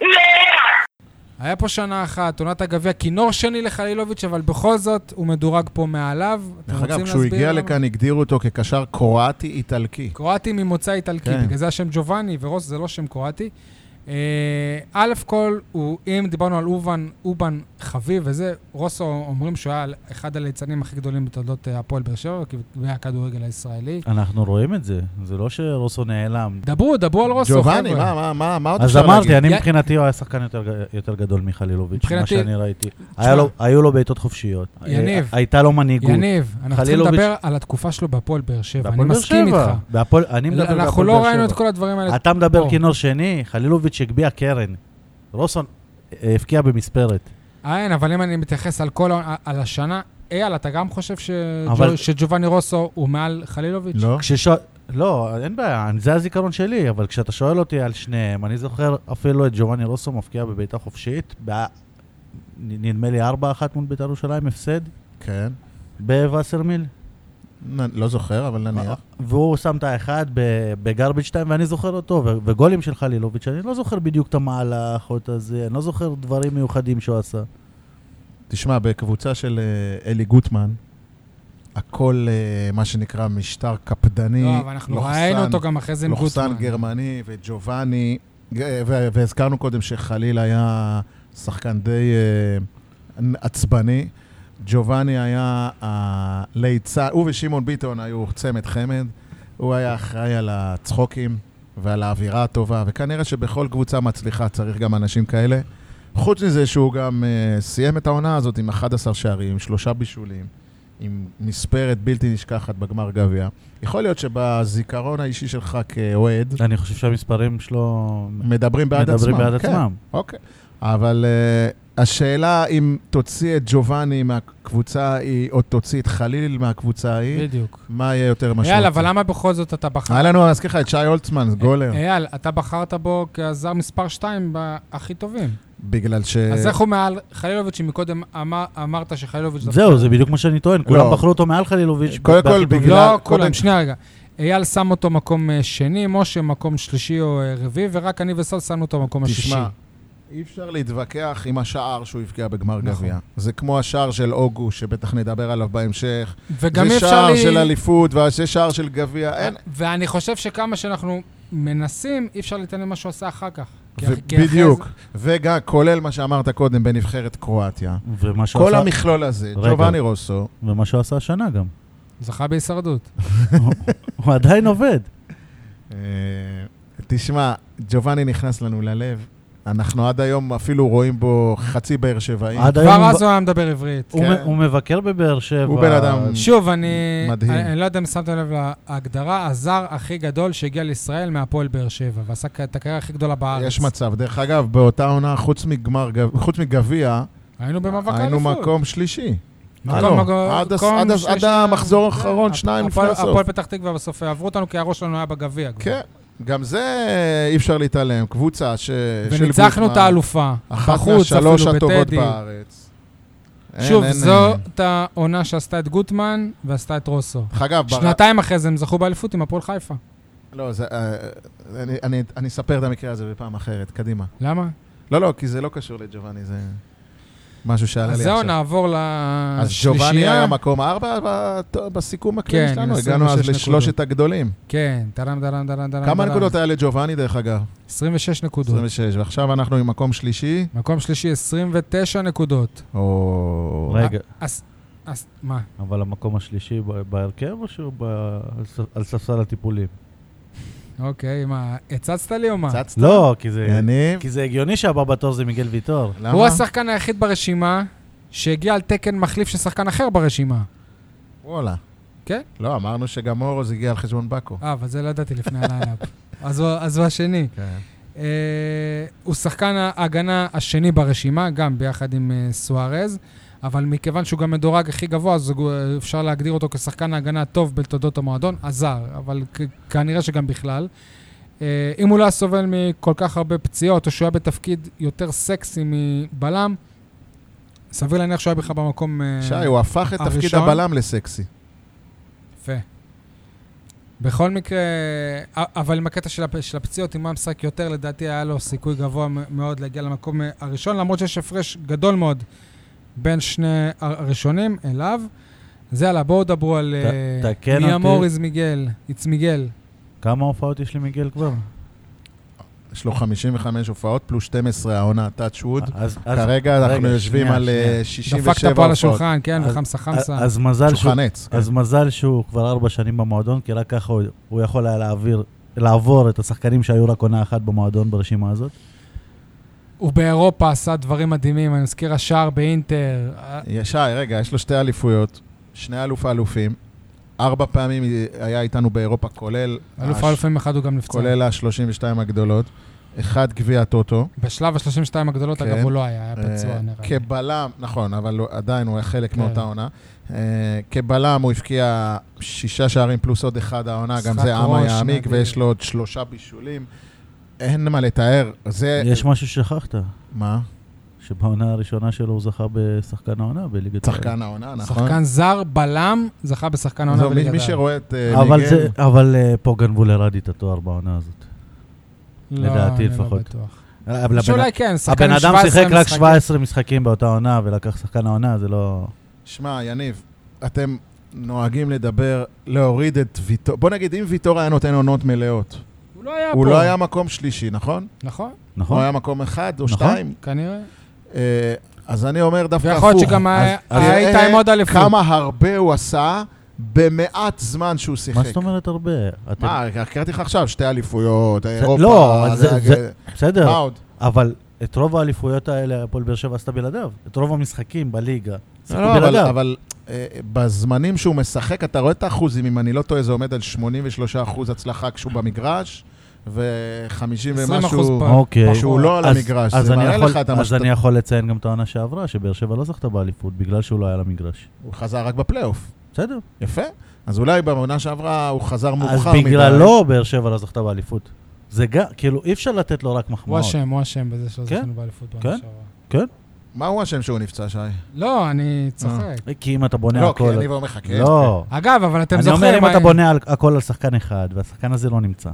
[SPEAKER 4] יאה!
[SPEAKER 1] היה פה שנה אחת, עונת הגביע, כינור שני לחלילוביץ', אבל בכל זאת הוא מדורג פה מעליו. אתם
[SPEAKER 3] דרך אגב,
[SPEAKER 1] רוצים
[SPEAKER 3] כשהוא
[SPEAKER 1] להסביר
[SPEAKER 3] הגיע
[SPEAKER 1] למה?
[SPEAKER 3] לכאן הגדירו אותו כקשר קרואטי-איטלקי.
[SPEAKER 1] קרואטי ממוצא איטלקי,
[SPEAKER 3] כן.
[SPEAKER 1] בגלל זה השם ג'ובאני ורוס זה לא שם קרואטי. אה, א' כל, הוא, אם דיברנו על אובן, אובן חביב וזה, רוסו אומרים שהוא היה אחד הליצנים הכי גדולים בתולדות אה, הפועל באר שבע, והכדורגל הישראלי.
[SPEAKER 2] אנחנו רואים את זה, זה לא שרוסו נעלם.
[SPEAKER 1] דברו, דברו על רוסו,
[SPEAKER 3] ג'ובאני,
[SPEAKER 1] חבר'ה.
[SPEAKER 3] מה, מה, מה, מה עוד
[SPEAKER 2] אז
[SPEAKER 3] אפשר להגיד?
[SPEAKER 2] אמרתי, אני
[SPEAKER 1] יא-
[SPEAKER 2] מבחינתי הוא היה שחקן יותר ג- יותר גדול מחלילוביץ', מה
[SPEAKER 1] מבחינתי-
[SPEAKER 2] שאני ראיתי. היה לו- היו לו בעיטות חופשיות.
[SPEAKER 1] יניב.
[SPEAKER 2] אה, הייתה לו מנהיגות.
[SPEAKER 1] יניב, אנחנו צריכים
[SPEAKER 2] חלילוביץ'-
[SPEAKER 1] לדבר על התקופה שלו בהפועל באר שבע, אני
[SPEAKER 2] בהפועל באר
[SPEAKER 1] מסכים
[SPEAKER 2] שבע.
[SPEAKER 1] איתך.
[SPEAKER 2] בהפועל- אני מדבר בהפועל באר שבע.
[SPEAKER 1] אנחנו לא ראינו את כל הדברים האלה.
[SPEAKER 2] אתה מדבר כאילו-
[SPEAKER 1] פה.
[SPEAKER 2] כינור שני, חלילוביץ' הגביה קרן. רוסון אה, הבקיע במספרת.
[SPEAKER 1] אה, אין, אבל אם אני מתייחס על כל, ה- על השנה, אייל, אתה גם חושב ש-
[SPEAKER 2] אבל-
[SPEAKER 1] שג'ובאני רוסו הוא מעל חלילוביץ'?
[SPEAKER 3] לא.
[SPEAKER 2] כשש... לא, אין בעיה, זה הזיכרון שלי, אבל כשאתה שואל אותי על שניהם, אני זוכר אפילו את ג'ובאני רוסו מפקיע בביתה חופשית, ב... נ- נדמה לי 4-1 מול בית"ר ירושלים, הפסד,
[SPEAKER 3] כן.
[SPEAKER 2] בווסרמיל.
[SPEAKER 3] נ- לא זוכר, אבל נניח.
[SPEAKER 2] והוא שם את האחד ב- בגרביג' 2, ואני זוכר אותו, ו- וגולים של חלילוביץ', אני לא זוכר בדיוק את המהלך או את הזה, אני לא זוכר דברים מיוחדים שהוא עשה.
[SPEAKER 3] תשמע, בקבוצה של אה, אלי גוטמן, הכל, אה, מה שנקרא, משטר קפדני.
[SPEAKER 1] לא, אבל אנחנו
[SPEAKER 3] לוחסן-
[SPEAKER 1] ראינו אותו גם אחרי זה עם
[SPEAKER 3] לוחסן
[SPEAKER 1] גוטמן.
[SPEAKER 3] לא גרמני וג'ובאני, ג- ו- והזכרנו קודם שחליל היה שחקן די אה, עצבני. ג'ובאני היה הליצן, הוא ושמעון ביטון היו צמד חמד. הוא היה אחראי על הצחוקים ועל האווירה הטובה, וכנראה שבכל קבוצה מצליחה צריך גם אנשים כאלה. חוץ מזה שהוא גם אה, סיים את העונה הזאת עם 11 שערים, עם שלושה בישולים, עם מספרת בלתי נשכחת בגמר גביע. יכול להיות שבזיכרון האישי שלך כאוהד,
[SPEAKER 2] אני חושב שהמספרים שלו
[SPEAKER 3] מדברים בעד עצמם.
[SPEAKER 2] מדברים בעד
[SPEAKER 3] כן,
[SPEAKER 2] עצמם.
[SPEAKER 3] אוקיי. אבל uh, השאלה אם תוציא את ג'ובאני מהקבוצה ההיא, או תוציא את חליל מהקבוצה ההיא,
[SPEAKER 1] בדיוק.
[SPEAKER 3] מה יהיה יותר משמעותי? אה,
[SPEAKER 1] אייל, אבל למה בכל זאת אתה בחרת?
[SPEAKER 3] היה לנו, אני אזכיר לך, את שי הולצמן, גולר.
[SPEAKER 1] אייל, אתה בחרת בו כזר מספר 2 הכי טובים.
[SPEAKER 3] בגלל ש...
[SPEAKER 1] אז איך הוא מעל חלילוביץ', שמקודם אמר- אמ- אמרת שחלילוביץ'... דווקא-
[SPEAKER 2] זהו, זה בדיוק מה שאני טוען, כולם
[SPEAKER 3] לא.
[SPEAKER 2] בחרו אותו מעל חלילוביץ'.
[SPEAKER 3] קודם כל,
[SPEAKER 2] בהכי טוב.
[SPEAKER 3] בגלל-
[SPEAKER 1] לא, כולם,
[SPEAKER 3] קודם-
[SPEAKER 1] שנייה רגע. אייל שם אותו מקום אה, שני, משה מקום שלישי או אה, רביעי, ורק אני וסול שמנו אותו מקום השישי.
[SPEAKER 3] תשמע, אי אפשר להתווכח עם השער שהוא הבקיע בגמר
[SPEAKER 1] נכון.
[SPEAKER 3] גביע. זה כמו השער של אוגו, שבטח נדבר עליו בהמשך.
[SPEAKER 1] וגם אי
[SPEAKER 3] זה
[SPEAKER 1] אפשר
[SPEAKER 3] שער של
[SPEAKER 1] לי... אה,
[SPEAKER 3] אליפות, וזה שער של גביע. אין,
[SPEAKER 1] ואני חושב שכמה שאנחנו מנסים, אי אפשר להתעלם ממה שהוא עשה אחר כך. כי- כי אחרי
[SPEAKER 3] בדיוק.
[SPEAKER 1] זה-
[SPEAKER 3] וגם, כולל מה שאמרת קודם בנבחרת קרואטיה.
[SPEAKER 2] ומה שהוא
[SPEAKER 3] כל
[SPEAKER 2] עשה-
[SPEAKER 3] המכלול הזה,
[SPEAKER 2] רגע.
[SPEAKER 3] ג'ובאני רוסו,
[SPEAKER 2] ומה שהוא עשה השנה גם.
[SPEAKER 1] זכה בהישרדות.
[SPEAKER 2] הוא עדיין עובד.
[SPEAKER 3] אה, תשמע, ג'ובאני נכנס לנו ללב. אנחנו עד היום אפילו רואים בו חצי באר שבעי.
[SPEAKER 2] עד היום
[SPEAKER 1] כבר
[SPEAKER 2] הוא-
[SPEAKER 1] אז הוא היה מדבר עברית.
[SPEAKER 2] הוא
[SPEAKER 3] כן.
[SPEAKER 2] מ- הוא מבקר בבאר שבע.
[SPEAKER 3] הוא בן אדם-
[SPEAKER 1] שוב, אני...
[SPEAKER 3] מדהים.
[SPEAKER 1] אני, אני לא יודע אם שמתם לב להגדרה, הזר הכי גדול שהגיע לישראל מהפועל באר שבע, ועשה כ- את הקריירה הכי גדולה בארץ.
[SPEAKER 3] יש מצב. דרך אגב, באותה עונה, חוץ מגמר גב- חוץ מגביע,
[SPEAKER 1] היינו במאבק האליפות.
[SPEAKER 3] היינו מקום שלישי.
[SPEAKER 1] מקום-
[SPEAKER 3] הלו,
[SPEAKER 1] מקום-
[SPEAKER 3] עד הס-
[SPEAKER 1] מקום
[SPEAKER 3] עד הס-
[SPEAKER 1] שלישי.
[SPEAKER 3] עד המחזור האחרון,
[SPEAKER 1] כן,
[SPEAKER 3] שניים לפני
[SPEAKER 1] הפועל-
[SPEAKER 3] הסוף.
[SPEAKER 1] הפועל פתח תקווה בסוף עברו אותנו, כי הראש שלנו היה בגביע. כבר.
[SPEAKER 3] כן, גם זה אי אפשר להתעלם. קבוצה ש... של
[SPEAKER 1] וניצחנו את
[SPEAKER 3] גוטמן,
[SPEAKER 1] האלופה.
[SPEAKER 3] אחת
[SPEAKER 1] בחוץ,
[SPEAKER 3] מהשלוש
[SPEAKER 1] אפילו
[SPEAKER 3] הטובות
[SPEAKER 1] בטדי.
[SPEAKER 3] בארץ. אין,
[SPEAKER 1] שוב,
[SPEAKER 3] אין, אין.
[SPEAKER 1] זאת העונה שעשתה את גוטמן ועשתה את רוסו.
[SPEAKER 3] דרך אגב, בר-
[SPEAKER 1] שנתיים אחרי זה הם זכו באליפות עם הפועל חיפה.
[SPEAKER 3] לא, זה, אה, אני, אני, אני אספר את המקרה הזה בפעם אחרת, קדימה.
[SPEAKER 1] למה?
[SPEAKER 3] לא, לא, כי זה לא קשור לג'ובאני, זה משהו שעלה לי
[SPEAKER 1] אז
[SPEAKER 3] עכשיו.
[SPEAKER 1] זהו, נעבור
[SPEAKER 3] אז ג'ובאני
[SPEAKER 1] לשלישייה.
[SPEAKER 3] היה מקום ארבע ב- בסיכום הכללי
[SPEAKER 1] כן,
[SPEAKER 3] שלנו,
[SPEAKER 1] עם
[SPEAKER 3] הגענו אז
[SPEAKER 1] 26
[SPEAKER 3] לשלושת
[SPEAKER 1] נקודות.
[SPEAKER 3] הגדולים.
[SPEAKER 1] כן, דרם, דרם, דרם, דרם.
[SPEAKER 3] כמה
[SPEAKER 1] דרם.
[SPEAKER 3] נקודות היה לג'ובאני, דרך אגב?
[SPEAKER 1] 26 נקודות.
[SPEAKER 3] 26, ועכשיו אנחנו עם מקום שלישי.
[SPEAKER 1] מקום שלישי, 29 נקודות.
[SPEAKER 3] או...
[SPEAKER 2] רגע,
[SPEAKER 1] אז, אז, מה?
[SPEAKER 2] אבל המקום השלישי ב- בהרכב או שהוא ב- על ס- על ספסל הטיפולים?
[SPEAKER 1] אוקיי, מה, הצצת לי או מה?
[SPEAKER 3] צצת?
[SPEAKER 2] לא, כי זה-
[SPEAKER 3] יניב?
[SPEAKER 2] כי זה הגיוני שהבא בתור זה מיגל ויטור.
[SPEAKER 3] למה?
[SPEAKER 1] הוא השחקן היחיד ברשימה שהגיע על תקן מחליף של שחקן אחר ברשימה.
[SPEAKER 3] וואלה.
[SPEAKER 1] כן?
[SPEAKER 3] לא, אמרנו שגם אורוז הגיע על חשבון באקו.
[SPEAKER 1] אה, אבל זה לא ידעתי לפני הליינאפ. אז הוא- אז הוא השני.
[SPEAKER 3] כן.
[SPEAKER 1] אה, הוא שחקן ההגנה השני ברשימה, גם ביחד עם אה, סוארז. אבל מכיוון שהוא גם מדורג הכי גבוה, אז הוא- אה, אפשר להגדיר אותו כשחקן ההגנה הטוב בתולדות המועדון, עזר, אבל כ- כנראה שגם בכלל. אה, אם הוא לא היה סובל מכל כך הרבה פציעות, או שהוא היה בתפקיד יותר סקסי מבלם, סביר להניח שהוא היה בכלל במקום... אה,
[SPEAKER 3] שי, הוא הפך את תפקיד
[SPEAKER 1] הראשון?
[SPEAKER 3] הבלם לסקסי.
[SPEAKER 1] יפה. בכל מקרה, א- אבל עם הקטע של, הפ... של הפציעות, אם הוא היה משחק יותר, לדעתי היה לו סיכוי גבוה מ- מאוד להגיע למקום אה, הראשון, למרות שיש הפרש גדול מאוד בין שני הר- הראשונים אליו. אז יאללה, בואו דברו על...
[SPEAKER 2] ת-
[SPEAKER 1] אה,
[SPEAKER 2] תקן
[SPEAKER 1] מי
[SPEAKER 2] אותי.
[SPEAKER 1] אמור איז מיגל? איץ מיגל.
[SPEAKER 2] כמה הופעות יש למיגל כבר?
[SPEAKER 3] יש לו 55 הופעות, פלוס 12 העונה touch wood.
[SPEAKER 2] אז- אה, אז-
[SPEAKER 3] כרגע אנחנו
[SPEAKER 2] רגע,
[SPEAKER 3] יושבים
[SPEAKER 2] שנייה,
[SPEAKER 3] על אה,
[SPEAKER 2] שנייה.
[SPEAKER 3] 67 הופעות.
[SPEAKER 1] דפקת פה על השולחן, כן,
[SPEAKER 2] אז-
[SPEAKER 1] וחמסה חמסה.
[SPEAKER 2] אז מזל שהוא...
[SPEAKER 3] שולחן עץ. כן.
[SPEAKER 2] אז מזל שהוא כבר ארבע שנים במועדון, כי רק ככה הוא- הוא יכול היה להעביר, לעבור את השחקנים שהיו רק עונה אחת במועדון ברשימה הזאת.
[SPEAKER 1] הוא באירופה עשה דברים מדהימים, אני מזכיר השער באינטר. אה,
[SPEAKER 3] ישי, רגע, יש לו שתי אליפויות, שני אלוף האלופים, ארבע פעמים היה איתנו באירופה, כולל...
[SPEAKER 1] אלוף
[SPEAKER 3] הש-
[SPEAKER 1] האלופים אחד הוא גם נפצע.
[SPEAKER 3] כולל ה-32 הגדולות, אחד גביע הטוטו.
[SPEAKER 1] בשלב ה-32 הגדולות, אגב,
[SPEAKER 3] כן.
[SPEAKER 1] הוא לא היה, היה פצוע
[SPEAKER 3] אה,
[SPEAKER 1] נראה
[SPEAKER 2] כן,
[SPEAKER 1] לי.
[SPEAKER 3] כבלם, נכון, אבל הוא- עדיין הוא היה חלק
[SPEAKER 1] כן.
[SPEAKER 3] מאותה עונה. אה, כבלם הוא הבקיע שישה שערים פלוס עוד אחד העונה, גם
[SPEAKER 1] משחק
[SPEAKER 3] זה עם
[SPEAKER 1] ראש,
[SPEAKER 3] יעמיק,
[SPEAKER 1] מדהים.
[SPEAKER 3] ויש לו עוד שלושה בישולים. אין מה לתאר, זה...
[SPEAKER 2] יש משהו ששכחת,
[SPEAKER 3] מה?
[SPEAKER 2] שבעונה הראשונה שלו הוא זכה בשחקן העונה בליגת...
[SPEAKER 3] שחקן העונה, נכון?
[SPEAKER 1] שחקן זר, בלם, זכה בשחקן העונה
[SPEAKER 3] זהו, מי-
[SPEAKER 1] בליגת
[SPEAKER 3] מי
[SPEAKER 1] העל.
[SPEAKER 3] שרואה את אה,
[SPEAKER 2] אבל
[SPEAKER 3] מיגל,
[SPEAKER 2] זה- אבל אה, פה גנבו לרדי את התואר בעונה הזאת.
[SPEAKER 1] לא,
[SPEAKER 2] לדעתי
[SPEAKER 1] אני לא
[SPEAKER 2] לפחות.
[SPEAKER 1] בטוח.
[SPEAKER 3] אה,
[SPEAKER 2] אבל הבן-
[SPEAKER 1] שאולי כן, שחקן
[SPEAKER 2] הבן
[SPEAKER 1] עם
[SPEAKER 2] אדם
[SPEAKER 1] 17
[SPEAKER 2] שיחק רק
[SPEAKER 1] משחקים.
[SPEAKER 2] 17 משחקים באותה עונה ולקח שחקן העונה, זה לא...
[SPEAKER 3] שמע, יניב, אתם נוהגים לדבר, להוריד את ויטור... בוא נגיד, אם ויטור היה נותן עונות מלאות,
[SPEAKER 1] הוא לא היה פה.
[SPEAKER 3] הוא לא היה מקום שלישי, נכון?
[SPEAKER 1] נכון,
[SPEAKER 3] הוא
[SPEAKER 2] נכון?
[SPEAKER 3] היה מקום אחד או
[SPEAKER 2] נכון.
[SPEAKER 3] שתיים.
[SPEAKER 1] כנראה.
[SPEAKER 3] אה, אז אני אומר דווקא הפוך.
[SPEAKER 1] ויכול להיות שגם היה-
[SPEAKER 2] אז-
[SPEAKER 3] תראה
[SPEAKER 1] היית עם עוד אליפות.
[SPEAKER 3] כמה הרבה הוא עשה במעט זמן שהוא שיחק.
[SPEAKER 2] מה זאת אומרת הרבה? אתם-
[SPEAKER 3] מה, הקראתי לך עכשיו, שתי אליפויות, אירופה.
[SPEAKER 2] לא, זה-
[SPEAKER 3] זה-
[SPEAKER 2] זה- לא. בסדר,
[SPEAKER 3] מה עוד?
[SPEAKER 2] אבל את רוב האליפויות האלה הפועל באר שבע עשתה בלעדיו. את רוב המשחקים בליגה. שיחקו
[SPEAKER 3] לא, אבל,
[SPEAKER 2] בלעדיו.
[SPEAKER 3] אבל אה, בזמנים שהוא משחק, אתה רואה את האחוזים, אם אני לא טועה, זה עומד על 83 אחוז הצלחה כשהוא במגרש, ו-50
[SPEAKER 1] אחוז
[SPEAKER 3] ומשהו...
[SPEAKER 1] פעם.
[SPEAKER 2] אוקיי.
[SPEAKER 3] שהוא לא על
[SPEAKER 2] אז-
[SPEAKER 3] המגרש,
[SPEAKER 2] אז
[SPEAKER 3] זה
[SPEAKER 2] אני
[SPEAKER 3] מראה
[SPEAKER 2] יכול-
[SPEAKER 3] לך את המש-
[SPEAKER 2] אז אני יכול לציין גם את העונה שעברה, שבאר שבע לא זכתה באליפות בגלל שהוא לא היה על המגרש.
[SPEAKER 3] הוא חזר רק בפלייאוף.
[SPEAKER 2] בסדר.
[SPEAKER 3] יפה. אז אולי בעונה שעברה הוא חזר מאוחר
[SPEAKER 2] אז
[SPEAKER 3] מדי.
[SPEAKER 2] בגללו באר שבע לא זכתה באליפות. זה גם, כאילו, אי אפשר לתת לו רק
[SPEAKER 1] הוא
[SPEAKER 2] מחמאות.
[SPEAKER 1] אשם, הוא אשם בזה שלא
[SPEAKER 2] כן?
[SPEAKER 1] זכינו באליפות בעונה
[SPEAKER 2] כן?
[SPEAKER 1] שעברה.
[SPEAKER 3] מה הוא אשם שהוא נפצע, שי?
[SPEAKER 1] לא, אני צוחק.
[SPEAKER 2] כי אם אתה בונה
[SPEAKER 3] לא, כי
[SPEAKER 2] הכל...
[SPEAKER 3] אני ואומר לך, כן. אה,
[SPEAKER 2] לא.
[SPEAKER 1] אגב, אבל אתם
[SPEAKER 2] אני
[SPEAKER 1] זוכרים... אה,
[SPEAKER 2] אומר, אם
[SPEAKER 1] מה-
[SPEAKER 2] אתה בונה על- הכל על שחקן אחד, והשחקן הזה לא נמצא,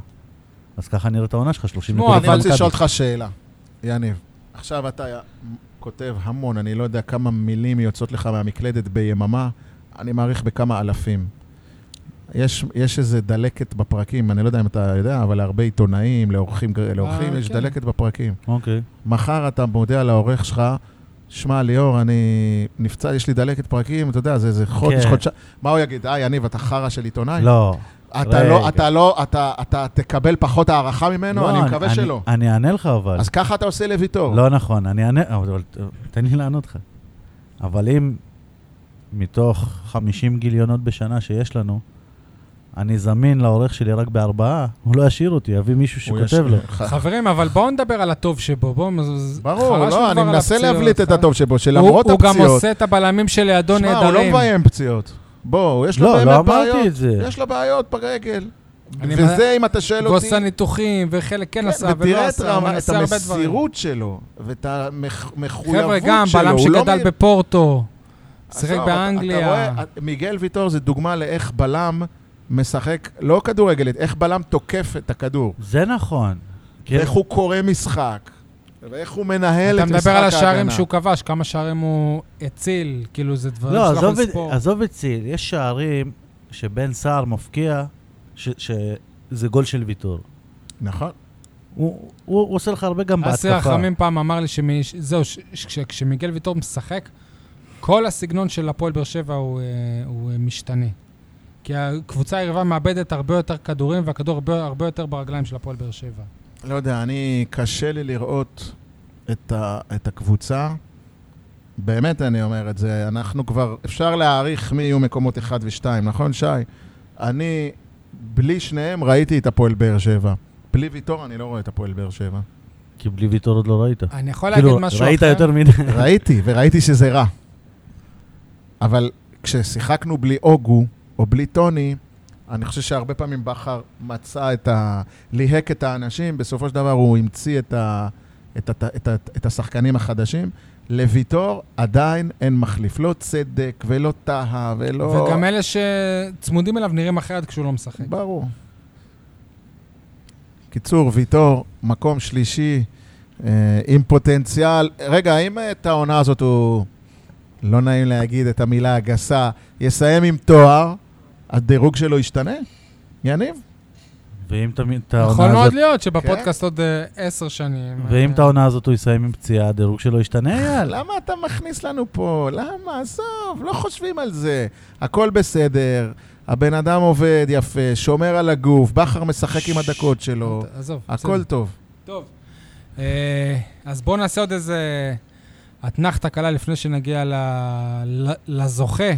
[SPEAKER 2] אז ככה נראית העונה שלך, 30
[SPEAKER 1] שמעו,
[SPEAKER 2] נקודות.
[SPEAKER 3] אני רוצה
[SPEAKER 2] למכבי.
[SPEAKER 3] לשאול אותך שאלה, יניב. עכשיו אתה כותב המון, אני לא יודע כמה מילים יוצאות לך מהמקלדת ביממה, אני מעריך בכמה אלפים. יש, יש איזה דלקת בפרקים, אני לא יודע אם אתה יודע, אבל להרבה עיתונאים, לאורחים,
[SPEAKER 2] אה,
[SPEAKER 3] לאורחים יש
[SPEAKER 1] כן.
[SPEAKER 3] דלקת בפרקים.
[SPEAKER 2] אוקיי.
[SPEAKER 3] מחר אתה מודיע לעורך שלך, שמע, ליאור, אני נפצע, יש לי דלקת פרקים, אתה יודע, זה, זה חודש,
[SPEAKER 2] כן.
[SPEAKER 3] חודשיים. מה הוא יגיד? אה, יניב, אתה חרא של עיתונאי?
[SPEAKER 2] לא.
[SPEAKER 3] אתה לא,
[SPEAKER 2] רגע.
[SPEAKER 3] אתה לא, אתה, אתה תקבל פחות הערכה ממנו?
[SPEAKER 2] לא,
[SPEAKER 3] כן, אני מקווה שלא.
[SPEAKER 2] אני אענה לך אבל.
[SPEAKER 3] אז ככה אתה עושה לויטור.
[SPEAKER 2] לא נכון, אני אענה, אבל אבל- תן לי לענות לך. אבל אם מתוך 50 גיליונות בשנה שיש לנו, אני זמין לעורך שלי רק בארבעה, הוא לא ישאיר אותי, יביא מישהו
[SPEAKER 3] הוא
[SPEAKER 2] שכותב
[SPEAKER 3] יש-
[SPEAKER 2] לו.
[SPEAKER 3] ח-
[SPEAKER 1] חברים, אבל בואו נדבר על הטוב שבו. בואו... מז-
[SPEAKER 3] ברור,
[SPEAKER 1] חרשנו כבר
[SPEAKER 3] לא, אני
[SPEAKER 1] על
[SPEAKER 3] מנסה
[SPEAKER 1] הפציעות,
[SPEAKER 3] להבליט את
[SPEAKER 1] אה?
[SPEAKER 3] הטוב שבו,
[SPEAKER 1] הוא
[SPEAKER 3] שלמרות
[SPEAKER 1] הוא גם
[SPEAKER 3] הפציעות...
[SPEAKER 1] עושה את הבלמים שלידו
[SPEAKER 3] שמע, הוא
[SPEAKER 1] נהדרים.
[SPEAKER 3] לא מביים פציעות. בואו, יש לו
[SPEAKER 2] לא, לא
[SPEAKER 3] באמת
[SPEAKER 2] אמרתי
[SPEAKER 3] בעיות.
[SPEAKER 2] את זה.
[SPEAKER 3] יש לו בעיות ברגל.
[SPEAKER 1] אני
[SPEAKER 3] וזה, אם אתה שואל
[SPEAKER 1] הוא
[SPEAKER 3] אותי...
[SPEAKER 1] עשה ניתוחים, וחלק כן
[SPEAKER 3] כן,
[SPEAKER 1] עשה ולא
[SPEAKER 3] ותראה את
[SPEAKER 1] עשה, הוא
[SPEAKER 3] רמה- את
[SPEAKER 1] מנסה הרבה דברים.
[SPEAKER 3] המסירות שלו, ואת המחויבות
[SPEAKER 1] חבר'ה,
[SPEAKER 3] שלו.
[SPEAKER 1] גם בלם
[SPEAKER 3] הוא לא
[SPEAKER 1] שגדל
[SPEAKER 3] מ-
[SPEAKER 1] בפורטו, שיחק
[SPEAKER 3] עזוב, אתה- אתה
[SPEAKER 1] באנגליה.
[SPEAKER 3] רואה, מיגל ויטור זה דוגמה לאיך בלם משחק, לא כדורגלית, איך בלם תוקף את הכדור.
[SPEAKER 2] זה נכון. כן.
[SPEAKER 3] ואיך הוא קורא משחק, ואיך הוא מנהל
[SPEAKER 1] אתה
[SPEAKER 3] את משחק ההגנה.
[SPEAKER 1] מדבר על השערים שהוא כבש, כמה שערים הוא הציל, כאילו זה דברים
[SPEAKER 2] לא,
[SPEAKER 1] שלא יכול
[SPEAKER 2] עזוב את-
[SPEAKER 1] לספור.
[SPEAKER 2] עזוב את ציל, יש שערים שבן סער מפקיע, ש- שזה גול של ויטור.
[SPEAKER 3] נכון.
[SPEAKER 2] הוא הוא- הוא עושה לך הרבה גם
[SPEAKER 1] אסי
[SPEAKER 2] בהתקפה.
[SPEAKER 1] רחמים פעם אמר לי שמי- ש- זהו, ש- ש- כש- כשמיגל ויטור משחק, כל הסגנון של הפועל באר שבע הוא, אה, הוא אה, משתנה. כי הקבוצה היריבה מאבדת הרבה יותר כדורים, והכדור הרבה, הרבה יותר ברגליים של הפועל באר שבע.
[SPEAKER 3] לא יודע, אני, קשה לי לראות את, ה, את הקבוצה. באמת אני אומר את זה, אנחנו כבר, אפשר להעריך מי יהיו מקומות 1 ו-2, נכון, שי? אני, בלי שניהם ראיתי את הפועל באר שבע. בלי ויטור אני לא רואה את הפועל באר שבע.
[SPEAKER 2] כי בלי ויטור עוד לא ראית.
[SPEAKER 1] אני יכול להגיד
[SPEAKER 2] כאילו,
[SPEAKER 1] משהו אחר.
[SPEAKER 2] ראית יותר מדי.
[SPEAKER 3] ראיתי, וראיתי שזה רע. אבל כששיחקנו בלי אוגו או בלי טוני, אני חושב שהרבה פעמים בכר מצא את ה... ליהק את האנשים, בסופו של דבר הוא המציא את, ה... את, ה... את, ה... את השחקנים החדשים. לוויטור עדיין אין מחליף, לא צדק ולא טהה ולא...
[SPEAKER 1] וגם אלה שצמודים אליו נראים אחרת כשהוא לא משחק.
[SPEAKER 3] ברור. קיצור, ויטור, מקום שלישי, אה, עם פוטנציאל. רגע, האם אה, את העונה הזאת הוא, לא נעים להגיד את המילה הגסה, יסיים עם תואר, הדירוג שלו ישתנה? יניב?
[SPEAKER 2] ואם תמיד את
[SPEAKER 1] יכול
[SPEAKER 2] העונה
[SPEAKER 1] נכון, מאוד
[SPEAKER 2] הזאת...
[SPEAKER 1] להיות שבפודקאסט
[SPEAKER 3] כן.
[SPEAKER 1] עוד אה, עשר שנים.
[SPEAKER 2] ואם
[SPEAKER 1] אה,
[SPEAKER 2] את העונה הזאת הוא יסיים עם פציעה, הדירוג שלו ישתנה? יאללה.
[SPEAKER 3] למה אתה מכניס לנו פה? למה? עזוב, לא חושבים על זה. הכל בסדר, הבן אדם עובד יפה, שומר על הגוף, בכר משחק עם הדקות שלו,
[SPEAKER 1] עזוב. בסדר.
[SPEAKER 3] כאילו, הכל טוב.
[SPEAKER 1] טוב. אה, אז בואו נעשה עוד איזה אתנחתה קלה לפני שנגיע ל... ל... לזוכה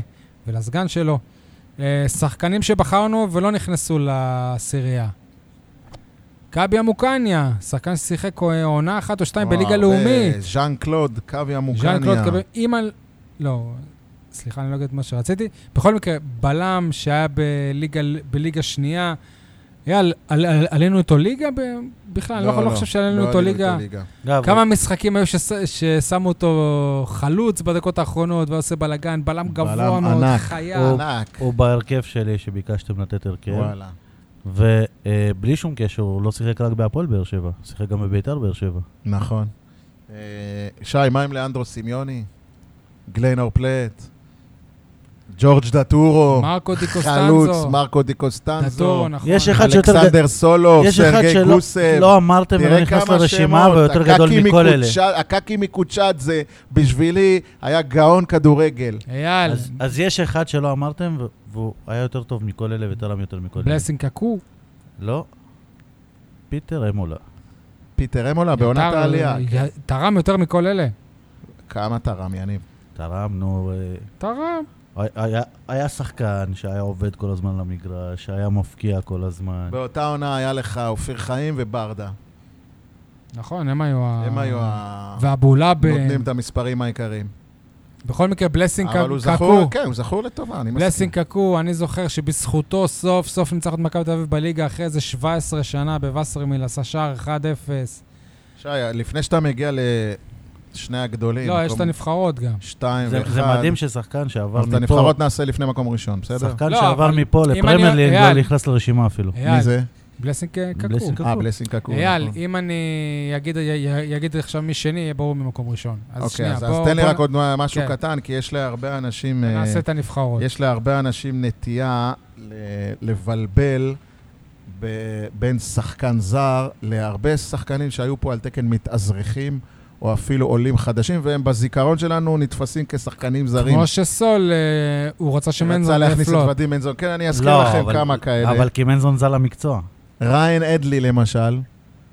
[SPEAKER 1] ולסגן שלו. אה, שחקנים שבחרנו ולא נכנסו לעשירייה. גבי אמוקניה, שחקן ששיחק אה, עונה אחת או שתיים בליגה
[SPEAKER 3] וואו,
[SPEAKER 1] לאומית.
[SPEAKER 3] ז'אן קלוד, קווי אמוקניה.
[SPEAKER 1] ז'אן קלוד קבל, אם על... לא, סליחה, אני לא אגיד את מה שרציתי. בכל מקרה, בלם שהיה בליגה, בליגה שנייה, אייל, על- על- עלינו איתו ליגה ב- בכלל? אני לא, לא חושב שעלינו
[SPEAKER 3] לא
[SPEAKER 1] איתו
[SPEAKER 3] עלינו
[SPEAKER 1] ליגה.
[SPEAKER 2] אגב,
[SPEAKER 1] כמה משחקים היו שש- ששמו אותו חלוץ בדקות האחרונות ועושה בלאגן, בלם גבוה
[SPEAKER 3] בלם
[SPEAKER 1] מאוד,
[SPEAKER 3] ענק. אוקיי.
[SPEAKER 1] חיה.
[SPEAKER 3] ענק. כן.
[SPEAKER 2] הוא בהרכב שלי שביקשתם לתת הרכב,
[SPEAKER 3] וואלה.
[SPEAKER 2] ובלי שום קשר, הוא לא שיחק רק בהפועל באר שבע, הוא שיחק גם בביתר באר שבע.
[SPEAKER 3] נכון. אה, שי, מה עם לאנדרו סמיוני? גליינור פלט? ג'ורג' דטורו?
[SPEAKER 1] מרקו דיקו
[SPEAKER 3] חלוץ,
[SPEAKER 1] סטנזו,
[SPEAKER 3] מרקו די קוסטנזו?
[SPEAKER 1] דטורו, נכון.
[SPEAKER 2] יש אחד שיותר...
[SPEAKER 3] אלכסנדר סולוב,
[SPEAKER 2] יש אחד
[SPEAKER 3] סרגי
[SPEAKER 2] שלא
[SPEAKER 3] גוסב?
[SPEAKER 2] לא אמרתם ולא
[SPEAKER 3] תראה
[SPEAKER 2] נכנס
[SPEAKER 3] כמה
[SPEAKER 2] לרשימה,
[SPEAKER 3] שמות,
[SPEAKER 2] והוא יותר גדול
[SPEAKER 3] הקקי
[SPEAKER 2] מכל אלה.
[SPEAKER 3] מקוצ'אד- הקקי מקוצ'אדזה, בשבילי, היה גאון כדורגל.
[SPEAKER 1] אייל,
[SPEAKER 2] אז- אז יש אחד שלא אמרתם, ו- והוא היה יותר טוב מכל אלה ותרם יותר מכל אלה.
[SPEAKER 1] בלסינג קקו.
[SPEAKER 2] לא. פיטר אמולה.
[SPEAKER 3] פיטר אמולה בעונת
[SPEAKER 1] יותר-
[SPEAKER 3] העלייה. כן.
[SPEAKER 1] תרם יותר מכל אלה.
[SPEAKER 3] כמה תרם, יניב?
[SPEAKER 2] תרם, נו... אה,
[SPEAKER 1] תרם.
[SPEAKER 2] היה, היה שחקן שהיה עובד כל הזמן על המגרש, שהיה מפקיע כל הזמן.
[SPEAKER 3] באותה עונה היה לך אופיר חיים וברדה.
[SPEAKER 1] נכון, הם היו ה...
[SPEAKER 3] הם היו ה...
[SPEAKER 1] ואבולאבן.
[SPEAKER 3] נותנים את המספרים העיקריים.
[SPEAKER 1] בכל מקרה, בלסינג
[SPEAKER 3] אבל הוא
[SPEAKER 1] קק-
[SPEAKER 3] זכור,
[SPEAKER 1] קקו.
[SPEAKER 3] כן, הוא זכור לטובה, אני מסכים.
[SPEAKER 1] בלסינג קקו, אני זוכר שבזכותו סוף סוף ניצח את מכבי תל אביב בליגה אחרי איזה 17 שנה בווסרמיל, עשה שער 1-0.
[SPEAKER 3] שי, לפני שאתה מגיע לשני הגדולים,
[SPEAKER 1] לא, יש את
[SPEAKER 3] אה, מקום
[SPEAKER 1] הנבחרות גם.
[SPEAKER 3] שתיים
[SPEAKER 2] זה,
[SPEAKER 3] ואחד,
[SPEAKER 2] זה מדהים ששחקן שעבר
[SPEAKER 3] אז את
[SPEAKER 2] מפה,
[SPEAKER 3] הנבחרות נעשה לפני מקום ראשון, בסדר?
[SPEAKER 2] שחקן
[SPEAKER 1] לא,
[SPEAKER 2] שעבר
[SPEAKER 1] אבל
[SPEAKER 2] מפה
[SPEAKER 1] אם
[SPEAKER 2] לפרמייר
[SPEAKER 1] אני-
[SPEAKER 2] ליג
[SPEAKER 1] אייל.
[SPEAKER 2] לא נכנס לרשימה אפילו.
[SPEAKER 1] אייל,
[SPEAKER 3] מי זה?
[SPEAKER 1] בלסינג אה, קקו.
[SPEAKER 2] בלסינג קקו.
[SPEAKER 3] אה, בלסינג קקו.
[SPEAKER 1] אייל,
[SPEAKER 3] נכון.
[SPEAKER 1] אם אני אגיד- י- י- אגיד עכשיו מי שני, יהיה ברור ממקום ראשון. אז
[SPEAKER 3] אוקיי,
[SPEAKER 1] שנייה,
[SPEAKER 3] אז אז
[SPEAKER 1] בואו-
[SPEAKER 3] תן לי
[SPEAKER 1] בואו
[SPEAKER 3] רק עוד משהו
[SPEAKER 1] כן.
[SPEAKER 3] קטן, כי יש להרבה אנשים... אה,
[SPEAKER 1] נעשה את הנבחרות.
[SPEAKER 3] יש להרבה אנשים נטייה ל- לבלבל ב- בין שחקן זר להרבה שחקנים שהיו פה על תקן מתאזרחים, או אפילו עולים חדשים, והם בזיכרון שלנו נתפסים כשחקנים זרים.
[SPEAKER 1] כמו שסול, אה, הוא רצה
[SPEAKER 3] רצה
[SPEAKER 1] שמנזון
[SPEAKER 3] להכניס את
[SPEAKER 1] יפלוט.
[SPEAKER 3] ודים בנזון. כן, אני אזכיר
[SPEAKER 2] לא,
[SPEAKER 3] לכם
[SPEAKER 2] אבל-
[SPEAKER 3] כמה כאלה.
[SPEAKER 2] אבל קימנזון זל המקצוע.
[SPEAKER 3] ריין אדלי למשל,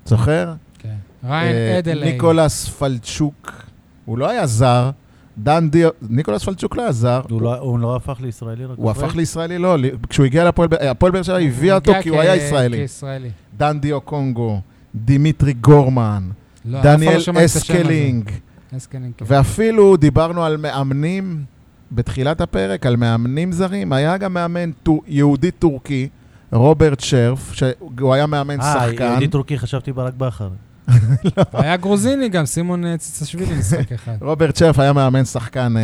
[SPEAKER 3] זוכר?
[SPEAKER 1] כן. ריין
[SPEAKER 3] אה,
[SPEAKER 1] אדלי.
[SPEAKER 3] ניקולס פלצ'וק, הוא לא היה זר. דן דיר... ניקולס פלצ'וק לא היה זר.
[SPEAKER 2] הוא לא- הוא לא הפך לישראלי רק
[SPEAKER 3] הוא
[SPEAKER 2] אחרי.
[SPEAKER 3] הפך לישראלי, לא, ל- כשהוא הגיע לפועל, ב- הפועל באר שבע הביאה אותו
[SPEAKER 1] הגיע
[SPEAKER 3] כי הוא
[SPEAKER 1] כ-
[SPEAKER 3] היה ישראלי.
[SPEAKER 1] כישראלי.
[SPEAKER 3] דן דיו קונגו, דימיטרי גורמן,
[SPEAKER 1] לא, אף אחד לא
[SPEAKER 3] דניאל
[SPEAKER 1] שמע את השם הזה.
[SPEAKER 3] אסקלינג,
[SPEAKER 1] אסקלינג, כן.
[SPEAKER 3] ואפילו דיברנו על מאמנים בתחילת הפרק, על מאמנים זרים. היה גם מאמן טו- יהודי טורקי, רוברט שרף, שהוא היה מאמן
[SPEAKER 2] אה,
[SPEAKER 3] שחקן.
[SPEAKER 2] יהודי טורקי חשבתי ברק בכר.
[SPEAKER 1] היה גרוזיני גם, סימון אה, ציצשווילי משחק אחד.
[SPEAKER 3] רוברט שרף היה מאמן שחקן אה,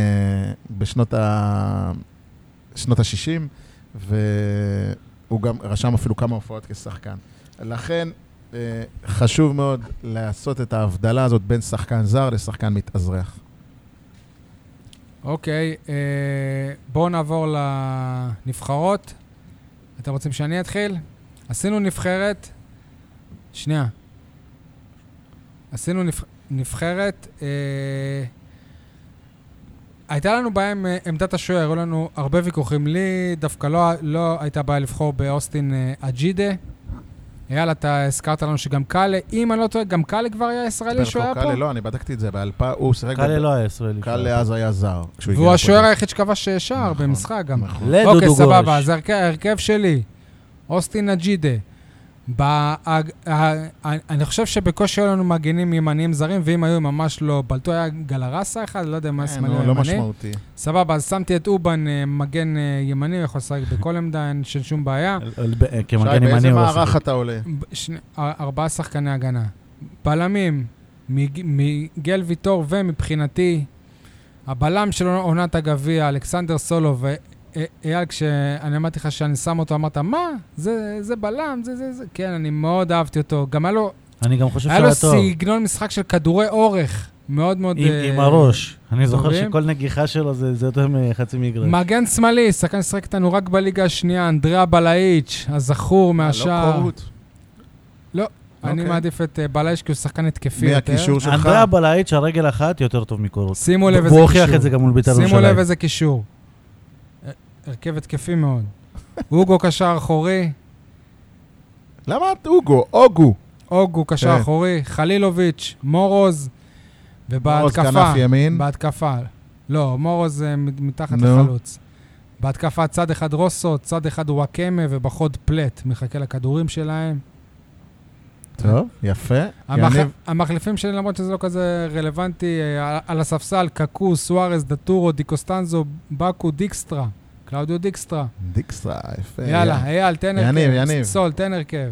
[SPEAKER 3] בשנות ה... שנות ה-60, והוא גם רשם אפילו כמה הופעות כשחקן. לכן אה, חשוב מאוד לעשות את ההבדלה הזאת בין שחקן זר לשחקן מתאזרח.
[SPEAKER 1] אוקיי, אה, בואו נעבור לנבחרות. אתם רוצים שאני אתחיל? עשינו נבחרת... שנייה. עשינו נבח- נבחרת... אה, הייתה לנו בעיה עם אה, עמדת השוער, היו לנו הרבה ויכוחים. לי דווקא לא, לא הייתה בעיה לבחור באוסטין אה, אג'ידה. יאללה, אתה הזכרת לנו שגם קאלה, אם אני לא טועה, גם קאלה כבר היה ישראלי שהוא היה
[SPEAKER 3] ברקו
[SPEAKER 1] פה.
[SPEAKER 3] קאלה, לא, אני בדקתי את זה, באלפ... הוא שיחק...
[SPEAKER 2] קאלה
[SPEAKER 3] ב-
[SPEAKER 2] לא היה ישראלי.
[SPEAKER 3] קאלה אז היה זר. כשהוא הגיע
[SPEAKER 1] והוא השוער
[SPEAKER 3] לפועל.
[SPEAKER 1] היחיד שכבש שער
[SPEAKER 3] נכון,
[SPEAKER 1] במשחק גם.
[SPEAKER 3] נכון.
[SPEAKER 2] לדודו גורש.
[SPEAKER 1] אוקיי, סבבה, אז ההרכב- ההרכב שלי, אוסטין אג'ידה, בהג... ה- ה- אני חושב שבקושי היו לנו מגנים ימניים זרים, ואם היו הם ממש לא בלטו, היה גלרסה אחד, לא יודע מה
[SPEAKER 3] כן,
[SPEAKER 1] שמאלי או
[SPEAKER 3] הוא לא
[SPEAKER 1] ימני.
[SPEAKER 3] משמעותי.
[SPEAKER 1] סבבה, אז שמתי את אובן אה, מגן אה, ימני, הוא יכול לשחק בכל עמדה, אין ש- שום בעיה.
[SPEAKER 3] שי,
[SPEAKER 2] כמגן ימני
[SPEAKER 3] באיזה
[SPEAKER 2] הוא לא
[SPEAKER 3] מערך
[SPEAKER 2] שיחק.
[SPEAKER 3] אתה עולה?
[SPEAKER 1] ב- שני- אר- ארבעה שחקני הגנה. בלמים, מיג- מיגל ויטור ומבחינתי, הבלם של עונת הגביע, אלכסנדר סולו, ואייל, כשאני אמרתי לך שאני שם אותו, אמרת, מה? זה, זה בלם, זה זה זה. כן, אני מאוד אהבתי אותו. גם היה לו,
[SPEAKER 2] אני גם חושב
[SPEAKER 1] היה
[SPEAKER 2] שהוא
[SPEAKER 1] לו
[SPEAKER 2] היה טוב.
[SPEAKER 1] סגנון משחק של כדורי אורך. מאוד מאוד...
[SPEAKER 2] עם-
[SPEAKER 1] אה,
[SPEAKER 2] עם הראש. אני זוכר
[SPEAKER 1] טובים.
[SPEAKER 2] שכל נגיחה שלו זה זה יותר מחצי מגרש.
[SPEAKER 1] מגן שמאלי, שחקן ששיחק איתנו רק בליגה השנייה, אנדריה בלאיץ', הזכור
[SPEAKER 3] לא
[SPEAKER 1] מהשער.
[SPEAKER 3] קורות.
[SPEAKER 1] אני
[SPEAKER 3] אוקיי.
[SPEAKER 1] מעדיף את אה, בלאיץ' כי הוא שחקן התקפי יותר.
[SPEAKER 3] מהקישור שלך.
[SPEAKER 2] אנדריה בלעית שהרגל אחת יותר טוב מקורות.
[SPEAKER 1] שימו לב איזה קישור.
[SPEAKER 2] הוא הוכיח את זה גם מול בית"ר ירושלים.
[SPEAKER 1] שימו לב איזה קישור. הר- הרכב התקפי מאוד. אוגו קשר אחורי,
[SPEAKER 3] למה את אוגו? אוגו.
[SPEAKER 1] אוגו קשר
[SPEAKER 3] כן.
[SPEAKER 1] אחורי, חלילוביץ', מורוז,
[SPEAKER 3] מורוז
[SPEAKER 1] ובהתקפה.
[SPEAKER 3] כנף ימין.
[SPEAKER 1] בהתקפה. לא, מורוז אה, מת- מתחת
[SPEAKER 3] נו.
[SPEAKER 1] לחלוץ. בהתקפה צד אחד רוסו, צד אחד וואקמה, ובחוד פלט מחכה לכדורים שלהם.
[SPEAKER 3] טוב, יפה.
[SPEAKER 1] המח...
[SPEAKER 3] יניב,
[SPEAKER 1] המחליפים שלי, למרות שזה לא כזה רלוונטי, אה, על, על הספסל, קקו, סוארז, דטורו, דיקוסטנזו, בקו, דיקסטרה, קלאודיו דיקסטרה.
[SPEAKER 3] דיקסה, יפה.
[SPEAKER 1] יאללה, אייל, תן הרכב.
[SPEAKER 3] אה, יניב, יניב.
[SPEAKER 1] סול, תן הרכב.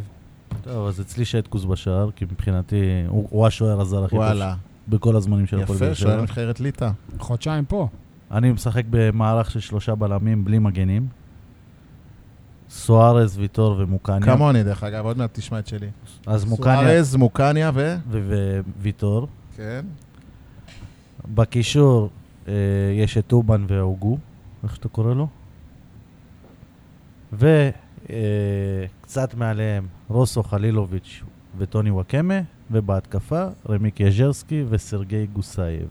[SPEAKER 2] טוב, אז אצלי שטקוס בשער, כי מבחינתי הוא הוא השוער הזר הכי טוב
[SPEAKER 3] וואלה.
[SPEAKER 2] בכל הזמנים של הפועל באר
[SPEAKER 3] יפה, שוער
[SPEAKER 2] שבע.
[SPEAKER 3] נבחרת ליטא.
[SPEAKER 1] חודשיים פה.
[SPEAKER 2] אני משחק במערך של שלושה בלמים בלי מגנים. סוארז, ויטור ומוקניה.
[SPEAKER 3] כמוני, דרך אגב, עוד מעט תשמע את שלי.
[SPEAKER 2] אז מוקניה
[SPEAKER 3] סוארז, מוקניה ו...
[SPEAKER 2] ו- וויטור.
[SPEAKER 3] כן.
[SPEAKER 2] בקישור אה, יש את אובן והוגו, איך שאתה קורא לו. וקצת מעליהם רוסו חלילוביץ' וטוני וואקמה, ובהתקפה רמיק יז'רסקי וסרגי גוסייב.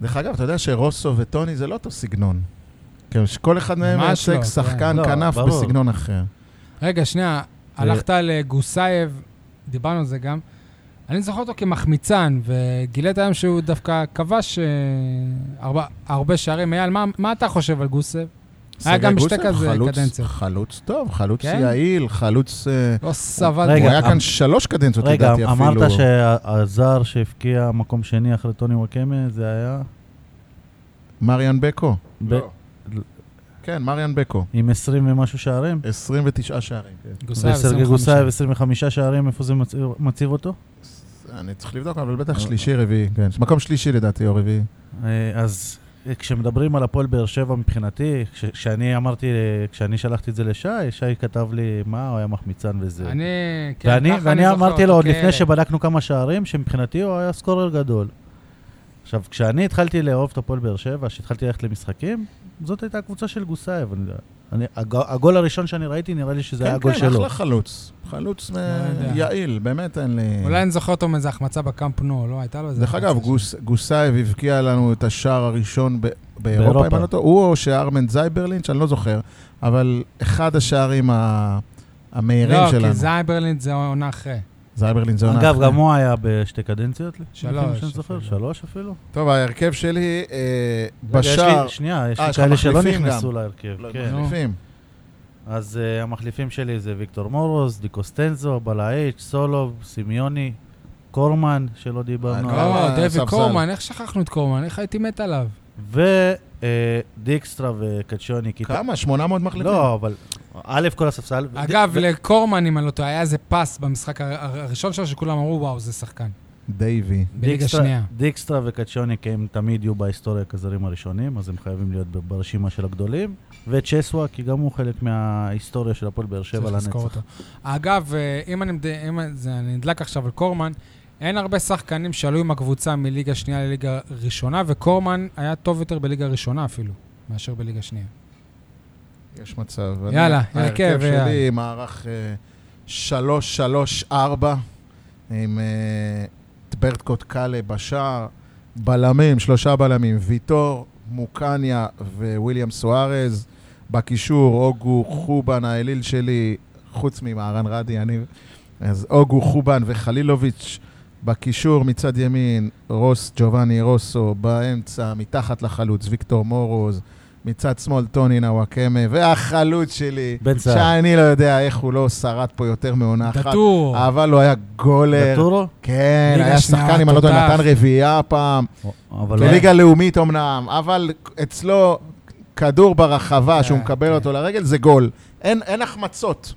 [SPEAKER 3] דרך אגב, אתה יודע שרוסו וטוני זה לא אותו סגנון. כן, שכל אחד מהם
[SPEAKER 1] ממש לא, אה,
[SPEAKER 3] מייצג שחקן
[SPEAKER 2] כן. לא,
[SPEAKER 3] כנף
[SPEAKER 2] ברור.
[SPEAKER 3] בסגנון אחר.
[SPEAKER 1] רגע, שנייה,
[SPEAKER 3] אה.
[SPEAKER 1] הלכת לגוסייב, דיברנו על זה גם. אני זוכר אותו כמחמיצן, וגילית היום שהוא דווקא כבש אה, הרבה, הרבה שערים. אייל, מה, מה אתה חושב על גוסייב? היה גם
[SPEAKER 3] סרגי
[SPEAKER 1] בשתי
[SPEAKER 3] גוסב,
[SPEAKER 1] כזה
[SPEAKER 3] חלוץ-
[SPEAKER 1] קדנציות.
[SPEAKER 3] חלוץ טוב, חלוץ
[SPEAKER 1] כן?
[SPEAKER 3] יעיל, חלוץ... אה,
[SPEAKER 1] לא סבל.
[SPEAKER 2] רגע,
[SPEAKER 3] הוא היה כאן
[SPEAKER 2] אמ-
[SPEAKER 3] שלוש קדנציות,
[SPEAKER 2] רגע,
[SPEAKER 3] לדעתי אפילו.
[SPEAKER 2] אמרת שהזר שהבקיע מקום שני אחרי טוני וואקמה, זה היה
[SPEAKER 3] מריאן בקו. לא.
[SPEAKER 2] ב-
[SPEAKER 3] כן, מריאן בקו.
[SPEAKER 2] עם 20 ומשהו שערים?
[SPEAKER 3] 29 שערים. כן.
[SPEAKER 1] גוסייב,
[SPEAKER 2] וסרגי
[SPEAKER 1] 25.
[SPEAKER 2] גוסייב 25 שערים, איפה זה מצ- מציב אותו?
[SPEAKER 3] אני צריך לבדוק, אבל בטח שלישי, רביעי. כן, מקום שלישי לדעתי, או רביעי.
[SPEAKER 2] אה, אז אה, כשמדברים על הפועל באר שבע מבחינתי, כש- כשאני אמרתי, אה, כשאני שלחתי את זה לשי, שי כתב לי, מה, הוא היה מחמיצן וזה.
[SPEAKER 1] אני, כן,
[SPEAKER 2] ואני,
[SPEAKER 1] ככה
[SPEAKER 2] ואני
[SPEAKER 1] זוכר
[SPEAKER 2] אמרתי
[SPEAKER 1] אותו כן.
[SPEAKER 2] לו עוד
[SPEAKER 1] כילד.
[SPEAKER 2] לפני שבדקנו כמה שערים, שמבחינתי הוא היה סקורר גדול. עכשיו, כשאני התחלתי לאהוב את הפועל באר שבע, כשהתחלתי ללכת למשחקים, זאת הייתה הקבוצה של גוסייב. אני, אני, הג, הגול הראשון שאני ראיתי, נראה לי שזה היה
[SPEAKER 3] כן,
[SPEAKER 2] הגול
[SPEAKER 3] כן,
[SPEAKER 2] שלו.
[SPEAKER 3] אחלה חלוץ. חלוץ אה,
[SPEAKER 1] לא יודע.
[SPEAKER 3] יעיל, באמת אין לי...
[SPEAKER 1] אולי אני זוכר אותו מאיזה החמצה בקאמפ נו, לא הייתה לו איזה...
[SPEAKER 3] דרך אגב,
[SPEAKER 1] החמצה
[SPEAKER 3] גוס- גוסייב הבקיע לנו את השער הראשון ב- באירופה,
[SPEAKER 2] באירופה.
[SPEAKER 3] אם אני לא טועה. הוא או שארמן זייברלינץ', אני לא זוכר, אבל אחד השערים ה-
[SPEAKER 1] שם.
[SPEAKER 3] המהירים
[SPEAKER 1] לא, כי
[SPEAKER 3] שלנו.
[SPEAKER 1] זייברלינד זה עונה אחרי.
[SPEAKER 3] זייברלינץ' זה עונה
[SPEAKER 2] אגב,
[SPEAKER 3] אחרת.
[SPEAKER 2] גם הוא היה בשתי קדנציות?
[SPEAKER 1] שלוש
[SPEAKER 2] לפי מה שאני זוכר,
[SPEAKER 1] אפילו.
[SPEAKER 2] שלוש אפילו?
[SPEAKER 3] טוב, ההרכב שלי אה,
[SPEAKER 2] רגע, יש לי-
[SPEAKER 3] בשער.
[SPEAKER 2] שנייה, יש
[SPEAKER 3] אה,
[SPEAKER 2] לי
[SPEAKER 3] יש לך
[SPEAKER 2] כאלה שלא
[SPEAKER 3] מחליפים
[SPEAKER 2] נכנסו
[SPEAKER 3] גם.
[SPEAKER 2] להרכב.
[SPEAKER 3] לא,
[SPEAKER 2] כן.
[SPEAKER 3] מחליפים.
[SPEAKER 2] אז uh, המחליפים שלי זה ויקטור מורוז, דיקוסטנזו, בלעיץ', סולוב, סמיוני, קורמן, שלא דיברנו
[SPEAKER 3] אה,
[SPEAKER 2] עליו,
[SPEAKER 1] לא,
[SPEAKER 3] אה,
[SPEAKER 1] דויד
[SPEAKER 3] ספסל.
[SPEAKER 1] קורמן, איך שכחנו את קורמן? איך הייתי מת עליו?
[SPEAKER 2] ודיקסטרה וקצ'וני. אה, כי-
[SPEAKER 3] כמה? 800 מחליפים?
[SPEAKER 2] לא, אבל א', כל הספסל. וד-
[SPEAKER 1] אגב,
[SPEAKER 2] ו-
[SPEAKER 1] לקורמן, אם אני לא טועה, היה איזה פס במשחק הר- הר- הראשון שלו, שכולם אמרו, וואו, זה שחקן.
[SPEAKER 3] דייבי.
[SPEAKER 1] בליגה
[SPEAKER 2] דיקסטרה-
[SPEAKER 1] שנייה.
[SPEAKER 2] דיקסטרה וקצ'וני, כי הם תמיד יהיו בהיסטוריה כזרים הראשונים, אז הם חייבים להיות ב- ברשימה של הגדולים. וצ'סווה, כי גם הוא חלק מההיסטוריה של הפועל באר שבע
[SPEAKER 1] צריך לזכור
[SPEAKER 2] לנצח.
[SPEAKER 1] אותו. אגב, אה, אם אני מד- אם זה- אני נדלק עכשיו על קורמן, אין הרבה שחקנים שעלו עם הקבוצה מליגה שנייה לליגה ראשונה, וקורמן היה טוב יותר בליגה ראשונה אפילו, מאשר בליגה שנייה.
[SPEAKER 3] יש מצב. אני-
[SPEAKER 1] יאללה, כן, הרכב,
[SPEAKER 3] ההרכב שלי
[SPEAKER 1] יאללה.
[SPEAKER 3] מערך אה, 3-3-4, עם אה, את ברטקוט קאלה בשער, בלמים, שלושה בלמים, ויטור, מוקניה וויליאם סוארז, בקישור, אוגו, חובן, האליל שלי, חוץ ממהרן רדי, אני... אז אוגו, חובן וחלילוביץ', בקישור מצד ימין, רוס ג'ובאני רוסו, באמצע, מתחת לחלוץ, ויקטור מורוז, מצד שמאל טוני נוואקמה, והחלוץ שלי,
[SPEAKER 2] בן סער.
[SPEAKER 3] שאני לא יודע איך הוא לא שרד פה יותר מעונה אחת.
[SPEAKER 1] דטור.
[SPEAKER 3] אבל הוא היה גולר.
[SPEAKER 2] דטורו?
[SPEAKER 3] כן,
[SPEAKER 1] ליגה
[SPEAKER 3] היה
[SPEAKER 1] שנייה,
[SPEAKER 3] שחקן, אם אני לא טועה,
[SPEAKER 1] תותח.
[SPEAKER 3] נתן רביעייה פעם.
[SPEAKER 2] אבל
[SPEAKER 1] כן.
[SPEAKER 2] הוא-
[SPEAKER 3] בליגה לאומית אמנם, אבל אצלו כדור
[SPEAKER 1] כן,
[SPEAKER 3] ברחבה שהוא מקבל אותו לרגל זה גול. אין אין החמצות.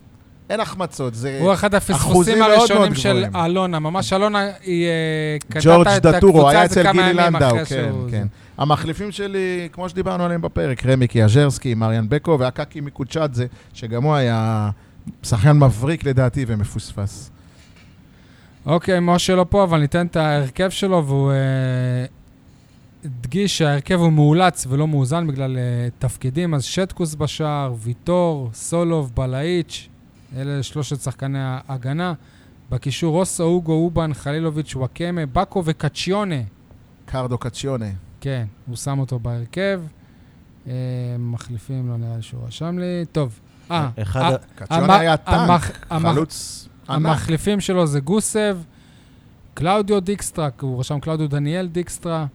[SPEAKER 3] אין החמצות. זה
[SPEAKER 1] הוא אחד
[SPEAKER 3] אה, אחוזים
[SPEAKER 1] הפספוסים
[SPEAKER 3] מאוד
[SPEAKER 1] הראשונים
[SPEAKER 3] מאוד
[SPEAKER 1] של
[SPEAKER 3] גבוהים.
[SPEAKER 1] אלונה. ממש אלונה, היא אה, קטעת
[SPEAKER 3] ג'ורג'
[SPEAKER 1] את
[SPEAKER 3] דטורו,
[SPEAKER 1] הקבוצה
[SPEAKER 3] היה
[SPEAKER 1] הזאת
[SPEAKER 3] אצל
[SPEAKER 1] כמה
[SPEAKER 3] גילי
[SPEAKER 1] ימים
[SPEAKER 3] לנדאו,
[SPEAKER 1] אחרי
[SPEAKER 3] כן,
[SPEAKER 1] שהוא-
[SPEAKER 3] כן. המחליפים שלי, כמו שדיברנו עליהם בפרק, רמי קיאז'רסקי, מריאן בקו והקקי מקוצ'אדזה, שגם הוא היה שחקן מבריק לדעתי ומפוספס.
[SPEAKER 1] אוקיי, משה לא פה, אבל ניתן את ההרכב שלו, והוא אה, הדגיש שההרכב הוא מאולץ ולא מאוזן בגלל אה, תפקידים, אז שטקוס בשער, ויטור, סולוב, בלאיץ', אלה שלושת שחקני ההגנה. בקישור רוסו, אוגו, אובן, חלילוביץ', וואקמה, באקו וקצ'יונה.
[SPEAKER 3] קרדו קציונה.
[SPEAKER 1] כן, הוא שם אותו בהרכב. אה, מחליפים, לא נראה לי שהוא רשם לי. טוב. אה,
[SPEAKER 2] אחד
[SPEAKER 1] אה,
[SPEAKER 2] ה-
[SPEAKER 1] המ-
[SPEAKER 3] קציונה היה טנק,
[SPEAKER 1] המח- המח-
[SPEAKER 3] חלוץ ענק.
[SPEAKER 1] המחליפים שלו זה גוסב, קלאודיו דיקסטרה, הוא רשם קלאודיו דניאל דיקסטרה,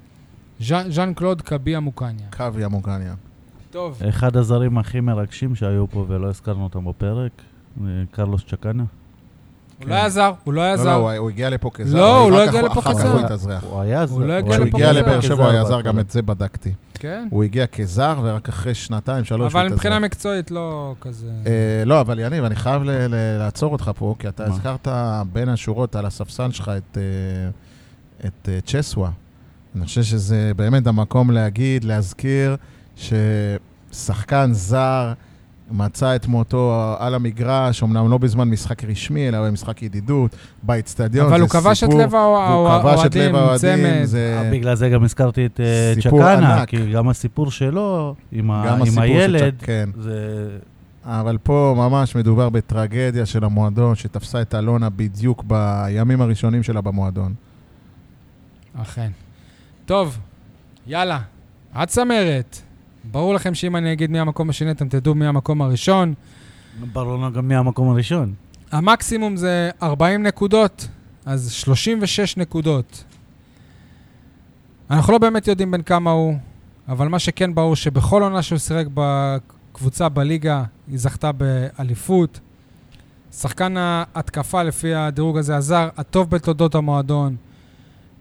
[SPEAKER 1] ז'אן ז'אן קלוד קביע מוקניה.
[SPEAKER 3] קוויה מוגניה.
[SPEAKER 1] טוב.
[SPEAKER 3] אה,
[SPEAKER 2] אחד הזרים הכי מרגשים שהיו פה ולא הזכרנו אותם בפרק, אה, קרלוס צ'קנה.
[SPEAKER 1] הוא לא היה זר, הוא לא היה
[SPEAKER 3] לא, לא,
[SPEAKER 1] זר.
[SPEAKER 3] הוא- הוא הגיע לפה כזר.
[SPEAKER 1] לא,
[SPEAKER 3] אבל
[SPEAKER 1] הוא לא
[SPEAKER 3] אחר כך
[SPEAKER 1] הגיע לפה
[SPEAKER 3] אחר כך
[SPEAKER 1] כזר.
[SPEAKER 3] הוא התאזרח.
[SPEAKER 2] הוא היה זר.
[SPEAKER 1] הוא לא הגיע
[SPEAKER 3] כשהוא
[SPEAKER 1] לפה
[SPEAKER 3] הגיע
[SPEAKER 1] כזר.
[SPEAKER 3] לבאר שבע הוא היה זר, גם
[SPEAKER 2] בהתחלה.
[SPEAKER 3] את זה בדקתי.
[SPEAKER 1] כן.
[SPEAKER 3] הוא הגיע כזר, ורק אחרי שנתיים, שלוש, הוא
[SPEAKER 1] אבל מבחינה
[SPEAKER 3] התאזרח.
[SPEAKER 1] מקצועית לא כזה...
[SPEAKER 3] אה, לא, אבל יניב, אני חייב ל- ל- לעצור אותך פה, כי אתה
[SPEAKER 2] מה?
[SPEAKER 3] הזכרת בין השורות על הספסל שלך את, אה, את אה, צ'סווה. אני חושב שזה באמת המקום להגיד, להזכיר, ששחקן זר מצא את מותו על המגרש, אמנם לא בזמן משחק רשמי, אלא במשחק ידידות, באצטדיון, זה
[SPEAKER 1] אבל הוא
[SPEAKER 3] סיפור.
[SPEAKER 1] כבש את לב
[SPEAKER 3] והוא
[SPEAKER 1] האוה-
[SPEAKER 3] כבש את
[SPEAKER 1] האוהדים,
[SPEAKER 3] לב האוהדים,
[SPEAKER 1] צמד.
[SPEAKER 3] זה...
[SPEAKER 2] אה, בגלל זה גם הזכרתי את אה,
[SPEAKER 3] סיפור
[SPEAKER 2] צ'קנה,
[SPEAKER 3] ענק.
[SPEAKER 2] כי גם הסיפור שלו עם ה-
[SPEAKER 3] גם
[SPEAKER 2] אה, עם
[SPEAKER 3] הסיפור של
[SPEAKER 2] הילד,
[SPEAKER 3] צ'ק- כן.
[SPEAKER 2] זה...
[SPEAKER 3] אבל פה ממש מדובר בטרגדיה של המועדון, שתפסה את אלונה בדיוק בימים הראשונים שלה במועדון.
[SPEAKER 1] אכן. טוב, יאללה, הצמרת. ברור לכם שאם אני אגיד מי המקום השני, אתם תדעו מי המקום הראשון.
[SPEAKER 2] ברור לנו גם מהמקום הראשון.
[SPEAKER 1] המקסימום זה 40 נקודות, אז 36 נקודות. אנחנו לא באמת יודעים בין כמה הוא, אבל מה שכן ברור שבכל עונה שהוא שיחק בקבוצה בליגה, היא זכתה באליפות. שחקן ההתקפה לפי הדירוג הזה הזר, הטוב בתולדות המועדון.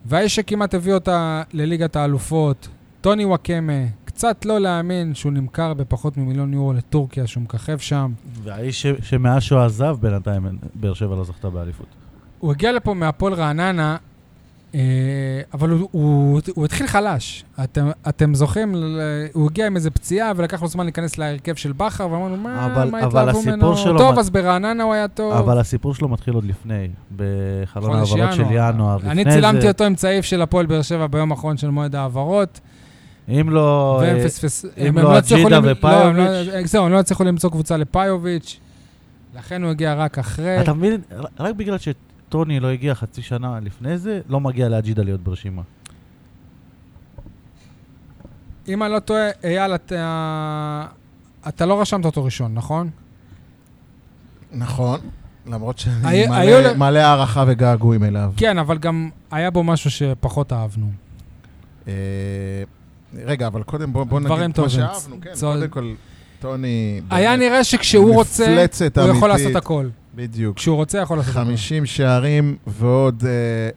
[SPEAKER 1] והאיש שכמעט הביא אותה לליגת האלופות, טוני וואקמה, קצת לא להאמין שהוא נמכר בפחות ממיליון יורו לטורקיה, שהוא מככב שם.
[SPEAKER 2] והאיש ש- שמאז שהוא עזב בינתיים, באר שבע לא זכתה באליפות.
[SPEAKER 1] הוא הגיע לפה מהפועל רעננה, אה, אבל הוא, הוא, הוא התחיל חלש. אתם, אתם זוכרים, ל- הוא הגיע עם איזה פציעה ולקח לו זמן להיכנס להרכב של בכר, ואמרנו, מה,
[SPEAKER 2] אבל-
[SPEAKER 1] מה
[SPEAKER 2] אבל
[SPEAKER 1] התלהבו
[SPEAKER 2] הסיפור
[SPEAKER 1] ממנו?
[SPEAKER 2] שלו
[SPEAKER 1] טוב,
[SPEAKER 2] מת-
[SPEAKER 1] אז ברעננה הוא היה טוב.
[SPEAKER 2] אבל הסיפור שלו מתחיל עוד לפני, בחלון
[SPEAKER 1] חודש
[SPEAKER 2] ההעברות של ינואר.
[SPEAKER 1] אני
[SPEAKER 2] לפני
[SPEAKER 1] צילמתי
[SPEAKER 2] זה,
[SPEAKER 1] אותו עם צעיף של הפועל באר שבע ביום האחרון של מועד ההעברות,
[SPEAKER 2] אם לא...
[SPEAKER 1] והם
[SPEAKER 2] אה,
[SPEAKER 1] פספס...
[SPEAKER 2] אם
[SPEAKER 1] הם-
[SPEAKER 2] לא
[SPEAKER 1] הם הצליחו
[SPEAKER 2] אג'ידה
[SPEAKER 1] למ- לא, הם לא-
[SPEAKER 2] ופאיוביץ'.
[SPEAKER 1] זהו, הם לא הצליחו למצוא קבוצה לפיוביץ', לכן הוא הגיע רק אחרי.
[SPEAKER 2] אתה מבין? רק- רק בגלל שטוני לא הגיע חצי שנה לפני זה, לא מגיע לאג'ידה להיות ברשימה.
[SPEAKER 1] אם אני לא טועה, אייל, אתה... אתה לא רשמת אותו ראשון, נכון?
[SPEAKER 3] נכון, למרות
[SPEAKER 1] היה-
[SPEAKER 3] שאני
[SPEAKER 1] היו
[SPEAKER 3] מלא-
[SPEAKER 1] ל-
[SPEAKER 3] מלא הערכה וגעגועים אליו.
[SPEAKER 1] כן, אבל גם היה בו משהו שפחות אהבנו.
[SPEAKER 3] אה, רגע, אבל קודם בוא בוא
[SPEAKER 1] דברים
[SPEAKER 3] נגיד כמו
[SPEAKER 1] טובים.
[SPEAKER 3] שאהבנו, כן,
[SPEAKER 1] צוד.
[SPEAKER 3] קודם כל, טוני...
[SPEAKER 1] היה
[SPEAKER 3] באמת,
[SPEAKER 1] נראה שכשהוא רוצה,
[SPEAKER 3] מפלצת
[SPEAKER 1] הוא יכול
[SPEAKER 3] אמיתית.
[SPEAKER 1] לעשות הכל.
[SPEAKER 3] בדיוק.
[SPEAKER 1] כשהוא רוצה, יכול לעשות הכל.
[SPEAKER 3] 50 שערים ועוד... אה,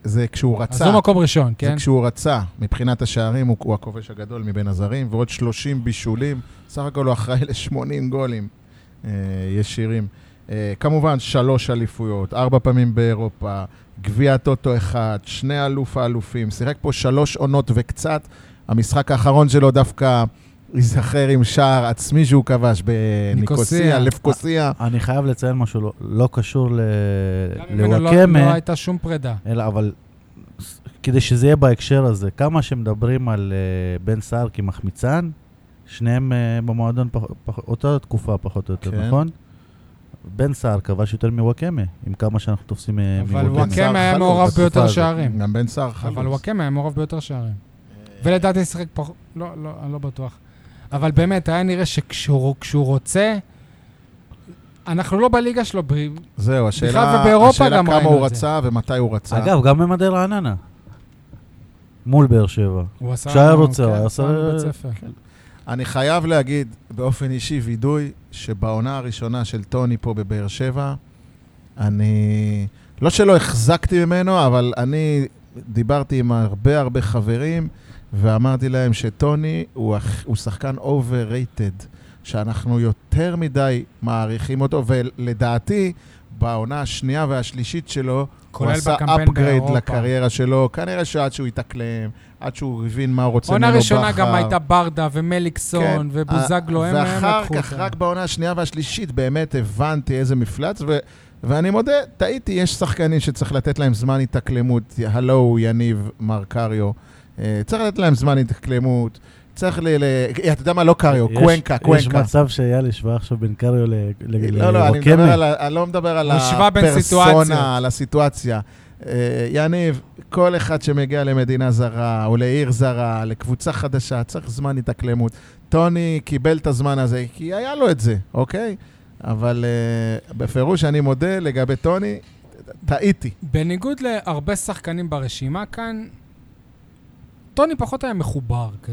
[SPEAKER 3] זה כשהוא
[SPEAKER 1] אז
[SPEAKER 3] רצה.
[SPEAKER 1] הוא מקום ראשון,
[SPEAKER 3] זה
[SPEAKER 1] כן?
[SPEAKER 3] כשהוא רצה, מבחינת השערים הוא, הוא הכובש הגדול מבין הזרים, ועוד 30 בישולים, סך הכל הוא אחראי ל-80 גולים אה, ישירים. אה, כמובן, שלוש אליפויות, ארבע פעמים באירופה, גביע טוטו אחד, שני אלוף האלופים, שיחק פה שלוש עונות וקצת. המשחק האחרון שלו דווקא ייזכר עם שער עצמי שהוא כבש
[SPEAKER 1] ניקוסיה.
[SPEAKER 3] בניקוסיה, לפקוסיה.
[SPEAKER 2] אני חייב לציין משהו לא- לא קשור ל-
[SPEAKER 1] גם אם ממנו לא- לא
[SPEAKER 2] לוואקמה,
[SPEAKER 1] הייתה שום פרידה.
[SPEAKER 2] אלא אבל ס- כדי שזה יהיה בהקשר הזה, כמה שמדברים על אה, בן סער כמחמיצן, שניהם אה, במועדון פח- פח- אותה תקופה פחות או
[SPEAKER 3] כן.
[SPEAKER 2] יותר, נכון? בן סער כבש יותר מוואקמה, עם כמה שאנחנו תופסים אה,
[SPEAKER 1] אבל
[SPEAKER 2] מוואקמה.
[SPEAKER 1] וואקמה היה
[SPEAKER 3] חלוץ
[SPEAKER 1] מעורב
[SPEAKER 3] בתקופה
[SPEAKER 1] ביותר
[SPEAKER 3] הזאת.
[SPEAKER 1] שערים.
[SPEAKER 3] גם בן סער חלוץ. אה.
[SPEAKER 1] אבל וואקמה היה מעורב ביותר שערים. ולדעתי שיחק פחות... לא, לא, אני לא בטוח. אבל באמת, היה נראה שכשהוא כשהוא רוצה... אנחנו לא בליגה שלו, ב-
[SPEAKER 3] זהו,
[SPEAKER 1] בכלל
[SPEAKER 3] השאלה,
[SPEAKER 1] ובאירופה
[SPEAKER 3] השאלה
[SPEAKER 1] גם
[SPEAKER 3] כמה
[SPEAKER 1] ראינו
[SPEAKER 3] הוא
[SPEAKER 1] את זה.
[SPEAKER 3] רצה ומתי הוא רצה.
[SPEAKER 2] אגב, גם במדי רעננה. מול באר שבע.
[SPEAKER 1] הוא עשה...
[SPEAKER 2] כשהיה רוצה, הוא
[SPEAKER 1] כן,
[SPEAKER 2] היה עושה- כן.
[SPEAKER 1] בבית ספר.
[SPEAKER 3] אני חייב להגיד באופן אישי וידוי, שבעונה הראשונה של טוני פה בבאר שבע, אני... לא שלא החזקתי ממנו, אבל אני דיברתי עם הרבה הרבה חברים, ואמרתי להם שטוני הוא, הכ- הוא שחקן overrated, שאנחנו יותר מדי מעריכים אותו, ולדעתי, בעונה השנייה והשלישית שלו, הוא
[SPEAKER 1] כולל
[SPEAKER 3] עשה
[SPEAKER 1] בקמפיין
[SPEAKER 3] upgrade
[SPEAKER 1] באירופה.
[SPEAKER 3] לקריירה שלו, כנראה שעד שהוא התאקלם, עד שהוא הבין מה הוא רוצה ממנו
[SPEAKER 1] עונה
[SPEAKER 3] בכר.
[SPEAKER 1] ראשונה גם הייתה ברדה ומליקסון
[SPEAKER 3] כן.
[SPEAKER 1] ובוזגלו, הם הם
[SPEAKER 3] ואחר
[SPEAKER 1] לקחו
[SPEAKER 3] כך,
[SPEAKER 1] אותם.
[SPEAKER 3] רק בעונה השנייה והשלישית, באמת הבנתי איזה מפלץ, ו... ואני מודה, טעיתי, יש שחקנים שצריך לתת להם זמן התאקלמות. הלו הוא יניב מר קריו. אה, צריך לתת להם זמן התאקלמות. צריך ל... ל... אה, אתה יודע מה? לא קריו,
[SPEAKER 2] יש-
[SPEAKER 3] קוונקה,
[SPEAKER 2] יש
[SPEAKER 3] קוונקה.
[SPEAKER 2] מצב שאייל השווה עכשיו בין קריו ל- ל-
[SPEAKER 3] לא, לא, אני מדבר
[SPEAKER 2] לרוקמי.
[SPEAKER 3] על ה- אני לא מדבר על
[SPEAKER 1] הוא השווה בין סיטואציות.
[SPEAKER 3] הפרסונה, על הסיטואציה. אה, יניב, כל אחד שמגיע למדינה זרה, או לעיר זרה, לקבוצה חדשה, צריך זמן התאקלמות. טוני קיבל את הזמן הזה, כי היה לו את זה, אוקיי? אבל אה, בפירוש אני מודה לגבי טוני, טעיתי.
[SPEAKER 1] בניגוד להרבה שחקנים ברשימה כאן, טוני פחות היה מחובר, כ-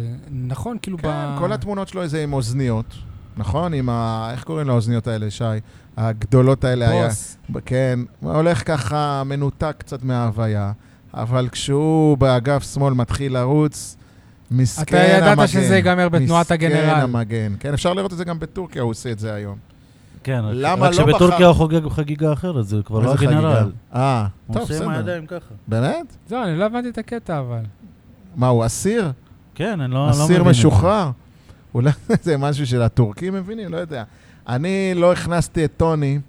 [SPEAKER 1] נכון? כאילו
[SPEAKER 3] כן,
[SPEAKER 1] ב...
[SPEAKER 3] כל התמונות שלו זה עם אוזניות, נכון? עם ה... איך קוראים לאוזניות האלה, שי? הגדולות האלה היה.
[SPEAKER 1] בוס.
[SPEAKER 3] כן, הולך ככה מנותק קצת מההוויה, אבל כשהוא באגף שמאל מתחיל לרוץ, מסכן
[SPEAKER 1] אתה
[SPEAKER 3] המגן.
[SPEAKER 1] ידעת שזה ייגמר בתנועת
[SPEAKER 3] מסכן
[SPEAKER 1] הגנרל.
[SPEAKER 3] המגן. כן, אפשר לראות את זה גם בטורקיה, הוא עושה את זה היום.
[SPEAKER 2] כן, רק-
[SPEAKER 3] למה
[SPEAKER 2] רק
[SPEAKER 3] לא
[SPEAKER 2] שבטורקיה
[SPEAKER 3] בחר-
[SPEAKER 2] הוא חוגג חגיגה אחרת, זה כבר לא
[SPEAKER 3] איזה חגיגה.
[SPEAKER 2] הגנרל.
[SPEAKER 3] אה,
[SPEAKER 2] הוא
[SPEAKER 3] טוב,
[SPEAKER 2] עושה עם
[SPEAKER 3] בסדר.
[SPEAKER 2] הידיים ככה.
[SPEAKER 3] באמת?
[SPEAKER 1] זהו, אני לא הבנתי את הקטע, אבל.
[SPEAKER 3] מה, הוא אסיר?
[SPEAKER 2] כן, אני לא לא מבין.
[SPEAKER 3] אסיר
[SPEAKER 2] את זה.
[SPEAKER 3] משוחרר? אולי זה משהו של הטורקים מבינים? לא יודע. אני לא הכנסתי את טוני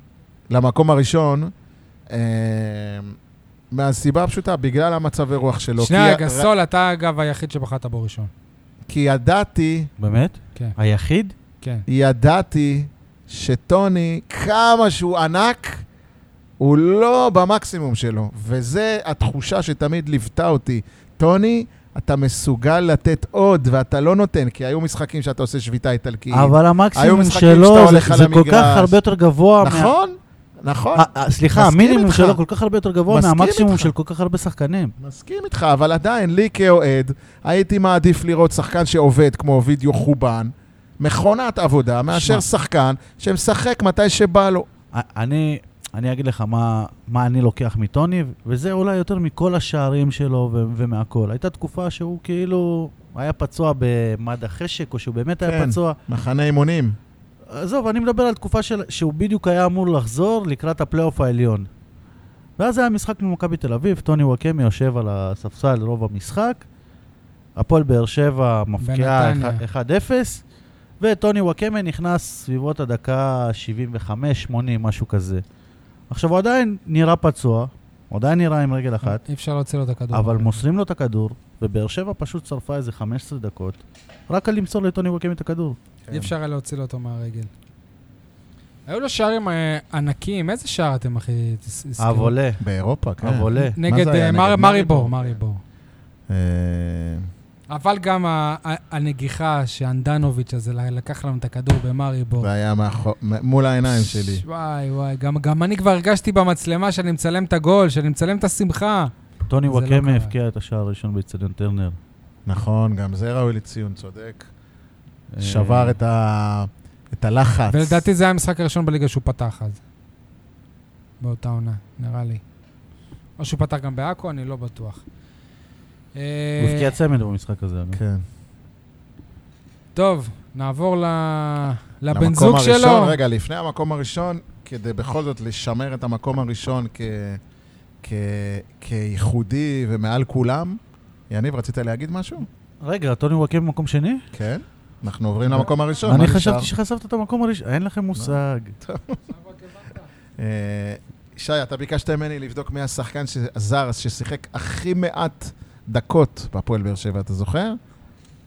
[SPEAKER 3] למקום הראשון, אה, מהסיבה הפשוטה, בגלל המצבי רוח שלו. לא, כי
[SPEAKER 1] שנייה,
[SPEAKER 3] ה-
[SPEAKER 1] גסול, אתה אגב היחיד שבחרת בו ראשון.
[SPEAKER 3] כי ידעתי
[SPEAKER 2] באמת?
[SPEAKER 1] כן.
[SPEAKER 2] היחיד?
[SPEAKER 1] כן.
[SPEAKER 3] ידעתי שטוני, כמה שהוא ענק, הוא לא במקסימום שלו. וזה התחושה שתמיד ליוותה אותי. טוני, אתה מסוגל לתת עוד, ואתה לא נותן, כי היו משחקים שאתה עושה שביתה איטלקית.
[SPEAKER 2] אבל
[SPEAKER 3] היו
[SPEAKER 2] המקסימום
[SPEAKER 3] משחקים
[SPEAKER 2] שלו
[SPEAKER 3] שאתה
[SPEAKER 2] זה-
[SPEAKER 3] הולך על
[SPEAKER 2] זה כל כך
[SPEAKER 3] המגרש.
[SPEAKER 2] הרבה יותר גבוה לא, מה...
[SPEAKER 3] נכון, נכון.
[SPEAKER 2] אה, אה, סליחה,
[SPEAKER 3] מסכים
[SPEAKER 2] המינימום
[SPEAKER 3] איתך.
[SPEAKER 2] שלו כל כך הרבה יותר גבוה
[SPEAKER 3] מסכים
[SPEAKER 2] מהמקסימום
[SPEAKER 3] איתך.
[SPEAKER 2] של כל כך הרבה שחקנים.
[SPEAKER 3] מסכים איתך, אבל עדיין, לי כאוהד, הייתי מעדיף לראות שחקן שעובד כמו וידאו חובן, מכונת עבודה, מאשר
[SPEAKER 2] שמע.
[SPEAKER 3] שחקן שמשחק מתי שבא לו.
[SPEAKER 2] א- אני, אני אגיד לך מה, מה אני לוקח מטוני, וזה אולי יותר מכל השערים שלו ו- ומהכל. הייתה תקופה שהוא כאילו היה פצוע במד החשק, או שהוא באמת היה
[SPEAKER 3] כן.
[SPEAKER 2] פצוע.
[SPEAKER 3] מחנה אימונים.
[SPEAKER 2] עזוב, אני מדבר על תקופה של, שהוא בדיוק היה אמור לחזור לקראת הפלייאוף העליון. ואז היה משחק ממכבי תל אביב, טוני וואקמי יושב על הספסל רוב המשחק, הפועל באר שבע מפקיעה
[SPEAKER 1] בנתניה.
[SPEAKER 2] 1-0, וטוני וואקמי נכנס סביבות הדקה 75-80, משהו כזה. עכשיו, הוא עדיין נראה פצוע, הוא עדיין נראה עם רגל אחת,
[SPEAKER 1] אי אפשר להוציא לו את הכדור.
[SPEAKER 2] אבל מוסרים לו את הכדור, ובאר שבע פשוט שרפה איזה 15 דקות, רק על למסור לטוני וואקמי את הכדור.
[SPEAKER 1] אי אפשר היה להוציא לו אותו מהרגל. היו לו שערים אה, ענקים, איזה שער אתם הכי תס- תזכרו?
[SPEAKER 2] אבולה,
[SPEAKER 3] באירופה, כן.
[SPEAKER 2] אבולה.
[SPEAKER 1] נגד
[SPEAKER 3] אה, מה זה היה?
[SPEAKER 1] אה,
[SPEAKER 3] נגד
[SPEAKER 1] מר- מאריבור,
[SPEAKER 3] מאריבור?
[SPEAKER 1] מאריבור.
[SPEAKER 3] אה,
[SPEAKER 1] אבל גם ה- ה- הנגיחה שאנדנוביץ' הזה לקח לנו את הכדור במאריבור.
[SPEAKER 3] זה היה מאחור- מ- מול העיניים שלי.
[SPEAKER 1] וואי וואי, גם, גם אני כבר הרגשתי במצלמה שאני מצלם את הגול, שאני מצלם את השמחה.
[SPEAKER 2] טוני
[SPEAKER 1] זה לא
[SPEAKER 2] וואקמה
[SPEAKER 1] קרה.
[SPEAKER 2] הבקיע את השער הראשון באצטדיון טרנר.
[SPEAKER 3] נכון, גם זה ראוי לציון, צודק.
[SPEAKER 2] אה,
[SPEAKER 3] שבר את ה- את הלחץ.
[SPEAKER 1] ולדעתי זה היה המשחק הראשון בליגה שהוא פתח אז. באותה עונה, נראה לי. או שהוא פתח גם בעכו, אני לא בטוח.
[SPEAKER 2] הוא
[SPEAKER 1] אה,
[SPEAKER 2] הבקיע צמד במשחק הזה. אגב.
[SPEAKER 3] כן.
[SPEAKER 1] טוב, נעבור ל... לבן
[SPEAKER 3] למקום
[SPEAKER 1] זוג
[SPEAKER 3] הראשון,
[SPEAKER 1] שלו.
[SPEAKER 3] רגע, לפני המקום הראשון, כדי בכל זאת לשמר את המקום הראשון כ- כ- כייחודי ומעל כולם, יניב, רצית להגיד משהו?
[SPEAKER 2] רגע, טוני וואקמה במקום שני?
[SPEAKER 3] כן? אנחנו עוברים למקום הראשון. מה
[SPEAKER 2] אני
[SPEAKER 3] נשאר?
[SPEAKER 2] חשבתי שחשפת את המקום הראשון. אין לכם מושג.
[SPEAKER 3] אה, שי, אתה ביקשת ממני לבדוק מי השחקן הזר ששיחק הכי מעט דקות בהפועל באר שבע, אתה זוכר?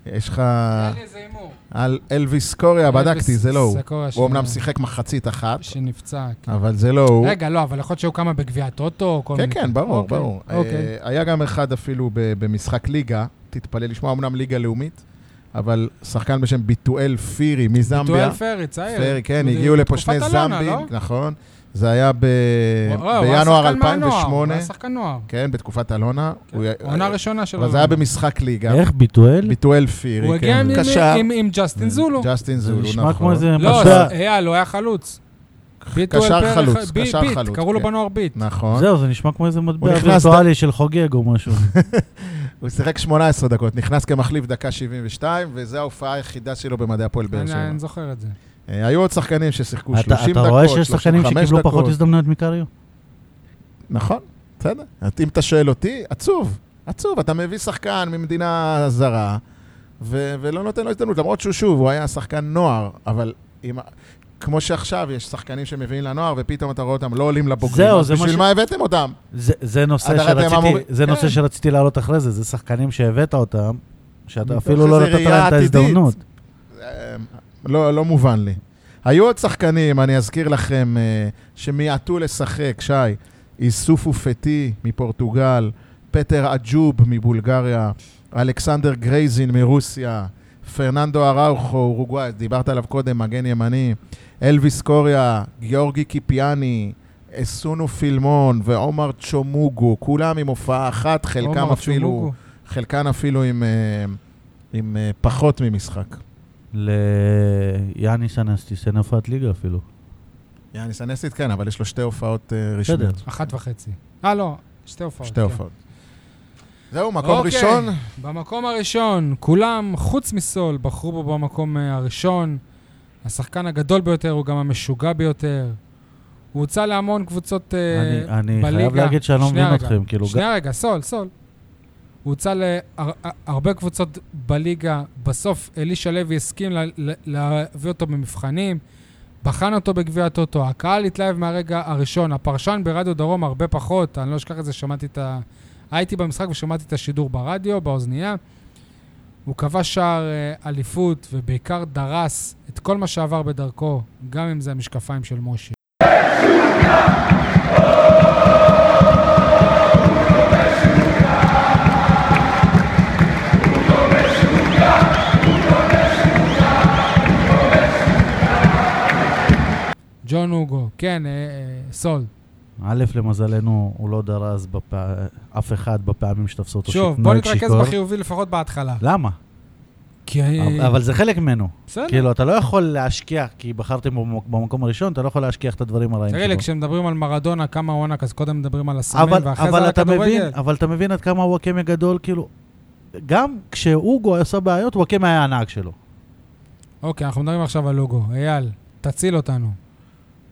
[SPEAKER 3] יש לך...
[SPEAKER 1] היה אה. לי איזה הימור.
[SPEAKER 3] על אלוויס קוריה, בדקתי, זה לא הוא.
[SPEAKER 1] סקורה
[SPEAKER 3] הוא
[SPEAKER 1] שנייה,
[SPEAKER 3] אמנם שיחק מחצית אחת,
[SPEAKER 1] שנפצע. כן.
[SPEAKER 3] אבל זה לא הוא.
[SPEAKER 1] רגע, לא, אבל יכול להיות שהיו כמה בגביע הטוטו, או כל
[SPEAKER 3] כן,
[SPEAKER 1] מיני...
[SPEAKER 3] כן, ברור,
[SPEAKER 1] אוקיי,
[SPEAKER 3] ברור.
[SPEAKER 1] אוקיי.
[SPEAKER 3] אה, היה גם אחד אפילו ב- במשחק ליגה, תתפלא לשמוע, אמנם ליגה לאומית, אבל שחקן בשם ביטואל פירי מזמביה.
[SPEAKER 1] טואל פרי, צעיר.
[SPEAKER 3] כן, פרי, כן,
[SPEAKER 1] הוא
[SPEAKER 3] הגיעו לפה שני
[SPEAKER 1] בתקופת אלונה,
[SPEAKER 3] זמבים,
[SPEAKER 1] לא?
[SPEAKER 3] נכון. זה היה ב-
[SPEAKER 1] הוא- הוא היה
[SPEAKER 3] בינואר
[SPEAKER 1] שחקן מהנוער, הוא
[SPEAKER 3] 2008,
[SPEAKER 1] היה שחקן כן, נוער.
[SPEAKER 3] כן, בתקופת אלונה. הוא היה-
[SPEAKER 1] עונה ראשונה שלו.
[SPEAKER 3] אבל זה היה במשחק ליגה.
[SPEAKER 2] איך ביטואל?
[SPEAKER 3] ביטואל פירי,
[SPEAKER 1] הוא הגיע
[SPEAKER 3] כן.
[SPEAKER 1] עם-
[SPEAKER 3] קשר.
[SPEAKER 1] עם- עם ג'סטין זולו.
[SPEAKER 3] ג'סטין
[SPEAKER 2] זה
[SPEAKER 3] זולו, נכון.
[SPEAKER 2] נשמע כמו איזה
[SPEAKER 1] לא,
[SPEAKER 2] משבר.
[SPEAKER 1] זה- אייל, הוא היה חלוץ. ביטו
[SPEAKER 3] קשר
[SPEAKER 1] אלפרח-
[SPEAKER 3] חלוץ,
[SPEAKER 1] בי-
[SPEAKER 3] קשר
[SPEAKER 1] ביט,
[SPEAKER 3] חלוץ,
[SPEAKER 1] קראו לו
[SPEAKER 3] כן.
[SPEAKER 1] בנוער ביט.
[SPEAKER 3] נכון.
[SPEAKER 2] זהו, זה נשמע כמו איזה מטבע
[SPEAKER 3] הוא נכנס
[SPEAKER 2] וירטואלי של חוגג או משהו.
[SPEAKER 3] הוא שיחק 18 דקות, נכנס כמחליף דקה 72, וזו ההופעה היחידה שלו במדעי הפועל באר
[SPEAKER 1] אני
[SPEAKER 3] שבע.
[SPEAKER 1] אני זוכר את זה.
[SPEAKER 3] אה, היו עוד שחקנים ששיחקו
[SPEAKER 2] אתה-
[SPEAKER 3] 30 דקות, 35
[SPEAKER 2] אתה
[SPEAKER 3] דקות.
[SPEAKER 2] רואה שיש שחקנים שקיבלו פחות הזדמנויות מקריו?
[SPEAKER 3] נכון, בסדר. אז אם אתה שואל אותי, עצוב. עצוב, אתה מביא שחקן ממדינה זרה, ו- ולא נותן לו הזדמנות, למרות שהוא שוב, הוא היה שחקן נוער, אבל אם... כמו שעכשיו, יש שחקנים שמביאים לנוער, ופתאום אתה רואה אותם לא עולים לבוגרים.
[SPEAKER 2] זהו,
[SPEAKER 3] אז
[SPEAKER 2] זה מה
[SPEAKER 3] בשביל
[SPEAKER 2] ש-
[SPEAKER 3] מה הבאתם אותם?
[SPEAKER 2] זה- זה נושא
[SPEAKER 3] אתה ראית, הם אמורים-
[SPEAKER 2] שרציתי- זה נושא
[SPEAKER 3] כן.
[SPEAKER 2] שרציתי להעלות אחרי זה, זה שחקנים שהבאת אותם, שאתה
[SPEAKER 3] מתוך
[SPEAKER 2] אפילו לא
[SPEAKER 3] איזה
[SPEAKER 2] נתת
[SPEAKER 3] ראייה
[SPEAKER 2] להם את
[SPEAKER 3] עתידית.
[SPEAKER 2] ההזדמנות.
[SPEAKER 3] אה, לא, לא מובן לי. היו עוד שחקנים, אני אזכיר לכם, אה, שמיעטו לשחק, שי, איסופו פטי מפורטוגל, פטר אג'וב מבולגריה, אלכסנדר גרייזין מרוסיה, פרננדו אראוכו, אורוגוואי, דיברת עליו קודם, מגן ימני, אלוויס קוריה, גיאורגי קיפיאני, אסונו פילמון ועומר צ'ומוגו, כולם עם הופעה אחת, חלקם
[SPEAKER 1] עומר
[SPEAKER 3] אפילו,
[SPEAKER 1] צ'ומוגו.
[SPEAKER 3] חלקם אפילו עם, אה, עם אה, פחות ממשחק.
[SPEAKER 2] ליאניס אנסטיס אין הופעת ליגה אפילו.
[SPEAKER 3] יאניס אנסטית כן, אבל יש לו שתי הופעות אה, רשמיות.
[SPEAKER 1] אחת וחצי. אה, לא, שתי הופעות.
[SPEAKER 3] שתי
[SPEAKER 1] כן.
[SPEAKER 3] הופעות. זהו, מקום
[SPEAKER 1] אוקיי.
[SPEAKER 3] ראשון.
[SPEAKER 1] במקום הראשון, כולם, חוץ מסול, בחרו בו במקום אה, הראשון. השחקן הגדול ביותר הוא גם המשוגע ביותר. הוא הוצא להמון קבוצות אה,
[SPEAKER 2] אני- אני
[SPEAKER 1] בליגה.
[SPEAKER 2] חייב להגיד שאני לא
[SPEAKER 1] שנייה
[SPEAKER 2] מבין
[SPEAKER 1] רגע,
[SPEAKER 2] אתכם, כאילו,
[SPEAKER 1] שנייה רגע, סול, סול. הוא הוצא להרבה קבוצות בליגה, בסוף אלישע לוי הסכים לה- לה- להביא אותו במבחנים, בחן אותו בגביע הטוטו, הקהל התלהב מהרגע הראשון, הפרשן ברדיו דרום הרבה פחות, אני לא אשכח את זה, שמעתי את ה... הייתי במשחק ושמעתי את השידור ברדיו, באוזנייה. הוא כבש שער אה, אליפות ובעיקר דרס את כל מה שעבר בדרכו, גם אם זה המשקפיים של משה. ג'ון הוגו, כן, אה, אה, סול.
[SPEAKER 2] א', למזלנו, הוא לא דרס בפע- אף אחד בפעמים שתפסו אותו
[SPEAKER 1] שוב, בוא
[SPEAKER 2] נוהג
[SPEAKER 1] נתרכז
[SPEAKER 2] שיכור.
[SPEAKER 1] בחיובי לפחות בהתחלה.
[SPEAKER 2] למה?
[SPEAKER 1] כי... אה,
[SPEAKER 2] אבל זה חלק ממנו.
[SPEAKER 1] בסדר.
[SPEAKER 2] כאילו, אתה לא יכול להשכיח, כי בחרתם בו במק- במקום הראשון, אתה לא יכול להשכיח את הדברים הרעים שלו.
[SPEAKER 1] תראה לי, כשמדברים על מרדונה, כמה הוא ענק, אז קודם מדברים על הסמים,
[SPEAKER 2] אבל,
[SPEAKER 1] ואחרי זה
[SPEAKER 2] אבל
[SPEAKER 1] על
[SPEAKER 2] אתה מבין,
[SPEAKER 1] הכדורגל.
[SPEAKER 2] אבל אתה מבין עד כמה וואקמה גדול, כאילו... גם כשאוגו עשה בעיות, וואקמה היה הנהג שלו.
[SPEAKER 1] אוקיי, אנחנו מדברים עכשיו על לוגו. אייל, תציל אותנו.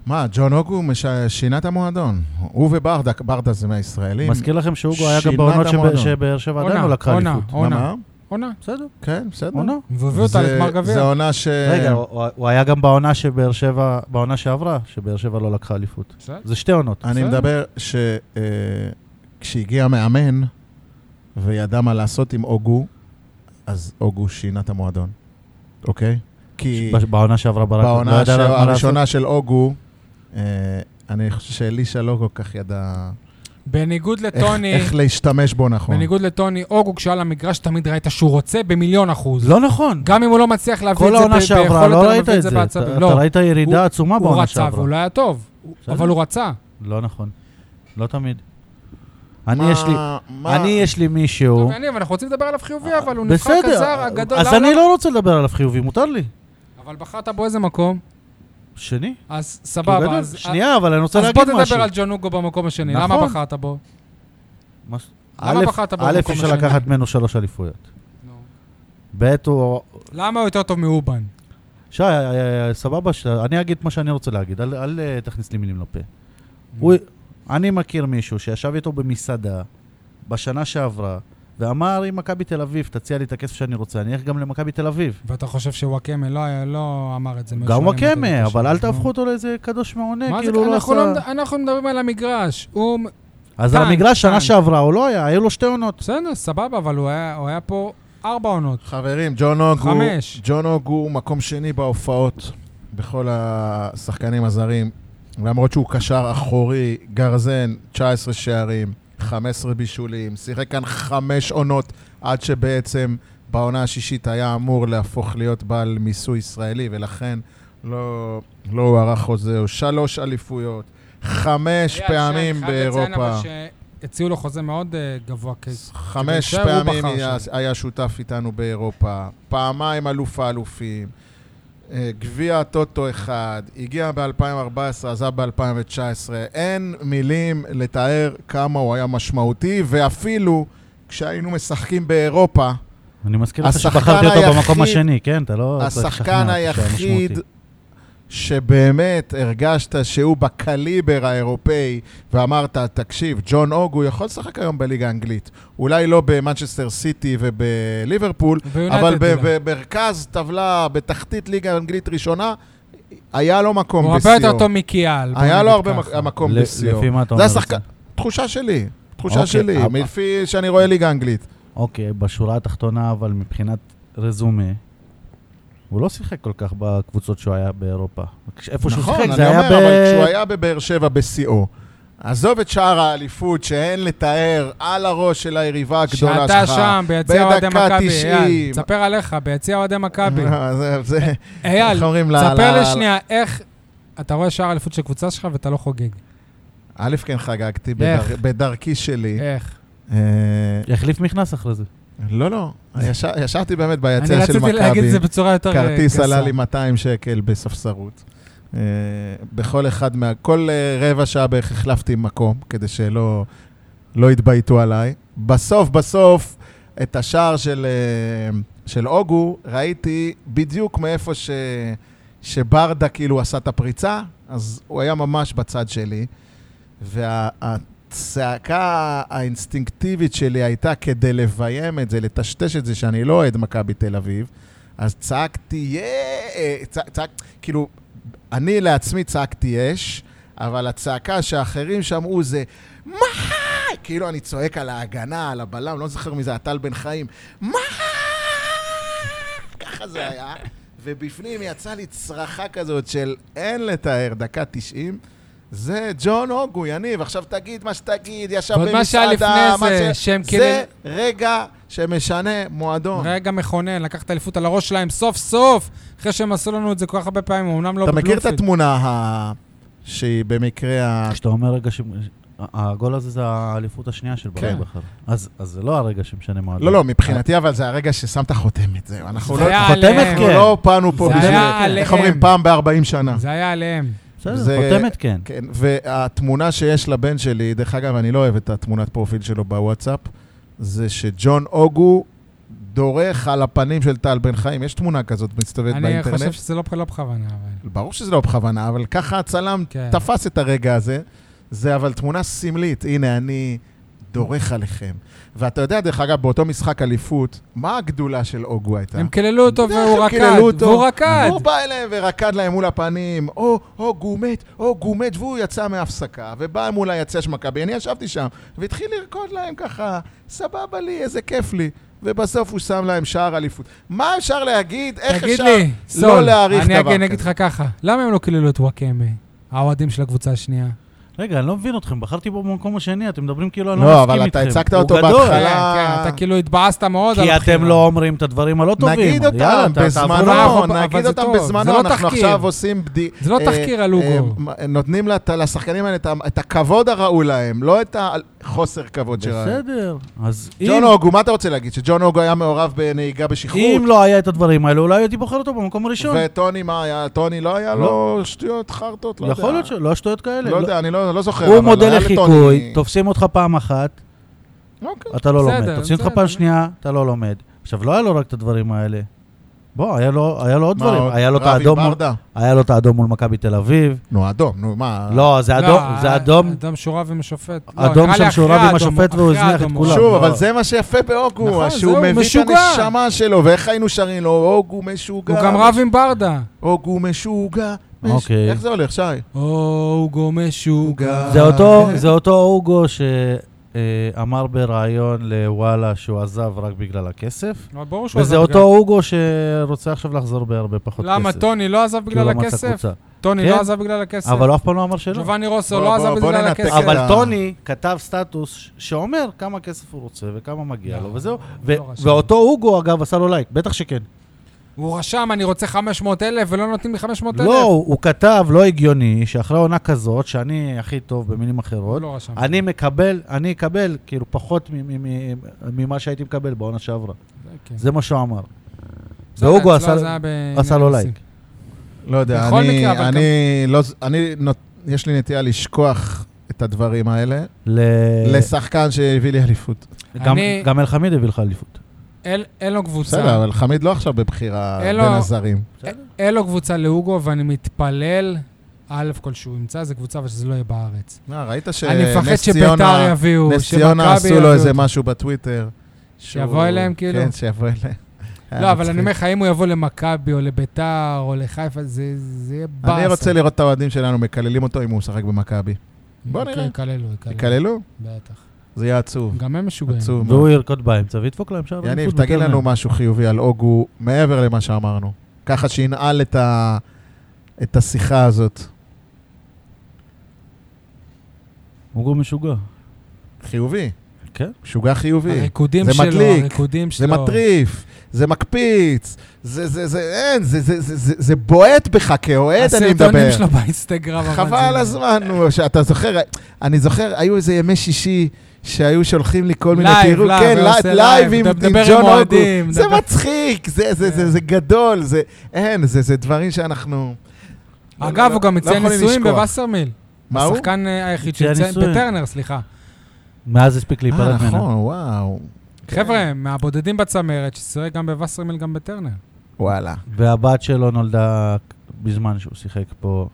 [SPEAKER 3] מה, ג'ון הוגו מש- שינה את המועדון. הוא וברדה, ברדה זה מהישראלים.
[SPEAKER 2] מזכיר לכם שאוגו היה
[SPEAKER 3] שינה
[SPEAKER 2] גם
[SPEAKER 3] את
[SPEAKER 2] בעונות שבא-
[SPEAKER 3] המועדון.
[SPEAKER 2] שבאר שבע עדיין
[SPEAKER 1] עונה,
[SPEAKER 2] לא לקחה
[SPEAKER 1] עונה,
[SPEAKER 2] אליפות.
[SPEAKER 3] מה,
[SPEAKER 1] עונה,
[SPEAKER 3] מה?
[SPEAKER 1] עונה.
[SPEAKER 2] בסדר,
[SPEAKER 3] כן, בסדר.
[SPEAKER 2] עונה.
[SPEAKER 1] והביא אותה
[SPEAKER 3] זה-
[SPEAKER 1] לגמר גביע.
[SPEAKER 3] זה עונה ש...
[SPEAKER 2] רגע, הוא- הוא היה גם בעונה שבאר שבע, בעונה שעברה, שבאר שבע לא לקחה אליפות.
[SPEAKER 1] בסדר.
[SPEAKER 2] זה שתי עונות.
[SPEAKER 3] אה, אני
[SPEAKER 1] בסדר.
[SPEAKER 3] מדבר שכשהגיע מאמן וידע מה לעשות עם הוגו, אז הוגו שינה את המועדון, אוקיי? כי...
[SPEAKER 2] ב- בעונה שעברה ברק. לא
[SPEAKER 3] בעונה
[SPEAKER 2] ידע מה לעשות.
[SPEAKER 3] הראשונה של הוגו, אה, אני חושב שאלישע לא כל כך ידע
[SPEAKER 1] בניגוד
[SPEAKER 3] איך-
[SPEAKER 1] לטוני,
[SPEAKER 2] לא.
[SPEAKER 3] איך להשתמש בו נכון.
[SPEAKER 1] בניגוד לטוני, אוגו כשהיה על המגרש, תמיד ראית שהוא רוצה במיליון אחוז.
[SPEAKER 2] לא נכון.
[SPEAKER 1] גם אם הוא לא מצליח להביא את
[SPEAKER 2] כל
[SPEAKER 1] זה ב-
[SPEAKER 2] העונה
[SPEAKER 1] ביכולת,
[SPEAKER 2] שעברה,
[SPEAKER 1] אבל
[SPEAKER 2] לא
[SPEAKER 1] הוא
[SPEAKER 2] ראית
[SPEAKER 1] מביא
[SPEAKER 2] את זה.
[SPEAKER 1] בעצב-
[SPEAKER 2] אתה
[SPEAKER 1] לא,
[SPEAKER 2] אתה ראית ירידה
[SPEAKER 1] הוא-
[SPEAKER 2] עצומה
[SPEAKER 1] הוא
[SPEAKER 2] בעונה
[SPEAKER 1] רצה
[SPEAKER 2] שעברה.
[SPEAKER 1] והוא לא היה טוב, הוא-
[SPEAKER 2] בסדר.
[SPEAKER 1] אבל הוא רצה.
[SPEAKER 2] לא נכון. לא תמיד.
[SPEAKER 3] מה-
[SPEAKER 2] אני יש לי...
[SPEAKER 3] מה-
[SPEAKER 2] אני יש לי מישהו...
[SPEAKER 1] טוב, יניב, אנחנו רוצים לדבר עליו חיובי, אבל הוא נבחר כזר
[SPEAKER 2] בסדר,
[SPEAKER 1] הגדול.
[SPEAKER 2] אז
[SPEAKER 1] למה
[SPEAKER 2] אני לא רוצה לדבר עליו חיובי, מותר לי.
[SPEAKER 1] אבל בחרת בו איזה מקום,
[SPEAKER 2] שני?
[SPEAKER 1] אז
[SPEAKER 2] כי הוא גדול.
[SPEAKER 1] סבבה. אז-
[SPEAKER 2] שנייה, אבל אני רוצה
[SPEAKER 1] אז
[SPEAKER 2] להגיד
[SPEAKER 1] בוא
[SPEAKER 2] משהו.
[SPEAKER 1] תדבר על ג'ון הוגו במקום השני. למה
[SPEAKER 2] נכון.
[SPEAKER 1] בחרת בו?
[SPEAKER 2] מס-
[SPEAKER 1] למה
[SPEAKER 2] א',
[SPEAKER 1] בחרת בו
[SPEAKER 2] א',
[SPEAKER 1] במקום
[SPEAKER 2] אפשר
[SPEAKER 1] השני?
[SPEAKER 2] לקחת ממנו שלוש אליפויות.
[SPEAKER 1] נו.
[SPEAKER 2] ב', הוא...
[SPEAKER 1] למה הוא יותר טוב מאובן?
[SPEAKER 2] שי, אה, אה, סבבה, ש- אני אגיד מה שאני רוצה להגיד, אל- אל אה, תכניס לי מילים לפה. הוא- אני מכיר מישהו שישב איתו במסעדה בשנה שעברה, ואמר, אם מכבי תל אביב תציע לי את הכסף שאני רוצה, אני אלך גם למכבי תל אביב.
[SPEAKER 1] ואתה חושב שוואקמה לא היה- לא אמר את לא? זה.
[SPEAKER 2] גם
[SPEAKER 1] מלשון אמת,
[SPEAKER 2] וואקמה,
[SPEAKER 1] אלא
[SPEAKER 2] אבל אל
[SPEAKER 1] קשה.
[SPEAKER 2] תהפכו אותו לאיזה קדוש מעונה,
[SPEAKER 1] מה זה,
[SPEAKER 2] כאילו הוא לא
[SPEAKER 1] אנחנו לא
[SPEAKER 2] עשה...
[SPEAKER 1] מד- אנחנו מדברים על המגרש. הוא...
[SPEAKER 2] אז
[SPEAKER 1] טנק,
[SPEAKER 2] על המגרש שנה
[SPEAKER 1] טנק.
[SPEAKER 2] שעברה הוא לא היה, היו לו שתי עונות.
[SPEAKER 1] בסדר, סבבה, אבל הוא היה הוא היה פה ארבע עונות.
[SPEAKER 3] חברים, ג'ון הוגו,
[SPEAKER 1] חמש.
[SPEAKER 3] ג'ון הוגו הוא מקום שני בהופעות בכל השחקנים הזרים. למרות שהוא קשר אחורי, גרזן, 19 שערים, 15 בישולים, שיחק כאן חמש עונות עד שבעצם בעונה השישית היה אמור להפוך להיות בעל מיסוי ישראלי, ולכן לא, לא הוארך חוזהו. שלוש אליפויות, חמש
[SPEAKER 1] אייל,
[SPEAKER 3] פעמים
[SPEAKER 1] שאני חייב לציין
[SPEAKER 3] באירופה.
[SPEAKER 1] אבל שהציעו לו חוזה מאוד אה, גבוה, כי
[SPEAKER 3] חמש
[SPEAKER 1] כדי להישאר, הוא
[SPEAKER 3] פעמים
[SPEAKER 1] בחר
[SPEAKER 3] היה,
[SPEAKER 1] שם.
[SPEAKER 3] היה שותף איתנו באירופה, פעמיים אלוף האלופים, אה, גביע הטוטו אחד, הגיע ב-2014, עזב ב-2019. אין מילים לתאר כמה הוא היה משמעותי, ואפילו כשהיינו משחקים באירופה,
[SPEAKER 2] אני מזכיר לך
[SPEAKER 3] השחקן
[SPEAKER 2] שבחרתי אותו
[SPEAKER 3] היחיד-
[SPEAKER 2] במקום השני, כן? אתה לא... צריך
[SPEAKER 3] השחקן
[SPEAKER 2] לשכנע אותי שהיה
[SPEAKER 3] היחיד
[SPEAKER 2] משמעותי.
[SPEAKER 3] שבאמת הרגשת שהוא בקליבר האירופאי, ואמרת, תקשיב, ג'ון אוג, הוא יכול לשחק היום בליגה האנגלית. אולי לא במנצ'סטר סיטי ובליברפול,
[SPEAKER 1] וביונייטד
[SPEAKER 3] אבל ב-
[SPEAKER 1] אולי.
[SPEAKER 3] במרכז טבלה, בתחתית ליגה האנגלית ראשונה, היה לו מקום
[SPEAKER 1] הוא
[SPEAKER 3] בשיאו.
[SPEAKER 1] הרבה יותר טוב מקיאל. בוא
[SPEAKER 3] היה לו
[SPEAKER 1] נגיד
[SPEAKER 3] הרבה
[SPEAKER 1] ככה.
[SPEAKER 3] מק- מקום
[SPEAKER 2] ל-
[SPEAKER 3] בשיאו.
[SPEAKER 2] לפי מה אתה
[SPEAKER 3] זה
[SPEAKER 2] אומר את
[SPEAKER 3] השחקן,
[SPEAKER 2] זה?
[SPEAKER 3] תחושה שלי, תחושה
[SPEAKER 2] אוקיי,
[SPEAKER 3] שלי,
[SPEAKER 2] אבל-
[SPEAKER 3] לפי שאני רואה ליגה אנגלית.
[SPEAKER 2] אוקיי, בשורה התחתונה, אבל מבחינת רזומה, הוא לא שיחק כל כך בקבוצות שהוא היה באירופה. כש- איפה שהוא
[SPEAKER 3] נכון,
[SPEAKER 2] שיחק,
[SPEAKER 3] אני
[SPEAKER 2] זה היה
[SPEAKER 3] אומר,
[SPEAKER 2] ב...
[SPEAKER 3] אבל כשהוא היה בבאר שבע בשיאו, עזוב את שער האליפות שאין לתאר על הראש של היריבה הגדולה שלך.
[SPEAKER 1] שאתה שם, ביציע אוהדי
[SPEAKER 3] בדקה
[SPEAKER 1] מכבי,
[SPEAKER 3] 90.
[SPEAKER 1] אייל. תספר עליך, ביציע אוהדי מכבי.
[SPEAKER 3] זה- זה-
[SPEAKER 1] אייל,
[SPEAKER 3] איך אומרים? ל-
[SPEAKER 1] תספר
[SPEAKER 3] ל-
[SPEAKER 1] לי שנייה, איך... אתה רואה שער אליפות של קבוצה שלך ואתה לא חוגג.
[SPEAKER 3] א', כן חגגתי
[SPEAKER 1] איך?
[SPEAKER 3] בדר- בדרכי שלי.
[SPEAKER 1] איך?
[SPEAKER 3] אה,
[SPEAKER 2] החליף מכנס אחרי זה.
[SPEAKER 3] לא, לא, ישר- ישבתי באמת
[SPEAKER 1] אני
[SPEAKER 3] ביציע של מכבי.
[SPEAKER 1] רציתי להגיד את זה בצורה יותר אה, גסה.
[SPEAKER 3] כרטיס עלה לי 200 שקל בספסרות. אה, בכל אחד מה... כל אה, רבע שעה בערך החלפתי מקום, כדי שלא לא יתבייתו עליי. בסוף, בסוף, את השער של, אה, של אוגו ראיתי בדיוק מאיפה ש, שברדה כאילו עשה את הפריצה, אז הוא היה ממש בצד שלי. והצעקה האינסטינקטיבית שלי הייתה כדי לביים את זה, לטשטש את זה שאני לא אוהד מכבי תל אביב, אז צעקתי, "יא!" צע, צעק, כאילו, אני לעצמי צעקתי יש, אבל הצעקה שהאחרים שמעו זה, מה? כאילו אני צועק על ההגנה, על הבלם, לא זוכר מי זה, הטל בן חיים, מה? ככה זה היה, ובפנים יצאה לי צרחה כזאת של אין לתאר, דקה 90. זה ג'ון הוגו, יניב, עכשיו תגיד מה שתגיד, ישב
[SPEAKER 1] ועוד מה שהיה
[SPEAKER 3] במסעדה,
[SPEAKER 1] לפני זה, שהם כאילו-
[SPEAKER 3] זה רגע שמשנה מועדון.
[SPEAKER 1] רגע מכונן, לקח את האליפות על הראש שלהם סוף סוף, אחרי שהם עשו לנו את זה כל כך הרבה פעמים, אמנם לא
[SPEAKER 3] אתה מכיר את
[SPEAKER 1] בבלומפילד.
[SPEAKER 3] התמונה ה... שהיא במקרה ה...
[SPEAKER 2] כשאתה אומר רגע ש... הגול הזה זה האליפות השנייה של ברק
[SPEAKER 3] כן.
[SPEAKER 2] בכר. אז אז זה לא הרגע שמשנה מועדון.
[SPEAKER 3] לא, לא, מבחינתי אבל זה הרגע ששמת חותמת, זהו. אנחנו לא...
[SPEAKER 1] זה היה
[SPEAKER 2] חותמת, כן.
[SPEAKER 1] עליהם.
[SPEAKER 3] אנחנו לא באנו פה
[SPEAKER 1] זה
[SPEAKER 3] בשביל...
[SPEAKER 1] היה
[SPEAKER 3] איך
[SPEAKER 1] עליהם.
[SPEAKER 3] אומרים? פעם ב-40 שנה.
[SPEAKER 1] זה היה עליהם.
[SPEAKER 2] בסדר,
[SPEAKER 3] זה-
[SPEAKER 2] חותמת כן.
[SPEAKER 3] כן, והתמונה שיש לבן שלי, דרך אגב, אני לא אוהב את התמונת פרופיל שלו בוואטסאפ, זה שג'ון אוגו דורך על הפנים של טל בן חיים. יש תמונה כזאת מסתובבת
[SPEAKER 1] אני חושב
[SPEAKER 3] באינטרנט.
[SPEAKER 1] שזה לא לא בכוונה, אבל...
[SPEAKER 3] ברור שזה לא בכוונה, אבל ככה הצלם
[SPEAKER 1] כן.
[SPEAKER 3] תפס את הרגע הזה. זה אבל תמונה סמלית. הנה, אני דורך עליכם. ואתה יודע, דרך אגב, באותו משחק אליפות, מה הגדולה של אוגו הייתה?
[SPEAKER 1] הם קיללו אותו
[SPEAKER 3] אתה יודע
[SPEAKER 1] והוא
[SPEAKER 3] איך הם קיללו
[SPEAKER 1] רקד,
[SPEAKER 3] אותו?
[SPEAKER 1] והוא רקד.
[SPEAKER 3] הוא בא אליהם ורקד להם מול הפנים, או, או, גו מת, או, גו מת, והוא יצא מהפסקה, ובא מול היציע של מכבי, אני ישבתי שם, והתחיל לרקוד להם ככה, סבבה לי, איזה כיף לי. ובסוף הוא שם להם שער אליפות. מה אפשר להגיד? איך
[SPEAKER 1] תגיד
[SPEAKER 3] אפשר
[SPEAKER 1] לי,
[SPEAKER 3] לא
[SPEAKER 1] סול, אני
[SPEAKER 3] להעריך דבר
[SPEAKER 1] אגיד- אני אגיד
[SPEAKER 3] כזה?
[SPEAKER 1] לך ככה, למה הם לא קיללו את וואקמה, האוהדים של הקבוצה השנייה?
[SPEAKER 2] רגע, אני לא מבין אתכם, בחרתי בו במקום השני, אתם מדברים כאילו אני לא
[SPEAKER 3] לא,
[SPEAKER 2] מסכים
[SPEAKER 3] אבל
[SPEAKER 2] איתכם.
[SPEAKER 3] אתה הצגת
[SPEAKER 2] הוא
[SPEAKER 3] אותו
[SPEAKER 2] גדול.
[SPEAKER 3] בהתחלה.
[SPEAKER 1] כן, כן, אתה כאילו התבאסת מאוד על
[SPEAKER 2] כי
[SPEAKER 1] הבחירה.
[SPEAKER 2] אתם לא אומרים את הדברים הלא טובים.
[SPEAKER 3] נגיד
[SPEAKER 2] יאללה,
[SPEAKER 3] אותם
[SPEAKER 2] ת- תעברו
[SPEAKER 1] לעבור,
[SPEAKER 3] בזמנו,
[SPEAKER 1] אבל
[SPEAKER 3] נגיד
[SPEAKER 1] זה
[SPEAKER 3] אותם
[SPEAKER 1] טוב, זה
[SPEAKER 3] בזמנו,
[SPEAKER 1] לא תחקיר.
[SPEAKER 3] אנחנו עכשיו עושים בדי...
[SPEAKER 1] זה לא
[SPEAKER 3] אה,
[SPEAKER 1] תחקיר על אוגו.
[SPEAKER 3] אה, מ- נותנים לת- לשחקנים האלה את ה- את הכבוד הראוי להם, לא את החוסר כבוד שלהם.
[SPEAKER 2] בסדר, אז אם,
[SPEAKER 3] ג'ון אוגו, מה אתה רוצה להגיד? שג'ון אוגו היה מעורב בנהיגה בשכרות?
[SPEAKER 2] אם לא היה את הדברים האלה, אולי הייתי בוחר אותו במקום הראשון.
[SPEAKER 3] וטוני, מה היה? טוני לא היה לו שטויות חרטות? לא
[SPEAKER 2] יכול
[SPEAKER 3] יודע.
[SPEAKER 2] להיות שלא שטויות כאלה.
[SPEAKER 3] לא
[SPEAKER 2] לא-
[SPEAKER 3] יודע, אני לא לא זוכר.
[SPEAKER 2] הוא
[SPEAKER 3] אבל
[SPEAKER 2] מודל
[SPEAKER 3] היה
[SPEAKER 2] לחיקוי,
[SPEAKER 3] לטוני-
[SPEAKER 2] תופסים אותך פעם אחת,
[SPEAKER 3] אוקיי.
[SPEAKER 2] אתה לא
[SPEAKER 1] בסדר,
[SPEAKER 2] לומד. תופסים אותך
[SPEAKER 1] בסדר.
[SPEAKER 2] פעם שנייה, אתה לא לומד. עכשיו, לא היה לו רק את הדברים האלה. בוא, היה לו היה לו עוד
[SPEAKER 3] מה
[SPEAKER 2] דברים.
[SPEAKER 3] עוד?
[SPEAKER 2] היה לו את
[SPEAKER 3] רבי
[SPEAKER 2] האדום מול-
[SPEAKER 3] ברדה?
[SPEAKER 2] היה לו את האדום מול מכבי תל אביב.
[SPEAKER 3] נו, אדום, נו, מה?
[SPEAKER 2] לא, זה אדום,
[SPEAKER 1] לא,
[SPEAKER 2] זה אדום.
[SPEAKER 1] אדום שורב עם השופט. לא,
[SPEAKER 2] אדום
[SPEAKER 1] נראה לי
[SPEAKER 2] שם שורב
[SPEAKER 1] אחרי
[SPEAKER 2] עם
[SPEAKER 1] האדום,
[SPEAKER 2] השופט והוא
[SPEAKER 1] אחרי
[SPEAKER 2] הזניח את
[SPEAKER 1] האדום.
[SPEAKER 2] כולם.
[SPEAKER 3] שוב,
[SPEAKER 2] לא.
[SPEAKER 3] אבל זה מה שיפה באוגו,
[SPEAKER 1] נכון,
[SPEAKER 3] שהוא
[SPEAKER 1] זהו,
[SPEAKER 3] מביא את
[SPEAKER 1] משוגע.
[SPEAKER 3] הנשמה שלו, ואיך היינו שרים לו, אוגו משוגע.
[SPEAKER 1] הוא גם רב עם ברדה.
[SPEAKER 3] הוגו משוגע. מש-
[SPEAKER 2] אוקיי.
[SPEAKER 3] איך זה הולך, שי?
[SPEAKER 1] אוגו משוגע. אה,
[SPEAKER 2] זה אותו, זה אותו אוגו ש... אה, אמר בריאיון לוואלה שהוא עזב רק בגלל הכסף.
[SPEAKER 1] אבל ברור שהוא
[SPEAKER 2] וזה
[SPEAKER 1] עזב
[SPEAKER 2] אותו
[SPEAKER 1] בגלל...
[SPEAKER 2] הוגו שרוצה עכשיו לחזור בהרבה פחות כסף.
[SPEAKER 1] למה, טוני לא עזב
[SPEAKER 2] כי הוא
[SPEAKER 1] בגלל
[SPEAKER 2] לא מצא
[SPEAKER 1] הכסף?
[SPEAKER 2] קבוצה.
[SPEAKER 1] טוני
[SPEAKER 2] כן.
[SPEAKER 1] לא עזב בגלל הכסף?
[SPEAKER 2] אבל הוא אף פעם לא אמר שלא.
[SPEAKER 1] ג'ובאני רוסו
[SPEAKER 3] בוא-
[SPEAKER 1] לא
[SPEAKER 3] בוא-
[SPEAKER 1] עזב
[SPEAKER 3] בוא
[SPEAKER 1] בגלל
[SPEAKER 3] ננתק
[SPEAKER 1] הכסף.
[SPEAKER 3] את ה-
[SPEAKER 2] אבל טוני כתב סטטוס ש- שאומר כמה כסף הוא רוצה וכמה מגיע
[SPEAKER 1] לא,
[SPEAKER 2] לו, וזהו.
[SPEAKER 1] לא
[SPEAKER 2] ו-
[SPEAKER 1] רשם.
[SPEAKER 2] ואותו הוגו, אגב, עשה לו לייק, בטח שכן.
[SPEAKER 1] הוא רשם, אני רוצה 500 אלף, ולא נותנים לי 500 אלף.
[SPEAKER 2] לא, הוא כתב, לא הגיוני, שאחרי עונה כזאת, שאני הכי טוב במילים
[SPEAKER 1] הוא
[SPEAKER 2] אחרות,
[SPEAKER 1] לא רשם.
[SPEAKER 2] אני מקבל, אני אקבל כאילו פחות מ- מ- מ- ממה שהייתי מקבל בעונה שעברה.
[SPEAKER 1] כן.
[SPEAKER 2] זה מה שהוא אמר.
[SPEAKER 1] בסדר,
[SPEAKER 2] והוגו
[SPEAKER 1] אצלו
[SPEAKER 2] עשה-
[SPEAKER 1] זה היה בעניין
[SPEAKER 2] עשה לו
[SPEAKER 1] הנושאים.
[SPEAKER 2] לייק.
[SPEAKER 3] לא יודע,
[SPEAKER 1] בכל
[SPEAKER 3] אני,
[SPEAKER 1] מקרה, אבל
[SPEAKER 3] אני, לא, ז- אני נות, יש לי נטייה לשכוח את הדברים האלה
[SPEAKER 2] אה. ל-
[SPEAKER 3] לשחקן שהביא לי אליפות.
[SPEAKER 2] גם-
[SPEAKER 1] אני-
[SPEAKER 2] גם אלחמיד הביא לך אליפות.
[SPEAKER 1] אין- אין לו קבוצה.
[SPEAKER 3] בסדר, אבל חמיד לא עכשיו בבחירה
[SPEAKER 1] אין
[SPEAKER 3] בין
[SPEAKER 1] לו-
[SPEAKER 3] הזרים.
[SPEAKER 1] אין לו קבוצה להוגו, ואני מתפלל, א' כל שהוא ימצא איזה קבוצה, אבל שזה לא יהיה בארץ.
[SPEAKER 3] מה, ראית
[SPEAKER 1] אני מפחד
[SPEAKER 3] שנס
[SPEAKER 1] שביתר
[SPEAKER 3] אה, ציונה,
[SPEAKER 1] יביאו,
[SPEAKER 3] נס
[SPEAKER 1] שמכבי
[SPEAKER 3] ציונה עשו
[SPEAKER 1] יביאו.
[SPEAKER 3] לו איזה משהו בטוויטר.
[SPEAKER 1] שיבוא
[SPEAKER 3] שהוא-
[SPEAKER 1] אליהם כאילו?
[SPEAKER 3] כן, שיבוא אליהם.
[SPEAKER 1] לא, אבל אני אומר לך, אם הוא יבוא למכבי או לביתר או לחיפה, זה זה יהיה באסה.
[SPEAKER 3] אני רוצה לראות את האוהדים שלנו מקללים אותו אם הוא משחק במכבי. בוא נראה.
[SPEAKER 1] כן, יקללו, יקללו.
[SPEAKER 3] יקללו?
[SPEAKER 1] בטח.
[SPEAKER 3] זה יהיה עצוב.
[SPEAKER 1] גם הם משוגעים.
[SPEAKER 3] עצוב. מאוד.
[SPEAKER 2] והוא ירקוד באמצע וידפוק להם שער.
[SPEAKER 3] יניב,
[SPEAKER 2] אליפות
[SPEAKER 3] תגיד
[SPEAKER 2] יותר
[SPEAKER 3] לנו
[SPEAKER 2] מהם.
[SPEAKER 1] אה.
[SPEAKER 3] משהו חיובי על אוגו, מעבר למה שאמרנו. ככה שינעל את ה- את השיחה הזאת.
[SPEAKER 2] הוגו משוגע.
[SPEAKER 3] חיובי,
[SPEAKER 2] כן.
[SPEAKER 3] משוגע חיובי.
[SPEAKER 1] הריקודים
[SPEAKER 3] זה
[SPEAKER 1] שלו,
[SPEAKER 3] מדליק,
[SPEAKER 1] הריקודים
[SPEAKER 3] זה
[SPEAKER 1] שלו.
[SPEAKER 3] מטריף, זה מקפיץ, זה, זה, זה, אין, זה, זה, זה, זה, זה בועט בך כאוהד, אני
[SPEAKER 1] הסרטונים
[SPEAKER 3] מדבר.
[SPEAKER 1] שלו באינסטגרם. אבל
[SPEAKER 3] חבל על
[SPEAKER 1] זה-
[SPEAKER 3] הזמן, נו, שאתה זוכר, אני זוכר, היו איזה ימי שישי שהיו שולחים לי כל מיני,
[SPEAKER 1] לייב,
[SPEAKER 3] תראו,
[SPEAKER 1] לייב,
[SPEAKER 3] כן,
[SPEAKER 1] הוא
[SPEAKER 3] לי-
[SPEAKER 1] עושה
[SPEAKER 3] לייב
[SPEAKER 1] לייב,
[SPEAKER 3] עם
[SPEAKER 1] מדבר
[SPEAKER 3] עם
[SPEAKER 1] עם
[SPEAKER 3] ג'ון אוגו.
[SPEAKER 1] אוהדים,
[SPEAKER 3] זה
[SPEAKER 1] מדבר-
[SPEAKER 3] מצחיק, זה- זה-
[SPEAKER 1] כן.
[SPEAKER 3] זה זה גדול, זה, אין, זה זה דברים שאנחנו...
[SPEAKER 1] אגב,
[SPEAKER 3] לא-
[SPEAKER 1] הוא גם
[SPEAKER 3] לא
[SPEAKER 1] מציין
[SPEAKER 3] יכולים
[SPEAKER 1] נישואים
[SPEAKER 3] לשכוח.
[SPEAKER 1] בווסרמיל.
[SPEAKER 3] מה הוא?
[SPEAKER 1] השחקן אה, היחיד
[SPEAKER 2] מציין
[SPEAKER 1] שיוצא
[SPEAKER 2] נישואים.
[SPEAKER 1] בטרנר, סליחה.
[SPEAKER 2] מאז הספיק
[SPEAKER 3] אה,
[SPEAKER 2] להיפרד ממנו.
[SPEAKER 3] נכון, וואו, כן.
[SPEAKER 1] חבר'ה, מהבודדים בצמרת, ששיחק גם בווסרמיל, גם בטרנר.
[SPEAKER 3] וואלה.
[SPEAKER 2] והבת שלו נולדה בזמן שהוא שיחק פה.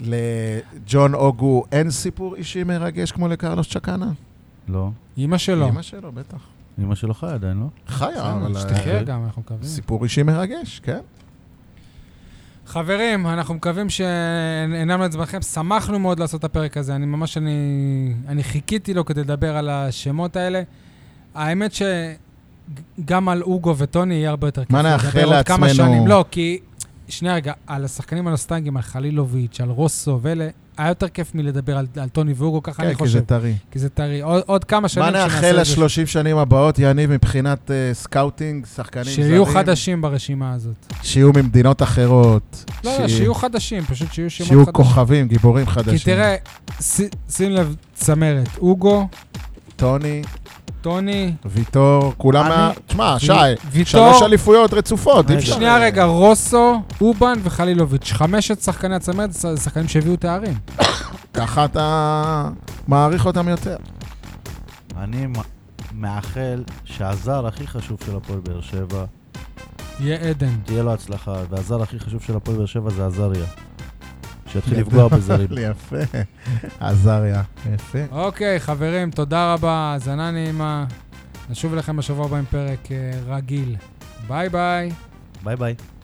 [SPEAKER 3] לג'ון אוגו אין סיפור אישי מרגש כמו לקרלוס צ'קנה?
[SPEAKER 2] לא.
[SPEAKER 1] אימא שלו.
[SPEAKER 3] אמא שלו, בטח.
[SPEAKER 2] אמא שלו חיה עדיין, לא?
[SPEAKER 3] חיה, אבל... אה,
[SPEAKER 1] שתחיה אה, גם, אנחנו מקווים.
[SPEAKER 3] סיפור אישי מרגש, כן.
[SPEAKER 1] חברים, אנחנו מקווים שאינם לעצמכם. שמחנו מאוד לעשות את הפרק הזה. אני ממש, אני, אני חיכיתי לו כדי לדבר על השמות האלה. האמת שגם על אוגו וטוני יהיה הרבה יותר כיף.
[SPEAKER 3] מה
[SPEAKER 1] לדבר
[SPEAKER 3] נאחל
[SPEAKER 1] עוד כמה
[SPEAKER 3] לעצמנו?
[SPEAKER 1] שנים. לא, כי... שנייה רגע, על השחקנים הנוסטנגים, על חלילוביץ', על רוסו ואלה, היה יותר כיף מלדבר על, על טוני ואוגו, ככה אני
[SPEAKER 3] כן, כי
[SPEAKER 1] חושב.
[SPEAKER 3] זה טרי.
[SPEAKER 1] כי זה טרי. עוד, עוד כמה שנים
[SPEAKER 3] מה נאחל
[SPEAKER 1] שנעשה את זה,
[SPEAKER 3] לשלושים שנים הבאות, יניב, מבחינת אה, סקאוטינג, שחקנים זרים?
[SPEAKER 1] שיהיו חדשים ברשימה הזאת.
[SPEAKER 3] שיהיו ממדינות אחרות.
[SPEAKER 1] לא, לא, שיהיו חדשים, פשוט שיהיו שמות
[SPEAKER 3] שיהיו
[SPEAKER 1] חדשים.
[SPEAKER 3] כוכבים, גיבורים
[SPEAKER 1] כי
[SPEAKER 3] חדשים.
[SPEAKER 1] תראה, ש- שים לב, צמרת, אוגו,
[SPEAKER 3] טוני,
[SPEAKER 1] טוני,
[SPEAKER 3] ויטור, כולם
[SPEAKER 2] אני-
[SPEAKER 3] מה... תשמע, שי,
[SPEAKER 1] ויטור-
[SPEAKER 3] שלוש אליפויות רצופות, אי
[SPEAKER 2] רגע.
[SPEAKER 3] אפשר.
[SPEAKER 1] שנייה רגע, רוסו, אובן וחלילוביץ'. חמשת שחקני הצמרת זה שחקנים שהביאו תארים.
[SPEAKER 3] ככה אתה מעריך אותם יותר.
[SPEAKER 2] אני מ- מאחל שהזר הכי חשוב של הפועל באר שבע,
[SPEAKER 1] יהיה עדן.
[SPEAKER 2] תהיה לו הצלחה, והזר הכי חשוב של הפועל באר שבע זה עזריה. שיתחיל לפגוע בזרים.
[SPEAKER 3] יפה. עזריה. יפה.
[SPEAKER 1] אוקיי, חברים, תודה רבה, האזנה נעימה. נשוב אליכם בשבוע הבא עם פרק אה, רגיל. ביי ביי.
[SPEAKER 2] ביי ביי.